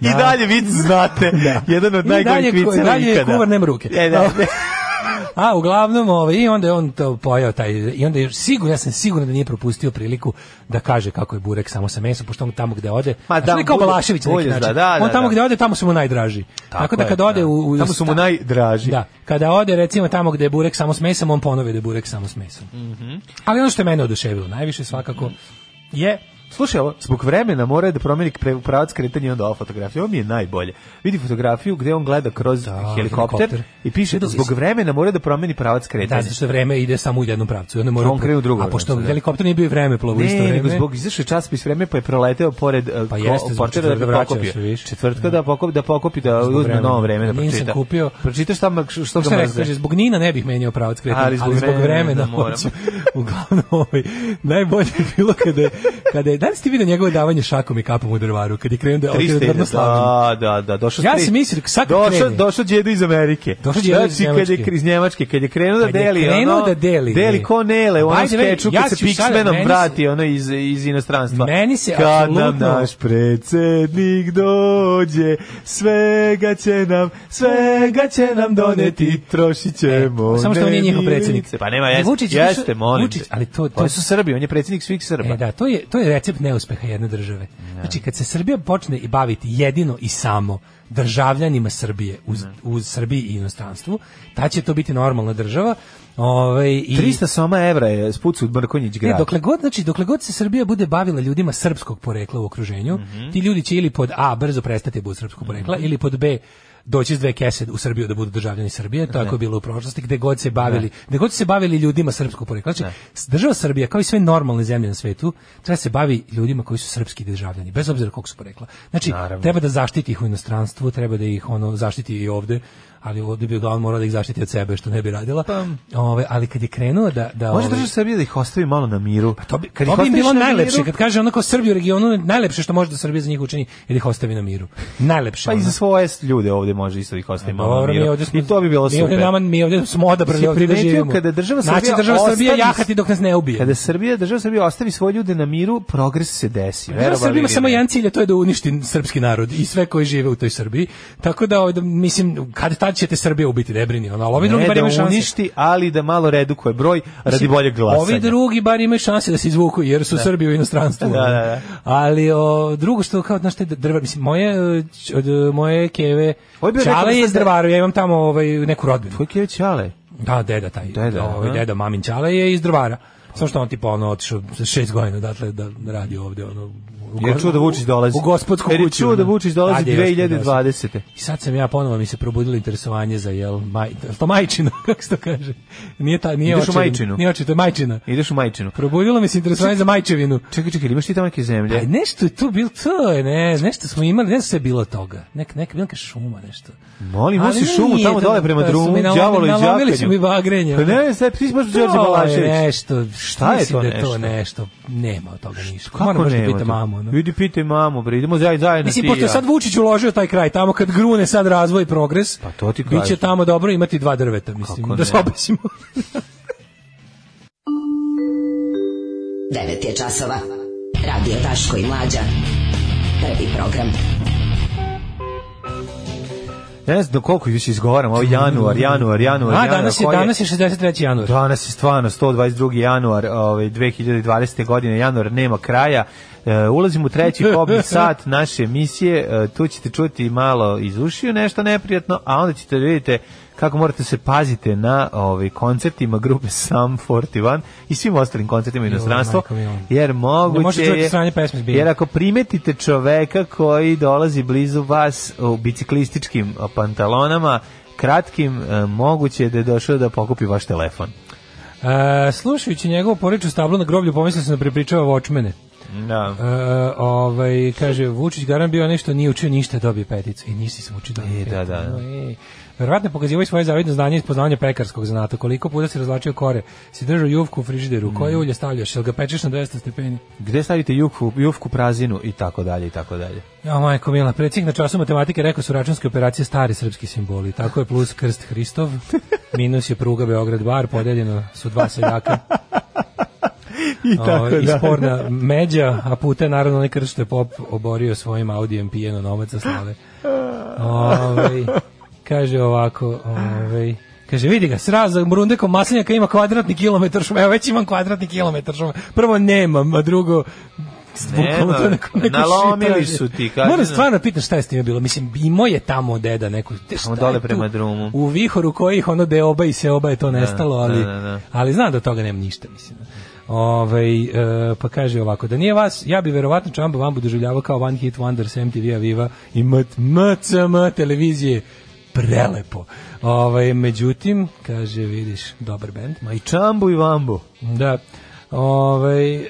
D: I
E: Da.
D: dalje vic znate, jedan od
E: I
D: najgorih
E: dalje-
D: viceva
E: dalje je
D: ikada.
E: kuvar nema ruke.
D: E, da, da.
E: A uglavnom ovaj i onda je on to pojao taj i onda je sigurno ja sam siguran da nije propustio priliku da kaže kako je burek samo sa mesom pošto on tamo gde ode.
D: Ma
E: znaš,
D: da,
E: on je kao
D: bolje-
E: Balašević na neki
D: bolje zna,
E: način.
D: da, da,
E: on tamo
D: da.
E: gde ode tamo su mu najdraži. Tako, da
D: je,
E: kad ode u, u
D: Tamo su mu najdraži.
E: Da, kada ode recimo tamo gde je burek samo s mesom, on ponovi da je burek samo s mesom.
D: Mhm.
E: Ali ono što je mene oduševilo najviše svakako je
D: Slušaj, ovo, zbog vremena mora da promeni pre- pravac kretanja i onda ova fotografija. Ovo mi je najbolje. Vidi fotografiju gde on gleda kroz helikopter,
E: helikopter.
D: i piše
E: Videli
D: zbog
E: smo.
D: vremena mora da promeni pravac
E: da
D: kretanja.
E: zato što vreme ide samo u jednom pravcu, i onda mora
D: On krene u drugo
E: A pošto
D: pravcu, da.
E: helikopter nije bio vreme plovu isto
D: ne,
E: vreme.
D: nego zbog izašao je časopis vreme pa je proleteo pored uh,
E: Pa
D: ko-
E: jeste, zbog
D: portira da
E: četvrtka
D: bi
E: vraćao
D: pokopio.
E: se više.
D: Četvrtka da pokopi, da pokopi da uzme
E: vremena.
D: novo vreme da
E: Nisam
D: pročita.
E: kupio.
D: Pročitaš šta, ma- što
E: Šta
D: ga
E: rekao, kaže,
D: mrzde.
E: zbog Nina ne bih menjao pravac kretanja, ali zbog, vremena,
D: moram.
E: hoću. Uglavnom, ovaj, najbolje je bilo kada je, kada je, da li ste videli njegovo davanje šakom i kapom u drvaru kad je krenuo da okrenuo
D: 300
E: drvno slavljanje?
D: da, da, da, došao
E: Ja
D: tri-
E: sam mislio, sad kad
D: došao,
E: krene.
D: došao djedo iz Amerike.
E: Došao đedo iz
D: Znači, kad je
E: Njemačke.
D: kri- iz Njemačke, kad je krenuo da
E: Kad je
D: deli,
E: krenuo
D: ono,
E: da deli,
D: deli
E: e.
D: ko Nele, u onom
E: By the way,
D: skeču
E: ja
D: kad se
E: ću sada-
D: Pixmenom
E: meni se-
D: vrati ono iz, iz inostranstva.
E: Meni se
D: Kad nam
E: apsolutno-
D: naš predsednik dođe, svega će nam, svega će nam doneti, trošit ćemo.
E: E, Samo što on nije njihov predsjednik.
D: nemilice. Pa nema,
E: Ne,
D: jeste,
E: Vučić je
D: jeste,
E: više-
D: molim.
E: Vučić,
D: te.
E: ali to- to-
D: Pa su Srbi, on je predsjednik svih Srba.
E: E, da, to je, to je recept neuspeha jedne države. Znači, kad se Srbija počne i baviti jedino i samo državljanima Srbije uz, uz Srbiji i inostranstvu, ta će to biti normalna država. Ovaj, i,
D: 300 soma evra je spucu od Mrkonjić
E: Ne,
D: grad.
E: dokle god, znači, dokle god se Srbija bude bavila ljudima srpskog porekla u okruženju,
D: Mhm.
E: ti ljudi će ili pod A, brzo prestati da budu srpskog porekla, ili pod B, doći s dve kese u Srbiju da budu državljani Srbije, tako je bilo u prošlosti, gde god se bavili, gde god su se bavili ljudima srpskog porekla. Znači, država Srbija, kao i sve normalne zemlje na svetu, treba se bavi ljudima koji su srpski državljani, bez obzira kog su porekla. Znači, treba da zaštiti ih u inostranstvu, treba da ih ono zaštiti i ovde, ali ovde bi uglavnom morao da ih zaštiti od sebe, što ne bi radila. Ove, ali kad je krenuo da... da
D: Pa, Može
E: ovaj,
D: država Srbije da ih ostavi malo na miru.
E: Pa to bi,
D: Kad
E: to
D: ih
E: bi im
D: ostaviš
E: bilo
D: na miru-
E: najlepše, kad kaže onako Srbi u regionu, najlepše što može da Srbija za njih učini je da ih ostavi na miru. Najlepše. ono.
D: Pa i za svoje ljude ovde može isto da ih ostavi malo na
E: E, Dobro, mi
D: miru.
E: ovdje smo-
D: I to bi bilo
E: mi ovdje,
D: super.
E: nama, mi ovdje smo odabrali
D: Jesi
E: ovdje da
D: primetio
E: živimo.
D: kada država
E: znači,
D: Srbija
E: država Srbija
D: ostavi-
E: jahati dok nas ne ubije.
D: Kada Srbija, država Srbija ostavi svoje ljude na miru, progres se desi.
E: Pa Država
D: verovali
E: Srbija ima
D: ili
E: samo
D: ne.
E: jedan cilj, a to je da uništi srpski narod i sve koji žive u toj Srbiji. Tako da, ovaj, da, mislim, kad tad ćete Srbija ubiti, ne brini. Ono, ali ovi drugi
D: Ne
E: bar imaju
D: da
E: šanse.
D: uništi, ali da malo redukuje broj radi
E: Mislim,
D: boljeg glasanja.
E: Ovi drugi bar imaju šanse da se izvuku jer su Srbi u inostranstvu. ono.
D: Da, da, da.
E: Ali o, drugo što kao znaš te drva, mislim moje e, č- od e, moje keve.
D: Ovo je bio neka
E: Čale je
D: vrsta
E: iz drvaru, ja imam tamo ovaj neku rodbinu.
D: Tvoj Kević Ale.
E: Da, deda taj.
D: Deda,
E: ovaj
D: aha.
E: deda mamin Čale je iz drvara. Samo što on tipa ono otišao za šest godina odatle da radi ovde ono. u
D: Jer
E: go-
D: čuo da Vučić dolazi.
E: U gospodsku
D: Jer je
E: kuću.
D: čuo da
E: ono.
D: Vučić dolazi
E: Tad je još podesio.
D: 2020.
E: I sad sam ja ponovo mi se probudilo interesovanje za jel maj, jel to majčino, kako se to kaže. Nije ta, nije
D: Ideš u
E: očevin,
D: majčinu?
E: Nije oči, to je majčina.
D: Ideš u majčinu.
E: Probudilo mi se interesovanje za majčevinu.
D: Čekaj, čekaj, imaš ti tamo neke zemlje?
E: Pa nešto je tu bilo, to je, ne, nešto smo imali, nešto sve je bilo toga. Nek, neka, bila neka šuma, nešto.
D: Molim,
E: Ali
D: nosi šumu
E: nije,
D: tamo
E: da,
D: dole prema
E: pa su
D: drumu,
E: mi nalomi-
D: đavolu i đakanju.
E: nalomili su mi bagrenje,
D: Pa
E: ono.
D: ne, sad ti baš
E: To
D: Đorđe
E: je
D: Balašević.
E: nešto,
D: Šta je
E: mislim
D: to
E: da je
D: nešto?
E: to nešto, nema od toga ništa.
D: Kako
E: Moram baš da
D: nema
E: pitam
D: to?
E: mamu, ono.
D: Vidi, pitaj mamu, bre, idemo zajedno zajedno
E: Mislim,
D: ti i
E: pošto je
D: ja.
E: sad Vučić uložio taj kraj, tamo kad grune sad razvoj i progres,
D: Pa to ti
E: biće
D: kažem.
E: tamo dobro imati dva drveta, mislim,
D: Kako
E: da
D: ne?
E: se obesimo.
F: 9 je časova. Radio Daško i Mlađa. Prvi program.
D: Ne znam do koliko više izgovaram, ovo je januar, januar, januar,
E: A,
D: januar.
E: danas je,
D: koji
E: danas je 63. januar.
D: Danas je stvarno 122. januar ovaj, 2020. godine, januar nema kraja. E, ulazimo u treći pobni sat naše emisije, e, tu ćete čuti malo iz ušiju nešto neprijatno, a onda ćete da vidite kako morate da se pazite na ovaj, koncertima grupe Sam 41 i svim ostalim koncertima inostranstva,
E: majko mila.
D: jer moguće
E: može čovjek
D: je,
E: sranje pesme zbija.
D: jer ako primetite čoveka koji dolazi blizu vas u biciklističkim e, pantalonama, kratkim, e, moguće je da je došao da pokupi vaš telefon.
E: E, slušajući njegovu poriču stablu na groblju, pomislio sam da prepričava Watchmene.
D: Da.
E: E, ovaj, kaže, Vučić garan bio nešto, nije učio ništa, dobio peticu. I nisi sam učio dobio
D: E, da,
E: peticu.
D: da, da.
E: E. Verovatno je pokazivao i svoje zavidno znanje iz poznavanja pekarskog zanata. Koliko puta si razlačio kore, si držao juvku u frižideru,
D: Mm.
E: koje ulje stavljaš, jel ga pečeš na 200 stepeni?
D: Gde stavite jufku, jufku prazinu i tako dalje i tako dalje.
E: Ja, majko Mila, predsjednik na času matematike rekao su računske operacije stari srpski simboli. Tako je plus krst Hristov, minus je pruga Beograd-Bar, podeljeno su dva seljaka.
D: I
E: Ovaj, i sporna međa, a puta je naravno onaj krst što je pop oborio svojim audijem pijeno novac za slave. Ovaj, kaže ovako, ovaj, kaže vidi ga, sraz za mrundekom maslinjaka ima kvadratni kilometar šume, evo već imam kvadratni kilometar šume, prvo nemam, a drugo bukvalno to je neko- neko
D: nalomili
E: šitranje.
D: su ti, kaže,
E: Moram
D: no.
E: stvarno pitam šta je s time bilo. Mislim, imao je tamo deda neku... te šta je
D: dole
E: tu?
D: prema drumu.
E: U vihoru kojih ono deoba i seoba je to nestalo, ali,
D: da, da.
E: ali znam da od toga nema ništa, mislim. Ovaj e, pa kaže ovako, da nije vas, ja bi verovatno Čamba Vambu doživljavao kao One Hit Wonder sa MTV Aviva i mat- MCM televizije. Prelepo. Ovaj međutim, kaže, vidiš, dobar bend.
D: Ma i čambu i vambu.
E: Da. Ovaj e,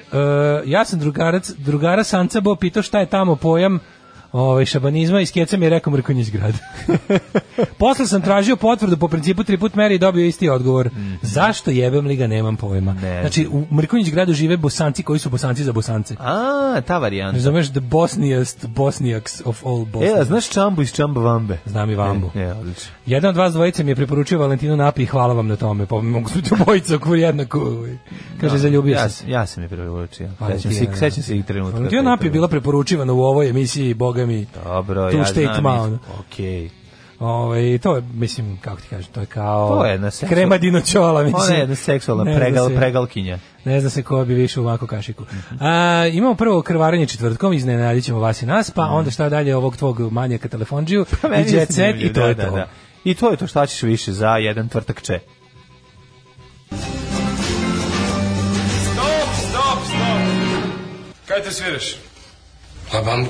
E: ja sam drugarac, drugara Sanca Bo pitao šta je tamo pojam ovaj, šabanizma i skeca mi je rekao mrkonje zgrada. Posle sam tražio potvrdu po principu tri put meri i dobio isti odgovor.
D: Mhm.
E: Zašto jebem li ga, nemam pojma. Znači, u Mrkonjić gradu žive bosanci koji su bosanci za bosance.
D: A, ta varijanta.
E: Razumeš, the Bosniest Bosnijaks of all Bosniaks.
D: E, a znaš Čambu iz Čamba Vambe?
E: Znam i Vambu.
D: E, e, odlično.
E: Jedan od vas dvojice mi je preporučio Valentinu Napi i hvala vam na tome. Pa mogu su ti obojica ako jednako. ovaj. Kaže,
D: Da,
E: zaljubio
D: ja,
E: sam
D: sam. Ja sam je preporučio. Sećam
E: Valentina,
D: se,
E: da.
D: sećam se i trenutka.
E: Valentina
D: kad je
E: Napi je bila preporučivana u ovoj emisiji, boga mi.
D: Dobro,
E: tu
D: ja
E: state
D: znam.
E: ma, ono.
D: Okej.
E: Ovaj, to je, mislim, kako ti kažem, to je kao...
D: To je jedna seksu-
E: Krema dinočola, mislim.
D: Ona je jedna seksualna
E: Ne zna
D: pregal,
E: se-
D: pregalkinja.
E: Ne zna se ko bi više u ovako kašiku.
D: Mhm.
E: A, imamo prvo krvaranje četvrtkom, iznenadit ćemo vas i nas, pa onda šta dalje ovog tvog manijaka telefonđiju
D: Mhm. Pa Meni
E: i
D: je
E: jet set
D: zanimljivo,
E: i to
D: da,
E: je
D: da,
E: to.
D: da. I to je to šta ćeš više za jedan tvrtak če.
N: Stop, stop, stop. Kaj te sviraš? Pa bambu.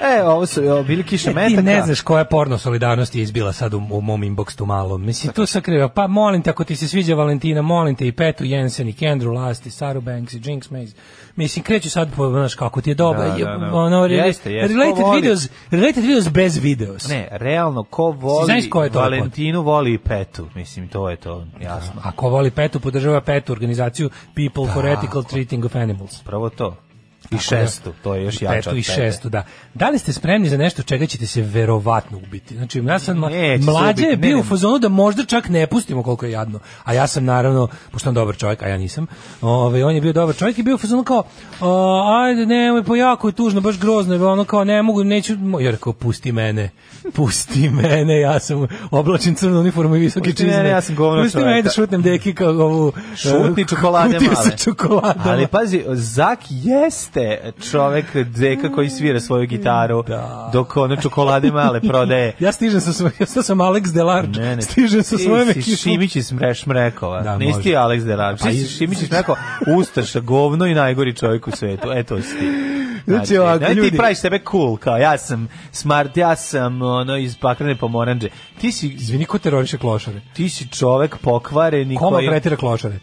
D: E, ovo su ovo, bili kiša
E: E, ti
D: metaka.
E: ne znaš koja porno solidarnost je izbila sad u, u mom inbox tu malo. Mislim, to sakriva. Pa molim te, ako ti se sviđa Valentina, molim te i Petu Jensen, i Kendru Last, i Saru Banks, i Jinx Maze. Mislim, kreću sad, po, znaš, kako ti je dobro.
D: Da, da, da.
E: Ono, re-
D: Jeste, jeste.
E: Related,
D: Ko voli?
E: videos, related videos bez videos.
D: Ne, realno, ko
E: Znaš
D: voli
E: ko je to
D: Valentinu, voli i Petu. Mislim, to je to, jasno.
E: Ako voli Petu, podržava Petu organizaciju People for
D: Tako.
E: Ethical Treating of Animals.
D: Prvo to. I
E: Tako
D: šestu,
E: da.
D: to je još
E: I
D: jače
E: petu
D: od
E: i
D: Pete.
E: šestu, da. Da li ste spremni za nešto čega ćete se verovatno ubiti? Znači, ja sam mla-
D: Neće se
E: mlađe
D: ubiti,
E: je
D: ne,
E: bio u
D: ne.
E: fazonu da možda čak ne pustimo koliko je jadno. A ja sam naravno, pošto sam dobar čovjek, a ja nisam, ovaj, on je bio dobar čovjek i bio u fazonu kao, "A, ajde, nemoj, pa jako je tužno, baš grozno, je bilo, ono kao, ne mogu, neću, mo-" jer kao, pusti mene, pusti mene, ja sam oblačen crnu uniformu i visoke
D: Pusti
E: čizme.
D: mene, ja sam govno
E: Pusti mene
D: čovjeka."
E: da šutnem deki kao ovu... eh,
D: Šutni čokolade
E: kutiju
D: male.
E: sa čokoladama.
D: Ali pazi, Zak jeste čovek deka koji svira svoju gitaru dok ono čokolade male prodaje.
E: Ja stižem sa svojim, ja sam Alex Delarge,
D: Ne, ne.
E: stižem sa
D: ti
E: svojim
D: si
E: ekipom.
D: Šimić iz Mreš Mrekova.
E: Da,
D: Nisi
E: može.
D: ti Alex Delarge.
E: Pa
D: Ti
E: iz-
D: si Šimić iz Mrekova, Ustaša, govno i najgori čovjek u svetu. E, to si ti.
E: Znači, ovako,
D: ne,
E: ljudi-
D: ti praviš sebe cool, kao ja sam smart, ja sam ono, iz pakrene pomoranđe. Ti si,
E: Izvini, ko teroriše klošare?
D: ti si čovek pokvaren i
E: Koma
D: koji...
E: pretira klošare?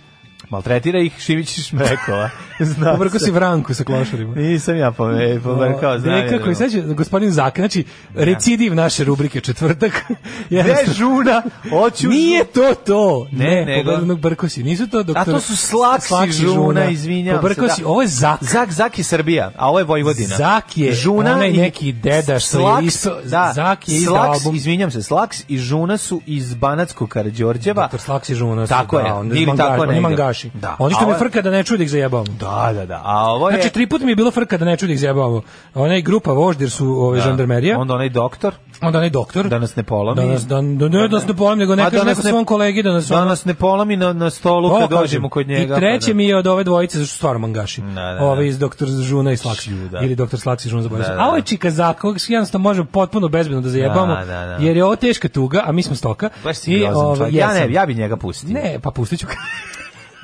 D: Maltretira ih Šimić iz Mrekova. Zna
E: Pobrko
D: se.
E: si Vranku sa klošarima.
D: Nisam ja pome, pobrkao, znam. ja
E: Deka
D: da-
E: koji sad će, gospodin Zak, znači, recidiv naše rubrike četvrtak.
D: Gde
E: Jednostavno-
D: žuna, oću
E: Nije to to.
D: Ne,
E: Ne,
D: nego-
E: pobrdnog brkosi. Nisu to doktor.
D: A to su slaksi, žuna, izvinjavam se,
E: Pobrkosi,
D: da.
E: ovo je Zak.
D: Zak, Zak je Srbija, a ovo je Vojvodina.
E: Zak je onaj
D: i-
E: neki deda što je
D: Slaks,
E: isto-
D: da,
E: Zak je izdao
D: Slaks,
E: album.
D: Izvinjam se, Slaks i Žuna su iz Banatskog Karađorđeva.
E: Doktor Slaksi žuna.
D: Tako je,
E: on,
D: ili tako
E: mangaši, oni
D: negde.
E: mangaši.
D: Da.
E: Oni što
D: A
E: me
D: ovo-
E: frka da ne čudi ih zajebavamo.
D: Da, da, da. A ovo je...
E: Znači, tri puta mi je bilo frka da ne čudi ih zajebavamo. Ona je grupa Voždir su ove
D: da.
E: žandarmerija.
D: Onda onaj doktor,
E: Onda onaj doktor.
D: da nas ne polomi.
E: Da nas, da, da, ne, da nas ne polim, nego
D: A
E: ne
D: da
E: kaže
D: nas
E: neko
D: ne-
E: svom kolegi da nas...
D: da
E: ono-
D: nas ne polomi na, na stolu
E: Ovo
D: kad
E: kažem.
D: dođemo kod njega.
E: I
D: pa
E: treće
D: da.
E: mi je od ove dvojice, zašto su stvarno mangaši.
D: da, da.
E: Ove iz Doktor Žuna i Slaksi.
D: Šiu, da.
E: Ili Doktor Slaksi Žuna zaboravio sam.
D: Da, da,
E: A ovo je
D: da.
E: Čika Zak, kojeg se jednostavno možemo potpuno bezbedno da zajebamo,
D: Da, da, da.
E: jer je ovo teška tuga, a mi smo stoka.
D: Baš si
E: I,
D: grozan
E: ove,
D: čovjek. Ja
E: jesam.
D: ne, ja bi njega pustio.
E: Ne, pa pustit ću ga.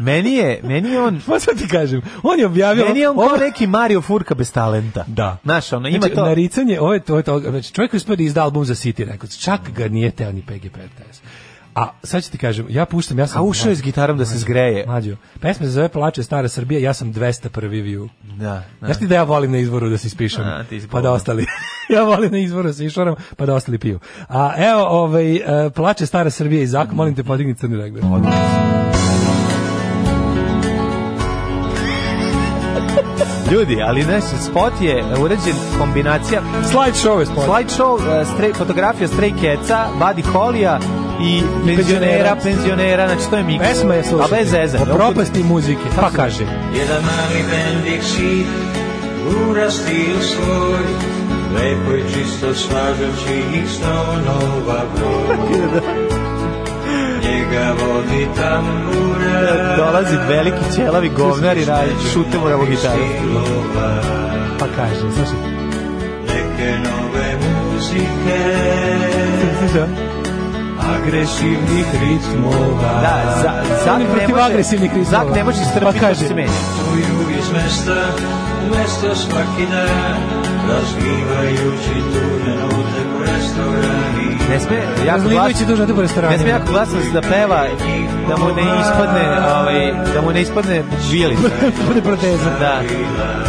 D: Meni je, meni je on...
E: Pa sad ti kažem, on je objavio...
D: Meni je on
E: ovo-
D: kao neki Mario Furka bez talenta.
E: Da.
D: Znaš, ono, ima
E: znači,
D: to...
E: Naricanje, ovo je to, ovo je to, znači, čovjek koji uspio da izda album za City Records, čak ga nije teo ni PGP RTS. A sad ću ti kažem, ja puštam, ja sam...
D: A ušao je s gitarom da se zgreje.
E: Mlađo, pesma se zove Plače stara Srbija, ja sam 201. view.
D: Da, da.
E: Znaš ti da ja volim na izvoru da se ispišem,
D: A, ti si
E: pa da
D: bolan.
E: ostali. ja volim na izvoru da se išoram, pa da ostali piju. A evo, ovaj, e, Plače stara Srbija i Zak, molim te podigni crni regler.
D: Ljudi, ali znaš, spot je urađen kombinacija
E: Slide show je spod.
D: slideshow, eh, stray, fotografija Stray Ketsa, Buddy Hollija i penzionera, penzionera, znači to je miks.
E: Pesma je,
D: A
E: slušaj,
D: bez zeze.
E: o propasti muzike, pa kaže.
O: Jedan mali bendik sit urastil svoj Lepo i čisto slažući ih stonova broj Njega vodi tambura
D: Dolazi veliki ćelavi govnar i radi šute mu ravo gitaru.
O: Stilova
E: Pa kaže, slušaj.
O: Neke nove muzike
E: Slušaj, ovo.
O: Agresivnih ritmova
D: Da, za,
E: On je
D: Zak ne
E: protiv
D: može,
E: agresivnih ritmova.
D: Zak ne može
E: Pa
D: strpiti, pa
E: kaže.
D: se menja.
O: Putuju iz mesta u mesto svaki dan Razgivajući tu na note po restorani
D: Ne sme jako
E: Zlinović
D: glasno.
E: je dužan da bude restoran.
D: Ne sme jako glasno da peva da mu ne ispadne, ovaj, da mu ne ispadne žilica.
E: Bude proteza.
D: Da.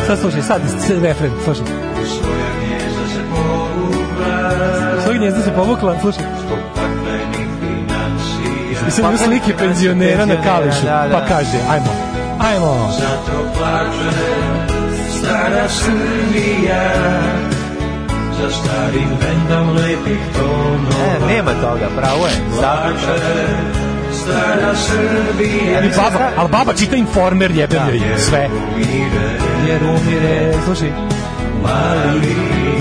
E: Sad slušaj, sad s- refren, slušaj. Svoje gnjezda se povukla, slušaj. I sad ima slike penzionera na kališu,
D: Da, da.
E: pa kaže, ajmo, ajmo.
O: Zato plače stara Srbija Za starim bendom lepih tonova
D: E, nema toga, pravo je.
O: Plače stara Srbija
E: I baba, ali baba čita informer, jebem joj, sve. Jer umire, slušaj.
O: Mali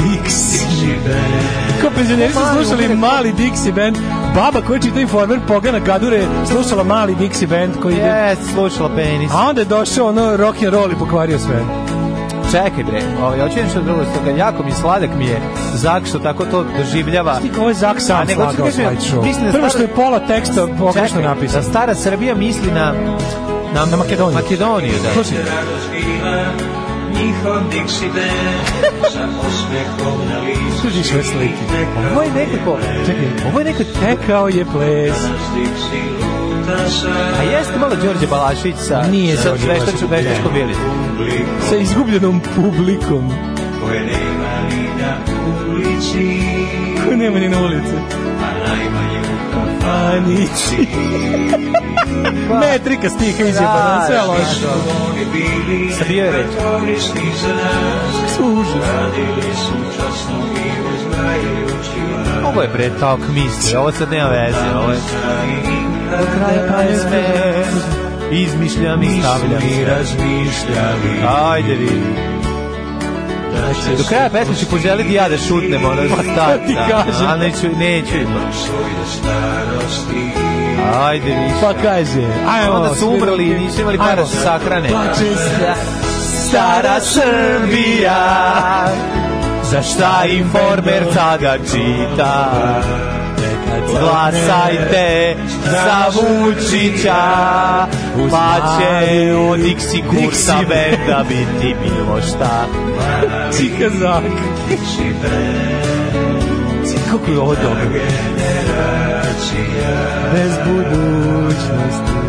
O: Dixi band
E: Kao penzioneri su
O: Mali
E: slušali
O: umire.
E: mali Dixie band, baba koja čita informer, pogana gadure, je slušala mali Dixie band koji ide...
D: Jes, slušala penis.
E: A onda je došao ono rock and roll i pokvario sve.
D: Čekaj bre, ovaj, hoću nešto drugo, stoga jako mi sladak mi je Zak što tako to doživljava.
E: Stik, ovo je Zak sam
D: A nego, hoću da
E: slagao
D: kažem,
E: slide show.
D: mislim da
E: Prvo
D: stara-
E: što je pola teksta pogrešno
D: Čekaj,
E: napisano.
D: Da stara Srbija misli na na, na Makedoniju. Makedoniju, da.
E: Slušaj.
O: Radoskila njihov Dixi band Sa osmehom na licu
E: Služi sve slike.
D: Ovo je nekako,
E: čekaj, ovo je nekako tekao je ples.
O: Dixi luta
D: A
O: sa
D: jeste malo Đorđe Balašić sa
E: Nije
D: sa
E: Đorđe
D: veštačko
E: Balašić.
D: veštačko bilicu.
E: Sa izgubljenom publikom.
O: Koje nema ni na ulici
E: Ko nema ni na ulici.
O: A najmanje u
E: Anići.
D: Pa.
E: Metrika stiha izjebana, sve loše.
O: Oni bili
D: Srbija je reč.
O: korisni za nas
E: Su užas.
O: Radili su časno i uzbrajajući vas
D: Ovo je bre talk misli, ovo sad nema veze,
O: ε,
D: ovo je... Do kraja pa je sve, izmišljam i stavljam
O: Mi
D: sve.
O: razmišljali
D: Ajde vi.
O: da
D: Do
O: će
D: kraja pesme ću poželiti ja da šutnem, ono za start.
E: ti kažem?
D: A neću, neću ipak.
O: svoj do starosti
D: Ajde vi.
E: Pa kaže, ajmo.
D: e, Onda su umrli i nisu imali para da se sahrane. Stara Srbija, za šta informer sada čita? Glasajte za Vučića, pa će u Dixi Kursa Benda biti bilo šta.
E: Cika zak. Kako je ovo dobro? Bez budućnosti.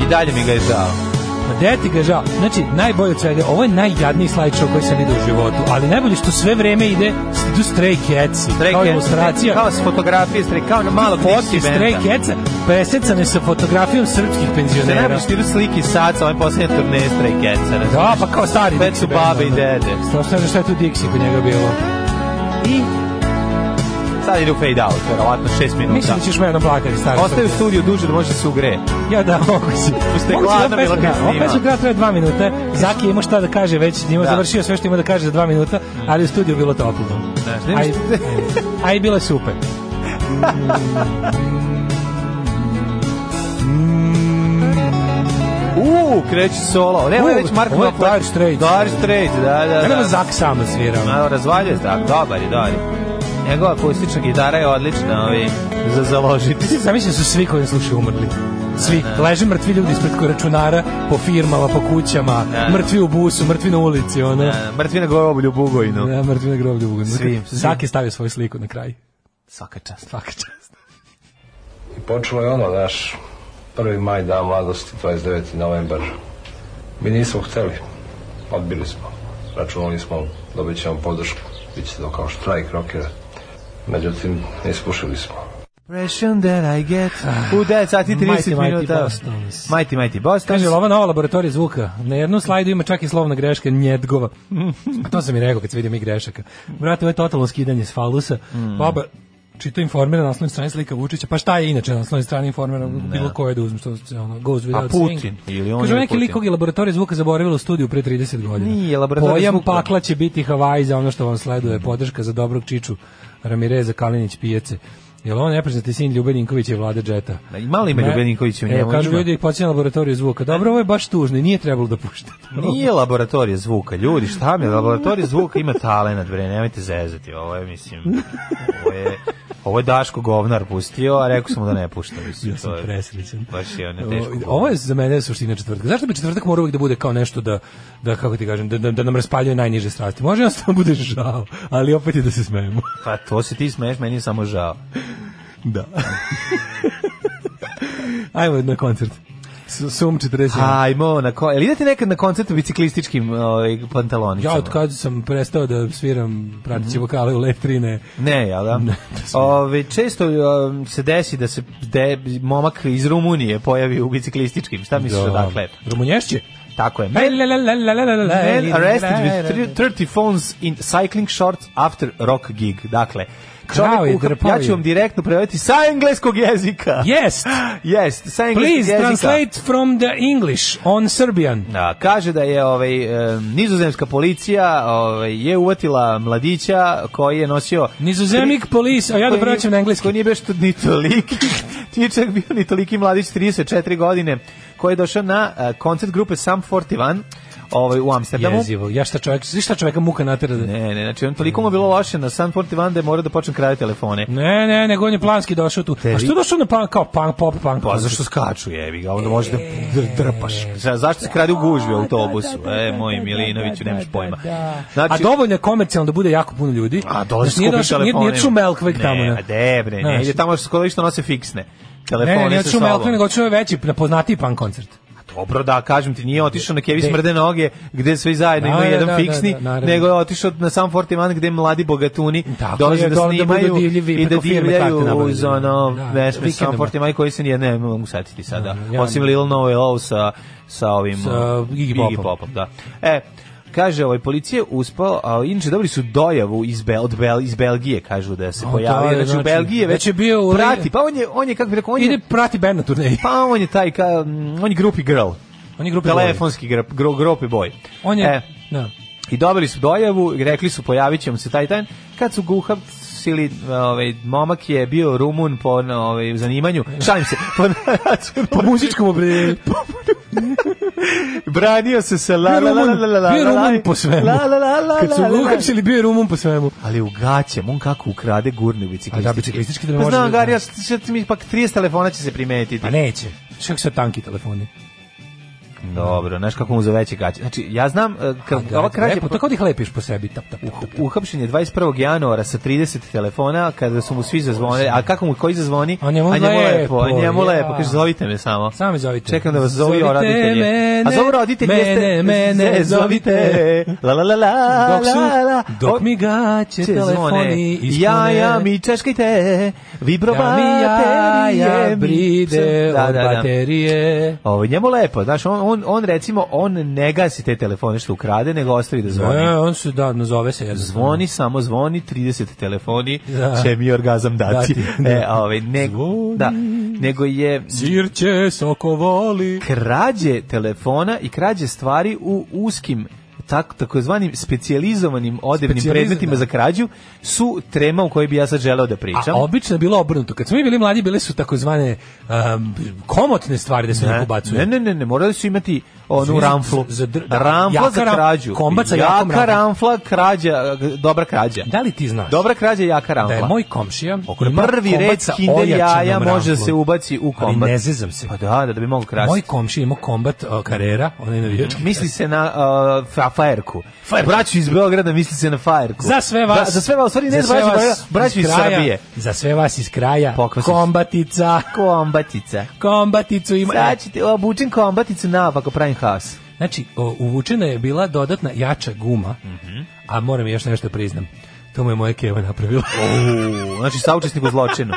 D: I dalje mi ga je žao.
E: Ma deti Pa ga žao. Znači, najbolje od svega, ovo je najjadniji slideshow koji sam vidio u životu, ali najbolje što sve vreme ide, idu Stray Cats.
D: Stray
E: kao
D: Cats,
E: ilustracija.
D: Kao s fotografije, strej, kao na malog
E: Fotke
D: Dixi
E: Stray
D: Benda.
E: Catsa, presecane sa fotografijom srpskih
D: Se
E: penzionera.
D: najbolje stiru slike saca, ovaj posljednje turneje Stray Catsa. razumiješ?
E: Da, pa kao stari.
D: Sve su babe i dede.
E: Strašno je šta je tu Dixie kod njega bilo.
D: I sad ide u fade out, verovatno 6 minuta.
E: Mislim da ćeš me jednom plakati, stari.
D: Ostaje u studiju duže da može da se ugre.
E: Ja da, moguće.
D: Puste gladno, Mila Kristina.
E: Opet su traje dva minuta. Zaki je imao šta da kaže već, ima
D: Da. Mm.
E: završio sve što ima da kaže za dva minuta, ali u studiju bilo toplo.
D: Znaš, nemaš-
E: Aj, aj, bilo je super.
D: U, kreće solo. Ne,
E: U,
D: ovo je već Marko
E: ovo je
D: Knopfler.
E: Dire Straits.
D: Dire Straits, da, da,
E: Nema
D: da.
E: Zak samo svirao.
D: Malo razvaljuje zrak, dobar je, dobar je. Njegova akustična gitara je odlična, ovi, za založiti.
E: Ti zamisli da su svi koji slušaju umrli. Svi, leže mrtvi ljudi ispred ko- računara, po firmama, po kućama,
D: Da.
E: mrtvi u busu, mrtvi na ulici, ono.
D: Da, da, Mrtvi na groblju Bugojnu.
E: Da, mrtvi na groblju. Bogdan.
D: Svi, svi.
E: Zak je stavio svoju sliku na kraj.
D: Svaka čast.
E: Svaka čast.
P: I počelo je ono, znaš, 1. maj, dan mladosti, 29. novembar. Mi nismo hteli, odbili smo. Računali smo, dobit ćemo podršku, bit će to kao štrajk rokera. Međutim, ispušili smo.
D: Impression that I get. U 9 sati i 30
E: Ah, Mighty, mighty
D: minuta.
E: Bostons.
D: Mighty Mighty Bostons.
E: Kaže, ova nova laboratorija zvuka. Na jednom slajdu ima čak i slovna greška njedgova. A to sam i rekao kad sam vidio mi grešaka. Brate, ovo je totalno skidanje s falusa.
D: Mm.
E: Baba, čito informira na naslovnoj strani slika Vučića. Pa šta je inače na naslovnoj strani informira? Bilo koje da uzmem što se ono, goes without
D: A Putin?
E: saying.
D: Ili on
E: Kaže,
D: ili
E: neki
D: Putin?
E: likovi laboratorija zvuka zaboravila u studiju pre 30 godina.
D: Nije, laboratorij
E: Pojam
D: zvuka. Mm.
E: pakla će biti Havaj za ono što vam sleduje. Podrška za dobrog čiču Ramireza Kalinić pijace. Jel ovo nepriznati sin Ljubeninković i Vlade Džeta?
D: Da, i malo ima
E: Ne.
D: Ljubeninkovića u njemu,
E: E, kažu
D: ima.
E: ljudi, počinje laboratoriju zvuka. Dobro, ovo je baš tužno i nije trebalo da puštate.
D: Nije laboratorija zvuka, ljudi, šta mi je? Laboratorija zvuka ima talenat, bre, nemojte zezati, ovo je, mislim, ovo je... Ovo je Daško govnar pustio, a rekao sam mu da ne pušta. Mislim,
E: Ja sam
D: to je-
E: presrećan.
D: Baš je ono teško.
E: O, Ovo je za mene suština četvrtka. Zašto bi četvrtak morao uvijek da bude kao nešto da, da kako ti kažem, da, da, da nam raspaljuje najniže strasti? Može nas da bude žao, ali opet je da se smejemo.
D: Pa to se ti smeješ, meni je samo žao.
E: Da. Ajmo na koncert. Su- Sum 47.
D: Ajmo, na ko... Jel idete nekad na koncert u biciklističkim ovaj, pantalonicama?
E: Ja od kad sam prestao da sviram pratići
D: Mhm.
E: vokale u Leftrine.
D: Ne, jel da? Ove, često um, se desi da se de, momak iz Rumunije pojavi u biciklističkim. Šta misliš
E: Da.
D: odakle?
E: Rumunješće?
D: Tako je. Men, men arrested with thir- 30 phones in cycling shorts after rock gig. Dakle,
E: Krao je,
D: uhap-
E: drpao
D: ja
E: je.
D: ću vam direktno prevesti sa engleskog jezika.
E: Yes!
D: yes, sa engleskog
E: Please
D: jezika.
E: translate from the English on Serbian.
D: Da, kaže da je ovaj em, nizozemska policija ovaj je uvatila mladića koji je nosio
E: Nizozemik police, a ja da
D: koji-
E: vraćam na engleski.
D: Koji nije baš to- ni toliki, nije čak bio ni toliki mladić 34 godine koji je došao na eh, koncert grupe Sam 41 ovaj, u Amsterdamu.
E: Jezivo, ja šta čovjek, znaš šta čovjeka muka natera da...
D: Ne, ne, znači on toliko mu je bilo loše na Sam 41 da je morao da počne kraju telefone.
E: Ne, ne, nego on je planski došao tu. A što je došao na punk, kao punk, pop, punk?
D: Pa zašto skaču jebi ga, onda možeš da dr- drpaš. E, Za- Zašto se krade u gužvi u autobusu? E, moj Milinoviću, nemaš pojma.
E: A
D: Znači,
E: dovoljno je komercijalno da bude jako puno ljudi. A
D: dolazi skupim
E: Nije,
D: telefonima.
E: nije Čumelkveg tamo.
D: Ne, a debre, ne,
E: Znaš.
D: ide tamo što što nose fiksne. Telefone
E: ne, ne, ne
D: sa
E: čuo Melkvig,
D: sobom.
E: nego čuo je veći, poznatiji punk koncert.
D: Dobro, da, kažem ti, nije otišao na Kevi
E: De-
D: smrde noge, gde svi zajedno
E: Da,
D: ima
E: da,
D: jedan
E: da,
D: fiksni,
E: da, da, naravno.
D: nego je otišao na sam Fortiman gde mladi bogatuni dolaze
E: je,
D: da
E: dole da budu
D: snimaju
E: divljivi,
D: i da
E: preko firme karte
D: divljaju
E: nabavljaju.
D: uz ono
E: Da,
D: vesme sam
E: vikendama.
D: Fortiman koji se nije, ne mogu setiti sada,
E: ja-
D: osim Lil Novo Low sa, sa ovim
E: Sa
D: uh,
E: Iggy Popom.
D: da. E, Kaže, ovaj policije uspao, a inače dobili su dojavu iz Bel, od Bel, iz Belgije, kažu da se
E: A,
D: pojavio,
E: da,
D: znači, u
E: znači,
D: Belgiji je već
E: već je bio u-
D: prati, pa on je, on je kako bi rekao, on je
E: Ide prati band na turneji.
D: pa on je taj, ka, mm, on je grupi girl.
E: On je grupi
D: Telefonski boy. Gro, grupi boy.
E: On je,
D: E,
E: da.
D: I dobili su dojavu, i rekli su pojavit ćemo se taj dan. Kad su guhap sili, ovaj, momak je bio Rumun po na, ovaj, zanimanju, šalim se, po, po
E: muzičkom obre...
D: branio se sa la la la la la la la
E: Bio je
D: la,
E: Rumun po svemu.
D: la, la, la, la,
E: Kad su
D: la, la, la.
E: ga uhapsili, bio je Rumun po svemu.
D: Ali u gaćem, on kako ukrade gurne u biciklistički.
E: A da, biciklistički da ne
D: Pa
E: može
D: Znam,
E: da-
D: Gari, ja, sad mi pak 30 telefona će se primetiti.
E: Pa neće. Znaš kako su tanki telefoni?
D: Dobro, znaš kako mu za veće gaće. Znači, ja znam, e, kad
E: Da,
D: ova krađa...
E: lepo, tako da ih lepiš po sebi. Tap, tap, tap.
D: Uhapšen je 21. januara sa 30 telefona kada su mu svi zazvonili, a kako mu koji zazvoni?
E: A njemu lepo,
D: a njemu
E: ja.
D: lepo, kaže zovite me samo.
E: Sami zovite.
D: Čekam da vas zovu
E: Zovite
D: roditelji. a
E: mene,
D: zovu roditelji
E: mene,
D: jeste
E: mene,
D: zovite. La la la la.
E: Dok su-
D: la, la.
E: dok
D: O-
E: mi
D: će
E: gaće telefoni
D: zvone.
E: ispune.
D: Ja, ja, mi češkajte, vibrobate.
E: Ja, mi jaja bride od baterije.
D: Ovo, njemu lepo, znaš, on, on, on recimo, on ne gasi te telefone što ukrade, nego ostavi da zvoni.
E: E, on se, da, nazove se. jednostavno.
D: Zvoni, samo zvoni, 30 telefoni,
E: Da.
D: će mi orgazam dati.
E: Dati, da.
D: E, a ovaj, nego, da, nego je
E: Sirće, sokovoli.
D: krađe telefona i krađe stvari u uskim tak, takozvanim specijalizovanim odevnim
E: Specijaliz-
D: predmetima
E: da.
D: za krađu su trema u kojoj bi ja sad želeo da pričam.
E: A obično je bilo obrnuto. Kad smo mi bili mladi, bile su takozvane um, komotne stvari da se ne ubacuje.
D: Ne, ne, ne, ne, morali su imati onu
E: Za-
D: ramflu.
E: za dr- da,
D: ramfla
E: jaka
D: za
E: ram-
D: krađu.
E: kombat sa
D: jaka
E: jakom ramflom.
D: ramfla, krađa, e, dobra krađa.
E: Da li ti znaš
D: Dobra krađa, jaka ramfla.
E: da je moj komšija ima
D: Prvi
E: kombat
D: red
E: sa
D: kinder
E: ojačanom
D: jaja može da
E: ramflom.
D: se ubaci u
E: Ali
D: kombat.
E: ne zezam se.
D: Pa da, da, da bi mogu krasti.
E: Moj komšija ima kombat uh, karera, onaj navijač.
D: Misli se na uh, fa, Fajerku. Braću iz Beograda misli se na Fajerku.
E: Za sve vas.
D: Za, za sve vas, u stvari ne
E: za sve
D: braću, iz Beograda,
E: vas
D: braću iz
E: kraja,
D: Srbije.
E: Za sve vas iz kraja.
D: Pokvasiš.
E: Kombatica.
D: Kombatica.
E: Kombaticu ima.
D: Sad ćete, obučen kombaticu naopako pravim haos.
E: Znači, o, uvučena je bila dodatna jača guma,
D: Mhm.
E: a moram još nešto da priznam. To mu je moja keva napravila.
D: Uuu, znači saučesnik u zločinu.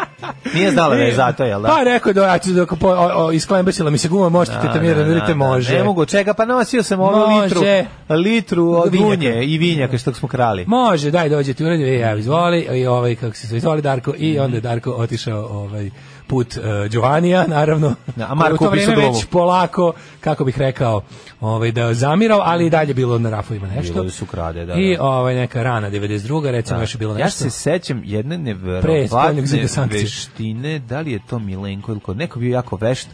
D: Nije znala da je zato, jel da?
E: Pa rekao je da ja ću da ako po- o, o, isklembesila mi se guma, možete te
D: Da, da,
E: tamirat,
D: da,
E: vidite, može.
D: Ne mogu, čega, pa nosio sam ovu
E: Može.
D: litru, litru od
E: Vinjaka.
D: unje i vinjaka što smo krali.
E: Može, daj dođe ti uradio, e, ja izvoli, i ovaj, kako se zove, izvoli Darko,
D: Mhm.
E: i onda je Darko otišao ovaj, put uh, Giovanija, naravno.
D: Da, a Marko
E: u to
D: upisao
E: vreme
D: glovu.
E: već polako, kako bih rekao, ovaj, da je zamirao, ali i dalje bilo na rafovima nešto.
D: Mhm. Bilo da su krade, da,
E: I
D: da.
E: ovaj, neka rana 92. recimo još je bilo
D: Ja
E: nešto.
D: se sećam jedne
E: Pre spoljnog
D: neverovatne
E: zida sankcije.
D: veštine, da li je to Milenko ili ko, neko je bio jako vešt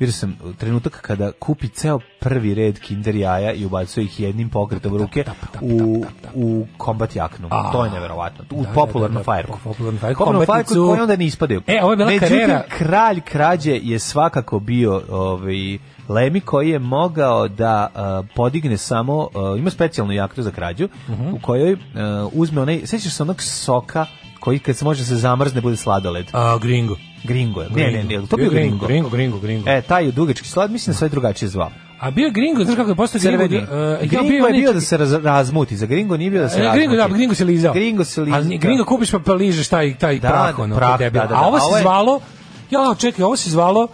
D: vidio sam trenutak kada kupi ceo prvi red kinder jaja i ubacuje ih jednim
E: Pa,
D: pokretom ruke u, u kombat jaknu.
E: A.
D: To je neverovatno.
E: Da,
D: U
E: da, da,
D: popularnu
E: da,
D: fajrku.
E: popularnu fajrku,
D: Popularnu fajrku
E: kombatnicu.
D: koju onda ne ispadaju.
E: E, ovo je bila
D: Međutim,
E: karijera-
D: kralj krađe je svakako bio ovaj, Lemi koji je mogao da eh, podigne samo, eh, ima specijalnu jaknu za krađu,
E: Mhm.
D: u kojoj eh, uzme onaj, sećaš se onog soka koji kad se može da se zamrzne bude sladoled.
E: A, gringo.
D: Gringo je. Ne, ne, ne, to
E: Bio
D: bio gringo.
E: Gringo, Gringo, Gringo, Gringo.
D: E, taj je dugački slad, mislim da sve drugačije zvao.
E: A bio je Gringo, znaš kako je postao Gringo?
D: Crveni.
E: da, e,
D: gringo je bio da se raz- razmuti, za gringo nije bio da se
E: E,
D: razmuti.
E: Gringo, da, Gringo se lizao.
D: Gringo se lizao.
E: Ali Gringo kupiš pa ližeš taj, taj
D: Da,
E: prah, ono,
D: prah,
E: debil.
D: da, da,
E: A ovo
D: da. A ovo
E: se
D: je-
E: zvalo, ja, čekaj, ovo se zvalo,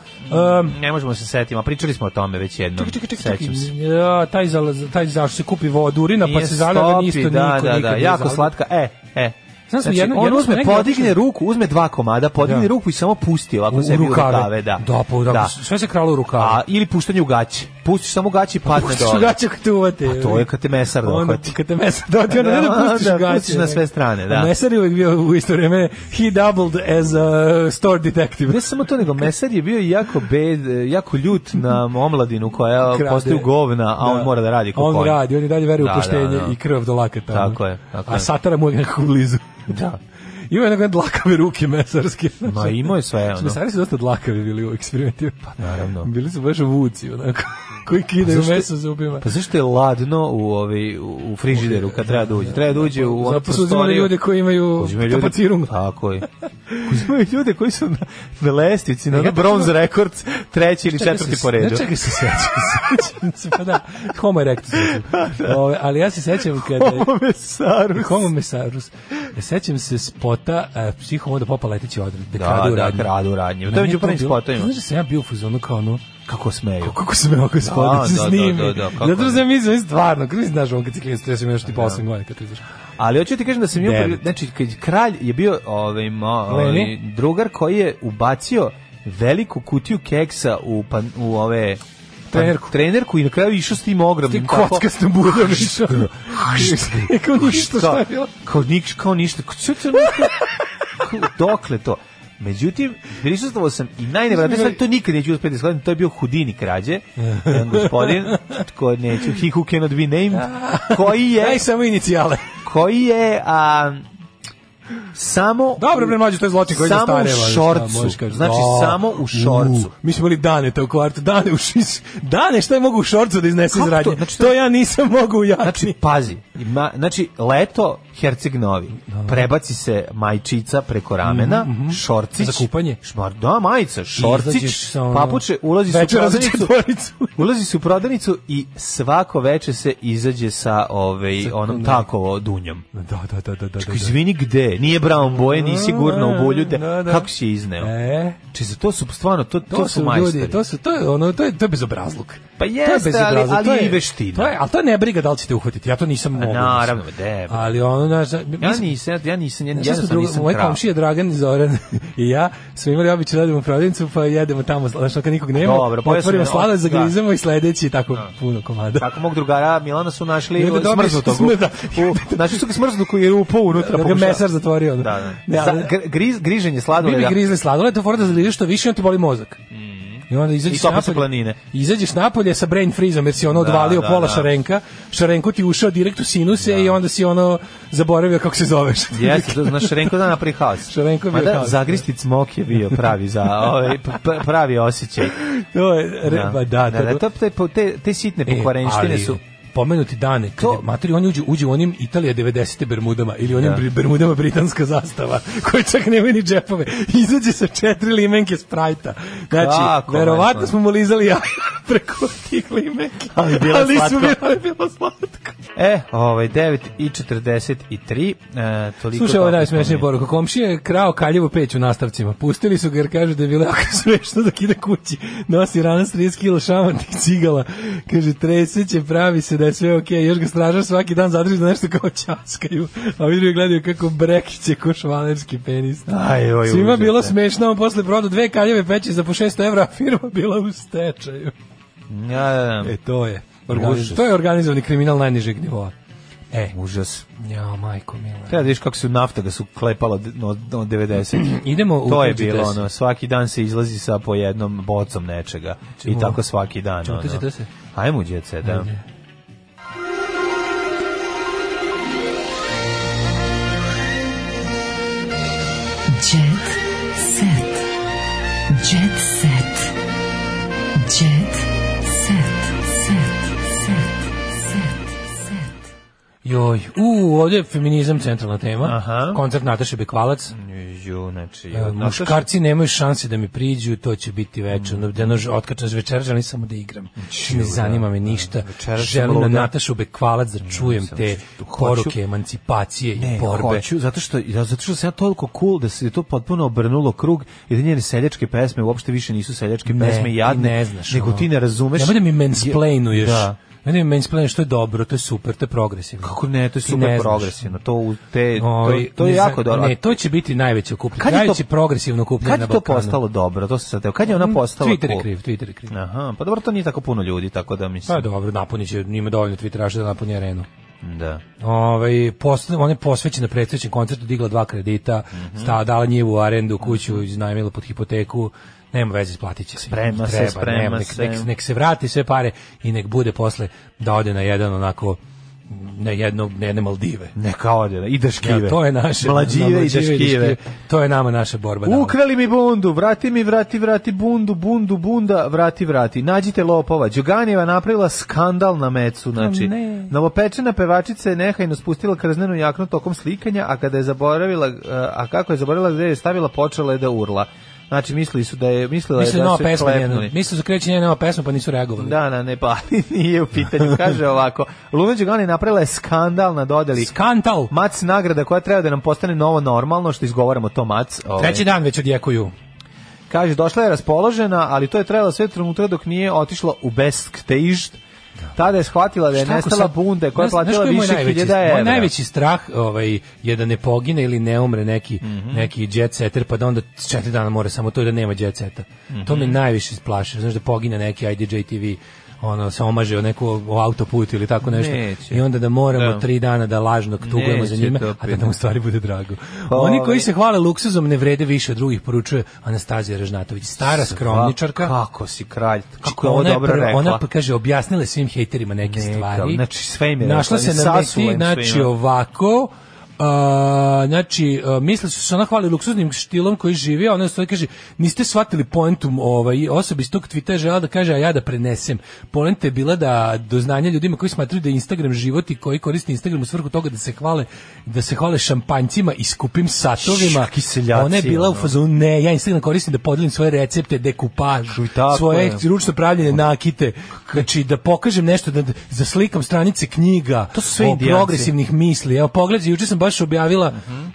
E: um,
D: Ne možemo se setiti, a pričali smo o tome već jednom. Čekaj, Sećam se.
E: ja, taj, za, taj zašto se kupi vodurina, pa
D: Nije
E: se zaleva,
D: stopi,
E: isto niko
D: da, da,
E: nikad
D: da,
E: nije
D: jako
E: zalio.
D: slatka. E, e.
E: Znam smo
D: Znači,
E: jednom-
D: on
E: jednom smo
D: uzme,
E: negdje
D: podigne
E: otišli-
D: ruku, uzme dva komada, podigne
E: Da.
D: ruku i samo pusti ovako
E: U- u
D: sebi u
E: rukave.
D: rukave. Da,
E: Da, pa, da, sve se kralo u rukave.
D: A, ili puštanje u gaći. Pa Pustiš samo u Ono gaći i padne
E: Pustiš
D: dole.
E: gaće kad te uvate.
D: A Pa to je kad te mesar
E: Onda
D: dohvati.
E: kad te mesar doti, onda ne da pustiš
D: da,
E: gaće.
D: pustiš na sve strane, da.
E: A mesar je uvijek bio u isto vreme, he doubled as a store detective.
D: Ne samo to, nego Mesar je bio jako bed, jako ljut na omladinu koja
E: Krade.
D: postaju govna, a on mora da radi kako
E: On radi, on i dalje veruje u poštenje i krv do lakata. ono.
D: Tako je, tako
E: a
D: je.
E: satara mu je nekako blizu.
D: Da.
E: Ima jedne dlakave ruke mesarske.
D: Ma imao je sve, ono.
E: Mesari su dosta dlakavi bili u eksperimentima. Pa
D: naravno.
E: Bili su baš vuci, onako, koji
D: Pa
E: kidaju
D: zašto-
E: meso zubima.
D: Pa zašto je ladno u, ovaj, u- u frižideru kad treba da uđe? Treba da uđe u onu
E: Zato su uzimali
D: prostoriju.
E: ljude koji imaju
D: Uzimaju ljude-
E: kapacirum.
D: Tako je. Uzimaju ljude koji su na, na lestvici, na
E: Ja
D: ono
E: tačno-
D: bronze rekord, treći ili
E: Čekaj
D: četvrti
E: se-
D: po redu.
E: Ne, Čekaj se sećam, sećam se, pa da, homo erectus. Ove, ali ja se sećam kada...
D: Homo mesarus.
E: Homo mesarus. Sećam se spota uh, psihomoda popa leteći odred. Da,
D: Da,
E: kradu
D: da,
E: radnje.
D: kradu radnje. To je
E: Meni
D: među prvim
E: bilo-
D: spotovima.
E: Znaš da sam ja bio u fazonu kao ono,
D: Kako smeju.
E: kako se me ovako spodi
D: Da,
E: se
D: da, da,
E: snimi.
D: da, da, kako
E: Zato
D: ne.
E: sam mislio, stvarno, kako mi znaš on kad si klinac, ja sam još tipa 8 godina kad ti izaš.
D: Ali hoću ti kažem da sam imao,
E: Devet.
D: znači kad kralj je bio ovaj ma- ovaj,
E: Leni?
D: drugar koji je ubacio veliku kutiju keksa u pan, u ove
E: Trenerku.
D: trenerku i na kraju išao s tim ogromnim
E: Ti kockastom budom išao. I kao ništa šta je bilo.
D: Kao, niš, kao ništa. Kao, ču- ču- ništa. Kao, Dokle to? Međutim, prisustvovao sam i najnevratnije stvari, to nikad neću uspjeti da shvatim, to je bio Houdini krađe, jedan gospodin, ko neću, he who cannot be named, koji je
E: Daj samo inicijale.
D: koji je a, samo
E: Dobro, bre, mlađe, to je zločin koji
D: samo
E: zastareva.
D: u
E: šta
D: šorcu.
E: možeš kažeš.
D: Znači
E: Da.
D: samo u šorcu.
E: U, mi smo imali dane to u kvartu, dane u šis, dane šta je mogu u šorcu da iznese
D: Kako
E: iz
D: to?
E: radnje.
D: Znači, to-
E: to ja nisam mogu u jakni.
D: Znači, pazi, ima, znači, leto Herceg Novi, prebaci se majčica preko ramena, šorcić.
E: Mhm, Za kupanje?
D: Šmar, da, majica,
E: Izlaziš
D: šorcić,
E: sa ono-
D: papuče, ulazi se u
E: Večera za
D: prodavnicu,
E: četvoricu.
D: ulazi se u prodavnicu i svako veče se izađe sa ovaj, onom takovo dunjom.
E: da, da, da, da, da. da.
D: Čekaj, izvini gde? Nije brown boje, nisi gurno u bulju,
E: Da, da.
D: kako si je izneo?
E: E,
D: Či za to su stvarno to, to,
E: to,
D: su
E: su
D: majstori.
E: ljudi, to su to je ono to je to je bezobrazluk.
D: Pa
E: To je
D: jeste, ali-
E: bezobrazluk,
D: ali
E: to je-
D: i veština.
E: To je, al to je ne briga da li ćete uhvatiti. Ja to nisam mogu. mislim.
D: naravno, de, bre.
E: Ali ono znaš, mi
D: Ja
E: smo-
D: nisam, ja nisam, ja, ja,
E: Znaš šta
D: ja
E: smo
D: sam
E: drugo,
D: nisam
E: moj
D: krav.
E: komšija Dragan i Zoran i ja smo imali običaj da odemo u prodavnicu, pa jedemo tamo, znači kad nikog nema,
D: Dobro, pojasni
E: otvorimo
D: mi,
E: slada,
D: da.
E: zagrizemo i sledeći i tako puno komada.
D: Tako mog ja, drugara Milana su našli
E: Ne, da
D: u-
E: dobiješ
D: smrznutog. u-
E: smrda.
D: u- Našli su ga smrznutog koji je upao unutra.
E: Da ga
D: pokušao-
E: mesar
D: Da,
E: zatvorio, ono.
D: da.
E: Ne, ali-
D: Za- gr- griz, griženje
E: Mi bi
D: sladoleda.
E: grizli sladoled, to fora da zaližeš što više, on ti boli mozak. I onda
D: Mm. I
E: izađeš
D: topa
E: napolje.
D: su planine.
E: Izađeš napolje sa brain freezom jer si ono
D: Da,
E: odvalio
D: da,
E: pola
D: da.
E: šarenka. Šarenko ti ušao direkt u sinuse i onda si ono zaboravio kako se zoveš.
D: Jeste, to znaš Renko da napravi haos.
E: Šarenko je
D: Ma
E: bio
D: da,
E: haos,
D: zagristi cmok je bio pravi za ovaj, p- p- pravi osjećaj.
E: to je, re, ba, da,
D: da, da,
E: to-
D: to, te, te, te sitne
E: E,
D: pokvarenštine
E: ali
D: su
E: pomenuti dane kad je materi on uđe uđe u onim Italija 90 Bermudama ili onim bri- Bermudama britanska zastava koji čak nema ni džepove izađe sa četiri limenke sprajta znači
D: Kako,
E: verovatno
D: majko?
E: smo mu lizali ja preko tih limenki
D: Ali bila
E: ali su
D: slatka.
E: bila, bila slatka
D: E, ovaj 9 i 43, e, toliko.
E: Slušaj, ovo je
D: kako
E: najsmešnija
D: spominje.
E: poruka. Komšija je krao kaljevu peć u nastavcima. Pustili su ga jer kaže da je bilo jako smešno dok ide kući. Nosi rana s 30 kila šamantih cigala. Kaže, treseće, pravi se da je sve okej. Još ga stražar svaki dan zadrži da nešto kao časkaju. A vidi ga gledaju kako brekiće ko švalerski penis.
D: Aj, oj,
E: Svima
D: užas,
E: bilo
D: e.
E: smešno, on posle prodao dve kaljeve peće za po 600 evra, a firma bila u stečaju.
D: Ja, da, da.
E: E, to je. Organiz...
D: Užas.
E: To je organizovani kriminal najnižeg nivoa. E,
D: užas.
E: Ja, majko mila.
D: Treba da vidiš kako su nafta ga su klepala d- od, od 90.
E: Idemo u
D: to je
E: 40.
D: bilo ono, svaki dan se izlazi sa po jednom bocom nečega.
E: Čemu?
D: I tako svaki dan.
E: Čemu to
D: ono.
E: 40?
D: Ajmo u Jet Set, da.
E: Ajde.
K: Jet set. Jet set. Jet set. Set. Set. Set. Set.
E: Joj, u, ovdje je feminizam centralna tema. Koncert Nataše Bekvalac.
D: Ju, znači,
E: E,
D: od Nataše-
E: muškarci nemaju šanse da mi priđu, to će biti večer. Mm. Da nož otkačan večer, želim samo da igram. ne zanima me ništa.
D: Večeras sam
E: želim na
D: luda.
E: Natašu Bekvalac da čujem
D: sam-
E: te
D: hoću-
E: poruke emancipacije i borbe.
D: hoću, zato što, ja, zato što sam ja toliko cool da se je to potpuno obrnulo krug i da njene seljačke pesme uopšte više nisu seljačke
E: Ne,
D: pesme
E: ti
D: jadne,
E: ne znaš,
D: nego
E: ono.
D: ti ne razumeš.
E: Nemoj da mi mansplainuješ.
D: Da.
E: Ne da mi mansplainuješ, to je dobro, to je super, to je progresivno.
D: Kako ne, to je
E: Ti
D: super
E: ne znaš.
D: progresivno. To, u te, to,
E: Ovi,
D: to je
E: ne znam,
D: jako dobro.
E: Ne, to će biti najveće okupljanje.
D: Kad je to-
E: Najveće progresivno okupljanje
D: Kad
E: na
D: je to
E: Balkanu.
D: postalo dobro? To se sad, teo- kad je ona
E: Mm,
D: postala
E: Twitter je
D: cool?
E: kriv, Twitter je kriv.
D: Aha, pa dobro, to nije tako puno ljudi, tako da mislim.
E: Pa dobro, napunit će, njima dovoljno Twitteraša da napuni arenu.
D: Da.
E: Ovaj posle ona je posvećena predstojećem koncertu digla dva kredita,
D: Mhm.
E: sta dala njivu u arendu, kuću iznajmila pod hipoteku. Nema veze, isplatit će se.
D: Sprema se,
E: Treba,
D: sprema
E: nema, nek,
D: se.
E: Nek, nek se vrati sve pare i nek bude posle da ode na jedan onako na jedno na jedne Maldive.
D: Neka ode, ide škive.
E: Ja, to je naše.
D: Mlađive,
E: na
D: ide škive.
E: To je nama naša borba. danas.
D: Ukrali mi bundu, vrati mi, vrati, vrati bundu, bundu, bunda, vrati, vrati. Nađite lopova. Đoganijeva napravila skandal na mecu, znači.
E: Pa ne.
D: Novopečena pevačica je nehajno spustila krznenu jaknu tokom slikanja, a kada je zaboravila, e, a kako je zaboravila gde je stavila, počela je da urla. Znači, mislili su da je, mislila je
E: Mislim
D: da
E: da
D: su je
E: pesma njena.
D: klepnuli.
E: Mislim da kreće njena nova pesma pa nisu reagovali.
D: Da, da, ne, pa ali nije u pitanju. Kaže ovako, Luna Đugani napravila je skandal na dodeli.
E: Skandal!
D: Mac nagrada koja treba da nam postane novo normalno, što izgovaramo to Mac. ovaj.
E: Treći dan već odjekuju.
D: Kaže, došla je raspoložena, ali to je trajalo sve trenutra dok nije otišla u bestktežd. Tada je shvatila da je
E: Šta ako
D: nestala
E: sad-
D: bunde koja je
E: Znaš- znaš
D: platila
E: koji je moj
D: više
E: najveći-
D: hiljada evra.
E: Moj najveći strah ovaj, je da ne pogine ili ne umre neki,
D: Mhm.
E: neki jet setter, pa da onda četiri dana mora samo to i da nema jet seta. To
D: Mhm.
E: me najviše isplaši. Znaš da pogine neki IDJ TV, ono, se omaže o neku o autoput ili tako nešto.
D: Neće.
E: I onda da moramo
D: Da.
E: tri dana da lažno tugujemo za
D: Neće
E: njime,
D: to
E: a da nam u stvari bude drago.
D: Pa,
E: Oni
D: ovaj-
E: koji se hvale luksuzom ne vrede više od drugih, poručuje Anastazija Režnatović. Stara skromničarka.
D: Pa, Kako si kralj, kako je
E: Znači, Ona
D: ovo
E: je
D: dobro
E: prva-
D: rekla.
E: Ona pa kaže objasnila je svim hejterima neke
D: Neka,
E: stvari.
D: znači, sve im je
E: Našla
D: rekla,
E: se na
D: sasula
E: meti,
D: im
E: znači
D: svima.
E: ovako. a, znači, uh, misle su se ona hvali luksuznim štilom koji živi, a ona stoji i kaže, niste shvatili poentum ovaj, osoba iz tog tvita je žela da kaže, a ja da prenesem. Poenta je bila da do znanja ljudima koji smatruju da je Instagram život i koji koriste Instagram u svrhu toga da se hvale, da se hvale šampanjcima i skupim satovima.
D: Šaki seljaci,
E: ona je bila u
D: ono.
E: fazonu, ne, ja Instagram koristim da podelim svoje recepte, dekupaž,
D: I tako
E: svoje
D: je.
E: ručno pravljene nakite. Znači da pokažem nešto da da zaslikam stranice knjiga. To
D: su sve Indijanci.
E: progresivnih misli. Evo pogledaj, juče sam baš objavila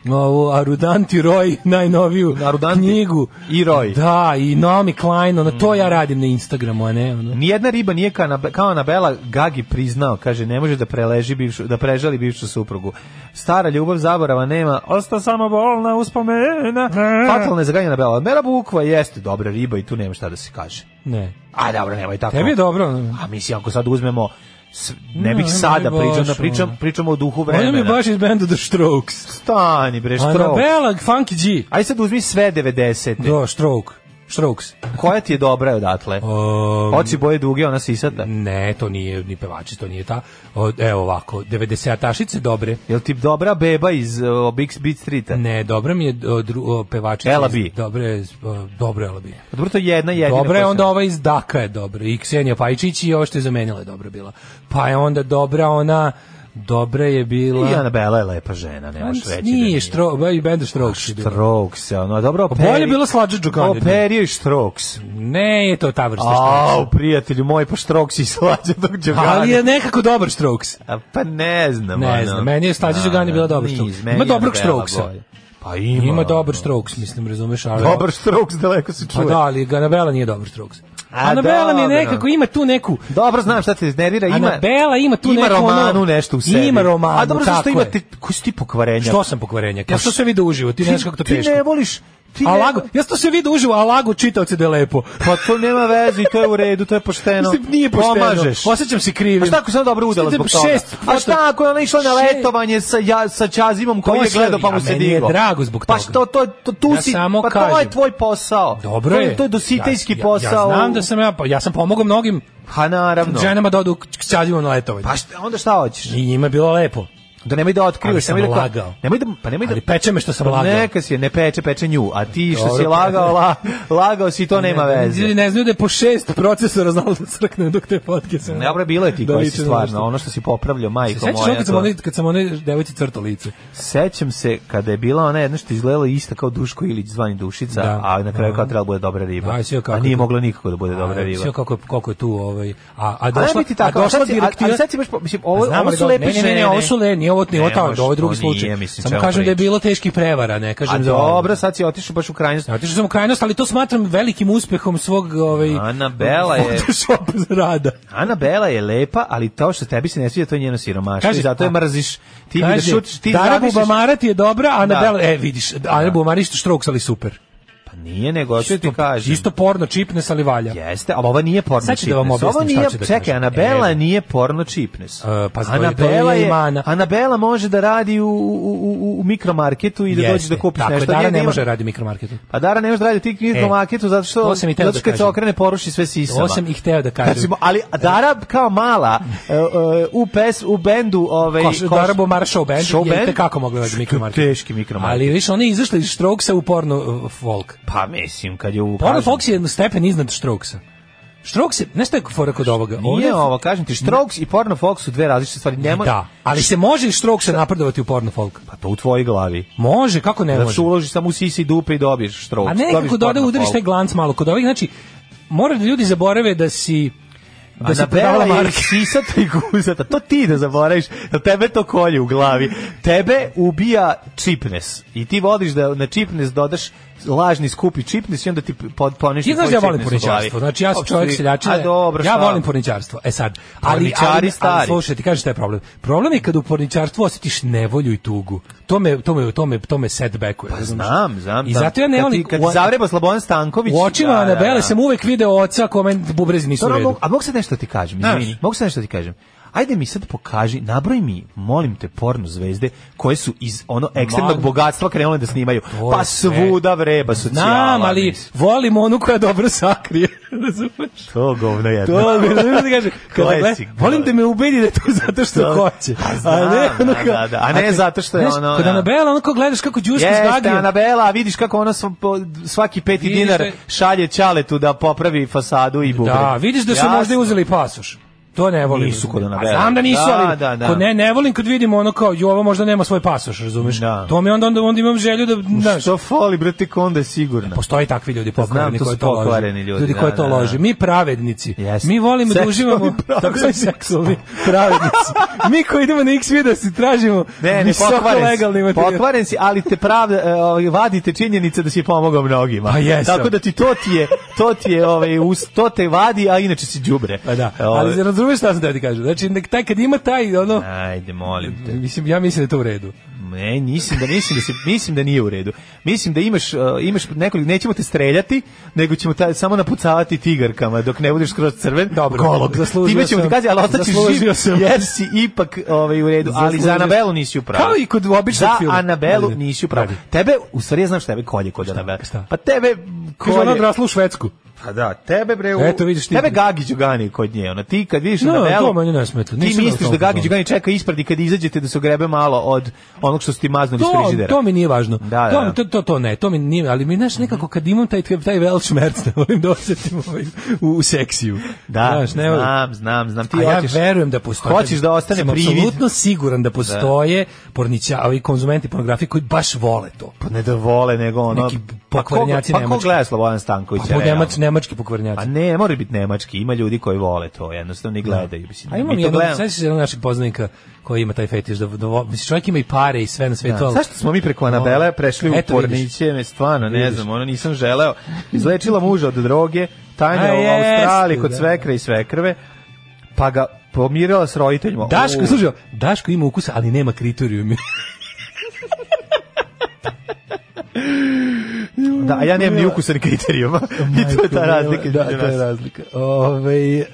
E: ovu Arudanti Roy najnoviju
D: Mhm. Arudanti
E: knjigu.
D: i Roy.
E: Da, i Naomi Klein, ono to ja radim na Instagramu, a ne ono.
D: Nijedna riba nije kao, Anab- kao Anabela Gagi priznao, kaže, ne može da preleži bivšu, da prežali bivšu suprugu. Stara ljubav zaborava nema, osta samo bolna uspomena. Fatalna je zaganja Anabela. Mera Bukva jeste dobra riba i tu nema šta da se kaže.
E: Ne.
D: A dobro, nemoj tako.
E: Tebi je dobro. ono.
D: A mislim, ako sad uzmemo, s- ne bih
E: Ne,
D: sada
E: nemoj baš,
D: pričao, da
E: ono.
D: pričam, pričamo o duhu
E: Ono mi je
D: vremena.
E: baš iz benda The Strokes.
D: Stani bre, štrok.
E: Anabela Funky G.
D: Aj sad uzmi sve 90.
E: Do, Stroke. Strokes.
D: Koja ti je dobra odatle?
E: Um,
D: Oci boje duge, ona sisata.
E: Ne, to nije ni pevači, to nije ta. O, evo ovako, 90-atašice dobre.
D: Jel ti dobra beba iz uh, Big Beat Streeta?
E: Ne, dobra mi je o, dru, o, pevačica.
D: Ela
E: iz-
D: B.
E: Dobra je, o, dobra je Ela B.
D: Pa Dobro, to je jedna jedina.
E: Dobra
D: koja
E: je
D: se-
E: onda ova iz Daka je dobra. I Ksenija Pajčić i ovo što je zamenila je dobra bila. Pa je onda dobra ona, dobra je bila...
D: I Anabela je lepa žena, ne možeš
E: Pa
D: reći. da
E: Nije, štro, ba, i benda Strokes je bila.
D: Strokes, ono, a dobro, operi...
E: bolje je bilo slađe Đukanović.
D: Operio i Strokes.
E: Ne, je to ta vrsta Strokes.
D: Au, prijatelju moj, pa Strokes i slađe dok Đogani.
E: Ali je nekako dobar Strokes.
D: A, Pa ne znam,
E: Ne
D: ono.
E: znam, meni je Slađe Đugani bila dobra
D: Niz,
E: Strokes.
D: meni
E: Ima
D: je
E: dobrog
D: Anabela
E: Strokesa.
D: bolje. Pa ima.
E: Ima
D: ono.
E: dobar Strokes, mislim, razumeš, ali...
D: Dobar Strokes, daleko se
E: Pa
D: čuje.
E: da, ali Anabela nije dobar Strokes.
D: A,
E: Anabela mi je
D: dobro.
E: nekako, ima tu neku...
D: Dobro, znam šta te iznervira. Ima,
E: Anabela ima tu
D: ima
E: neku ono-
D: romanu nešto u sebi.
E: Ima romanu,
D: A dobro, zašto
E: tako je.
D: imate, koji su ti pokvarenja?
E: Što sam pokvarenjak? Ja što sve vidio uživo, ti,
D: Ti-
E: znaš kako to
D: ti
E: teško.
D: ne voliš
E: A lago, ja sam to sve vidio uživo, a lago čitaoce da je lepo.
D: Pa to nema veze i to je u redu, to je pošteno.
E: Mislim, nije pošteno.
D: Pomažeš.
E: Osjećam se krivim.
D: A šta ako sam dobro udala zbog toga?
E: Šest
D: a šta ako je ona išla na
E: Šest-
D: letovanje sa, ja, sa Čazimom koji
E: To
D: je
E: sve-
D: gledao pa
E: ja,
D: mu se
E: meni je
D: diglo?
E: drago zbog
D: Pa
E: toga.
D: što, to, to, tu
E: Ja
D: si,
E: samo
D: pa to je
E: kažem.
D: tvoj posao.
E: Dobro
D: To
E: je.
D: je, to je dositejski
E: ja,
D: posao.
E: Ja, ja znam da sam ja, pa ja sam pomogao mnogim
D: Ha, naravno.
E: ženama da odu k ćazima na letovanje.
D: Pa šta, onda šta hoćeš?
E: I njima je bilo lepo.
D: Da nemoj da
E: Ali
D: otkrivaš,
E: sam
D: nemoj da...
E: lagao.
D: Nemoj da, pa nemoj da...
E: Ali peče me što sam
D: Pa
E: lagao.
D: Neka si, je, ne peče, peče nju. A ti što
E: Dobro,
D: si
E: pa-
D: lagao, la, lagao si, to nema veze.
E: Ljudi ne znaju da je po šest procesora znalo da crkne dok te fotke se...
D: Dobro je bilo je ti
E: Da
D: koji
E: liči
D: si
E: na
D: stvarno,
E: nešto.
D: ono što si popravljao, majko
E: Se sećaš
D: moja.
E: ono kad sam
D: to-
E: onoj, kad sam onoj devojci crto lice?
D: Sećam se kada je bila ona jedna što je izgledala ista kao Duško Ilić zvani Dušica,
E: Da.
D: a na kraju
E: Da.
D: kao trebala bude dobra riba.
E: Aj, sve kako
D: a nije
E: to-
D: mogla nikako da bude dobra
E: A,
D: riba.
E: sve kako, je- koliko je tu ovaj... A, a
D: A
E: došla,
D: ne biti tako,
E: a
D: ali
E: došla
D: sad si- ali-
E: direktiva... Pa
D: ali sad si baš, po- mislim, ovo,
E: Znam,
D: ovo
E: ali
D: su
E: do-
D: lepe
E: ne, ne, ne,
D: žene.
E: ovo su le, nije ovo, nije ovo,
D: Ne
E: tamo,
D: može,
E: ovo je drugi
D: to
E: slučaj.
D: nije, mislim,
E: Samo
D: čemu
E: kažem da je
D: pričaš.
E: bilo teških prevara, ne
D: A
E: kažem da... ono- ovo-
D: dobro, sad si otišao baš u krajnost.
E: Otišao sam u krajnost, ali to smatram velikim uspehom svog ovaj
D: Anabela je-
E: Photoshop rada.
D: Ana Bela je lepa, ali to što tebi se ne sviđa, to je njeno siromaštvo.
E: Kaže- pa-
D: i zato je mrziš. Ti
E: Kaže,
D: vidiš šut, ti
E: Dara
D: zamisliš-
E: Bubamara ti je dobra, a
D: Da.
E: Anabela, e vidiš, Ana Bubamara isto štroks, ali super.
D: Pa nije, nego što ti kažem.
E: Isto porno čipnes, ali valja.
D: Jeste, ali ovo nije porno
E: Sad ću da vam
D: čipnes. Ovo
E: objasnim šta
D: nije,
E: ću da
D: čekaj,
E: kažem.
D: Anabela
E: Evo.
D: nije porno čipnes.
E: E, pa zbog- to
D: Anabela
E: je
D: je,
E: imana.
D: Anabela može da radi u, u, u, u mikromarketu i da dođe
E: Jeste.
D: da kupiš
E: Tako je,
D: nešto.
E: Dara
D: Nije da
E: ne
D: ima-
E: može raditi u mikromarketu.
D: Pa Dara ne može da radi ti mikromarketu zato što,
E: to sam i teo
D: zato
E: da
D: što kad se
E: kažem.
D: okrene poruši sve sisama.
E: To sam i hteo da kažem.
D: Recimo, ali Dara kao mala e, e, u pes u bendu ovaj
E: Koš,
D: koš-
E: Dara Bubamara show band,
D: Show
E: je
D: band?
E: kako mogla raditi u mikromarketu.
D: Teški mikromarket.
E: Ali više, oni izašli iz štroksa u porno uh, folk.
D: Pa mislim kad je u
E: Porno
D: kažem-
E: folk je jedan stepen iznad štroksa. Štroks je, znaš šta je fora kod ovoga?
D: Nije ovo, kažem ti, Strokes i Porno Fox su dve različite stvari. Nemoj,
E: Da, ali se može iz štroksa napredovati u porno folk.
D: Pa to u tvojoj glavi.
E: Može, kako ne
D: Da
E: može?
D: se uložiš samo u sisi i dupe i dobiješ štrok.
E: A ne nekako da da udariš taj glanc malo kod ovih, znači mora da ljudi zaborave da si da se
D: Anabela
E: prodavala
D: je
E: marka.
D: sisata i guzata. To ti da zaboraviš. Da tebe to kolje u glavi. Tebe ubija čipnes. I ti vodiš da na čipnes dodaš lažni skupi čipnes i onda ti pod, poništi
E: Ti znaš
D: tvoj
E: da ja volim
D: čipnes u glavi.
E: porničarstvo, znači ja sam
D: Pa,
E: čovjek
D: svi-
E: seljačina,
D: A dobro,
E: ja
D: šta?
E: volim porničarstvo, e sad, ali,
D: Porničari
E: ali, ali
D: stari.
E: slušaj, ti kažeš šta je problem. Problem je kad u porničarstvu osjetiš nevolju i tugu, to me, to me, to me, to me setbackuje. Pa
D: Znam, znam.
E: I
D: znam.
E: zato ja ne
D: Kad ti-
E: volim,
D: Kad
E: u-
D: ti zavreba Slobodan Stanković...
E: u očima
D: da, da,
E: Anabele
D: da. ono
E: sam uvek video oca kome bubrezi nisu u
D: Dobro, a
E: redu.
D: mogu- a mogu sad nešto ti kažem,
E: Znaš.
D: izvini. Mogu sad nešto ti kažem. Ajde mi sad pokaži, nabroj mi, molim te, porno zvezde koje su iz ono ekstremnog
E: Ma-
D: bogatstva krenule da snimaju.
E: To je
D: Pa
E: sve.
D: svuda vreba socijala.
E: Znam, ali
D: mislim.
E: volim onu koja dobro sakrije, razumeš?
D: To govno jedno.
E: To mi razumiješ da kažem, kada
D: Koje
E: gle-
D: si, koje?
E: volim da me ubedi da je to zato što
D: To- Pa
E: hoće.
D: znam,
E: ono
D: da,
E: kao-
D: da, da. A ne
E: kad-
D: zato što je
E: znaš,
D: ono,
E: Kod
D: da.
E: Anabela, ono kao gledaš kako Đuška
D: Jeste,
E: zgadija.
D: Anabela, a vidiš kako ona sv- po- svaki peti
E: Vidiš
D: dinar
E: da-
D: šalje Ćaletu da popravi fasadu i bubre.
E: Da, vidiš da su
D: Jasno.
E: možda i uzeli pasoš. To ne volim.
D: Nisu kod Anabele.
E: A Znam da nisu,
D: Da,
E: ali
D: da, da.
E: kod ne, ne volim kad vidimo ono kao, jo, ovo možda nema svoj pasoš, razumeš?
D: Da.
E: To mi onda, onda, onda imam želju da, znaš,
D: Što fali, brate, konda je sigurna.
E: postoji takvi ljudi
D: Pa znam,
E: pokvareni
D: to
E: koji
D: su
E: to lože.
D: pokvareni ljudi,
E: Ljudi
D: da,
E: koji to
D: da, da.
E: lože. Mi pravednici.
D: Jeste.
E: Mi volimo da
D: Seksualni
E: uživamo tako smo i
D: pravednici.
E: seksualni pravednici. Mi koji idemo na X video si tražimo
D: Ne, ne,
E: visoko
D: pokvaren
E: legalni
D: si,
E: materijal.
D: pokvaren si, ali te pravda, e, ovaj, vadite činjenice da si pomogao mnogima.
E: Pa jesam.
D: Tako da ti to ti je, to ti je, ovaj, us, to te vadi, a inače si đubre.
E: Pa da,
D: Ovaj,
E: ali razumeš šta sam da ti kažem. Znači, nek- taj kad ima taj, ono,
D: Ajde, molim te.
E: mislim, ja mislim da je to u redu.
D: Ne, mislim da mislim da se mislim da nije u redu. Mislim da imaš e, imaš nekoliko nećemo te streljati, nego ćemo ta, samo napucavati tigarkama dok ne budeš skroz crven.
E: Dobro,
D: golog.
E: zaslužio
D: Time ćemo ti
E: sam.
D: kazi, ali ostaćeš
E: Zaslužio
D: živ.
E: sam.
D: Jer si ipak ovaj u redu, ali za
E: Zaslužio.
D: Anabelu nisi u pravu.
E: Kao i kod običnog
D: Za
E: filma.
D: Anabelu
E: Ajde.
D: nisi u pravu.
E: Ajde.
D: Tebe u stvari ja znam šta tebe kolje kod Anabele. Pa tebe
E: Kaže, ona
D: kolje.
E: odrasla u Švedsku.
D: Pa da, tebe bre u...
E: Eto, vidiš ti.
D: Tebe Gagi Đugani kod nje, ona ti kad vidiš
E: No,
D: Anabelu,
E: to meni ne smeta.
D: Ti
E: Nisam na
D: misliš da
E: tom
D: Gagi
E: fazonu.
D: Đugani čeka ispred i kad izađete da se grebe malo od onog što ste ti maznuli iz
E: To,
D: frižidera.
E: to mi nije važno.
D: Da, da, da.
E: To, to, to, to ne, to mi nije, ali mi znaš nekako kad imam taj taj velšmerc, ne volim da osjetim ovaj, u, u seksiju.
D: Da,
E: Znaš, ne volim.
D: znam, znam, znam. Ti
E: A ja
D: hoćeš-
E: verujem da postoje.
D: Hoćeš da ostane
E: Sam
D: privid.
E: Apsolutno siguran da postoje pornića, ovi konzumenti pornografije koji baš vole to.
D: Pa ne da vole, nego ono...
E: Neki
D: pa ko,
E: pokvarnjaci
D: pa ko
E: nemački.
D: gleda Slobodan Stanković?
E: Pa po nemač, nemački pokvarnjaci.
D: A ne, mora biti nemački. Ima ljudi koji vole to, jednostavno i gledaju. Mislim,
E: A
D: mi
E: imam
D: to
E: jednog,
D: gledamo.
E: sećaš se jednog našeg poznanika koji ima taj fetiš da, da vo- mislim, čovjek ima i pare i sve na svetu.
D: Da.
E: ali-
D: Zašto smo mi preko Anabele prešli
E: Ono, Eto,
D: u
E: vidiš.
D: porniće, me stvarno, ne
E: Vidiš.
D: znam, ono nisam želeo. Izlečila muža od droge, tajna
E: A
D: u
E: jeste,
D: Australiji kod
E: da.
D: svekre i svekrve, pa ga pomirila s roditeljima.
E: Daško,
D: U.
E: slušaj, Daško ima ukusa, ali nema kriterijum.
D: Da, a ja nemam ni ukusa ni kriterijuma. I to je ta razlika.
E: Da,
D: između
E: to je
D: nas.
E: razlika. Ovaj, Ove,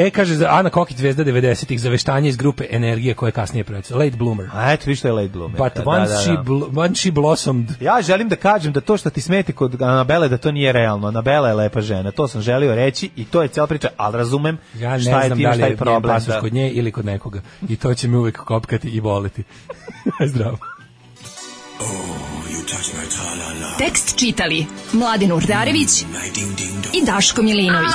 E: e, kaže, za Ana Kokić, zvezda 90-ih, zaveštanje iz grupe Energije koje je kasnije predstavlja. Late bloomer.
D: A eto, vi što je late bloomer.
E: But once, She bl- once she blossomed.
D: Ja želim da kažem da to što ti smeti kod Anabele da to nije realno. Anabela je lepa žena. To sam želio reći i to je cijela priča, ali razumem
E: Ja ne
D: šta je
E: znam
D: tim,
E: da li
D: šta
E: je
D: je
E: problem,
D: problem. Da.
E: kod nje ili kod nekoga. I to će mi uvek kopkati i boleti. Zdravo.
F: Tekst čitali Mladin Urdarević i Daško Milinović.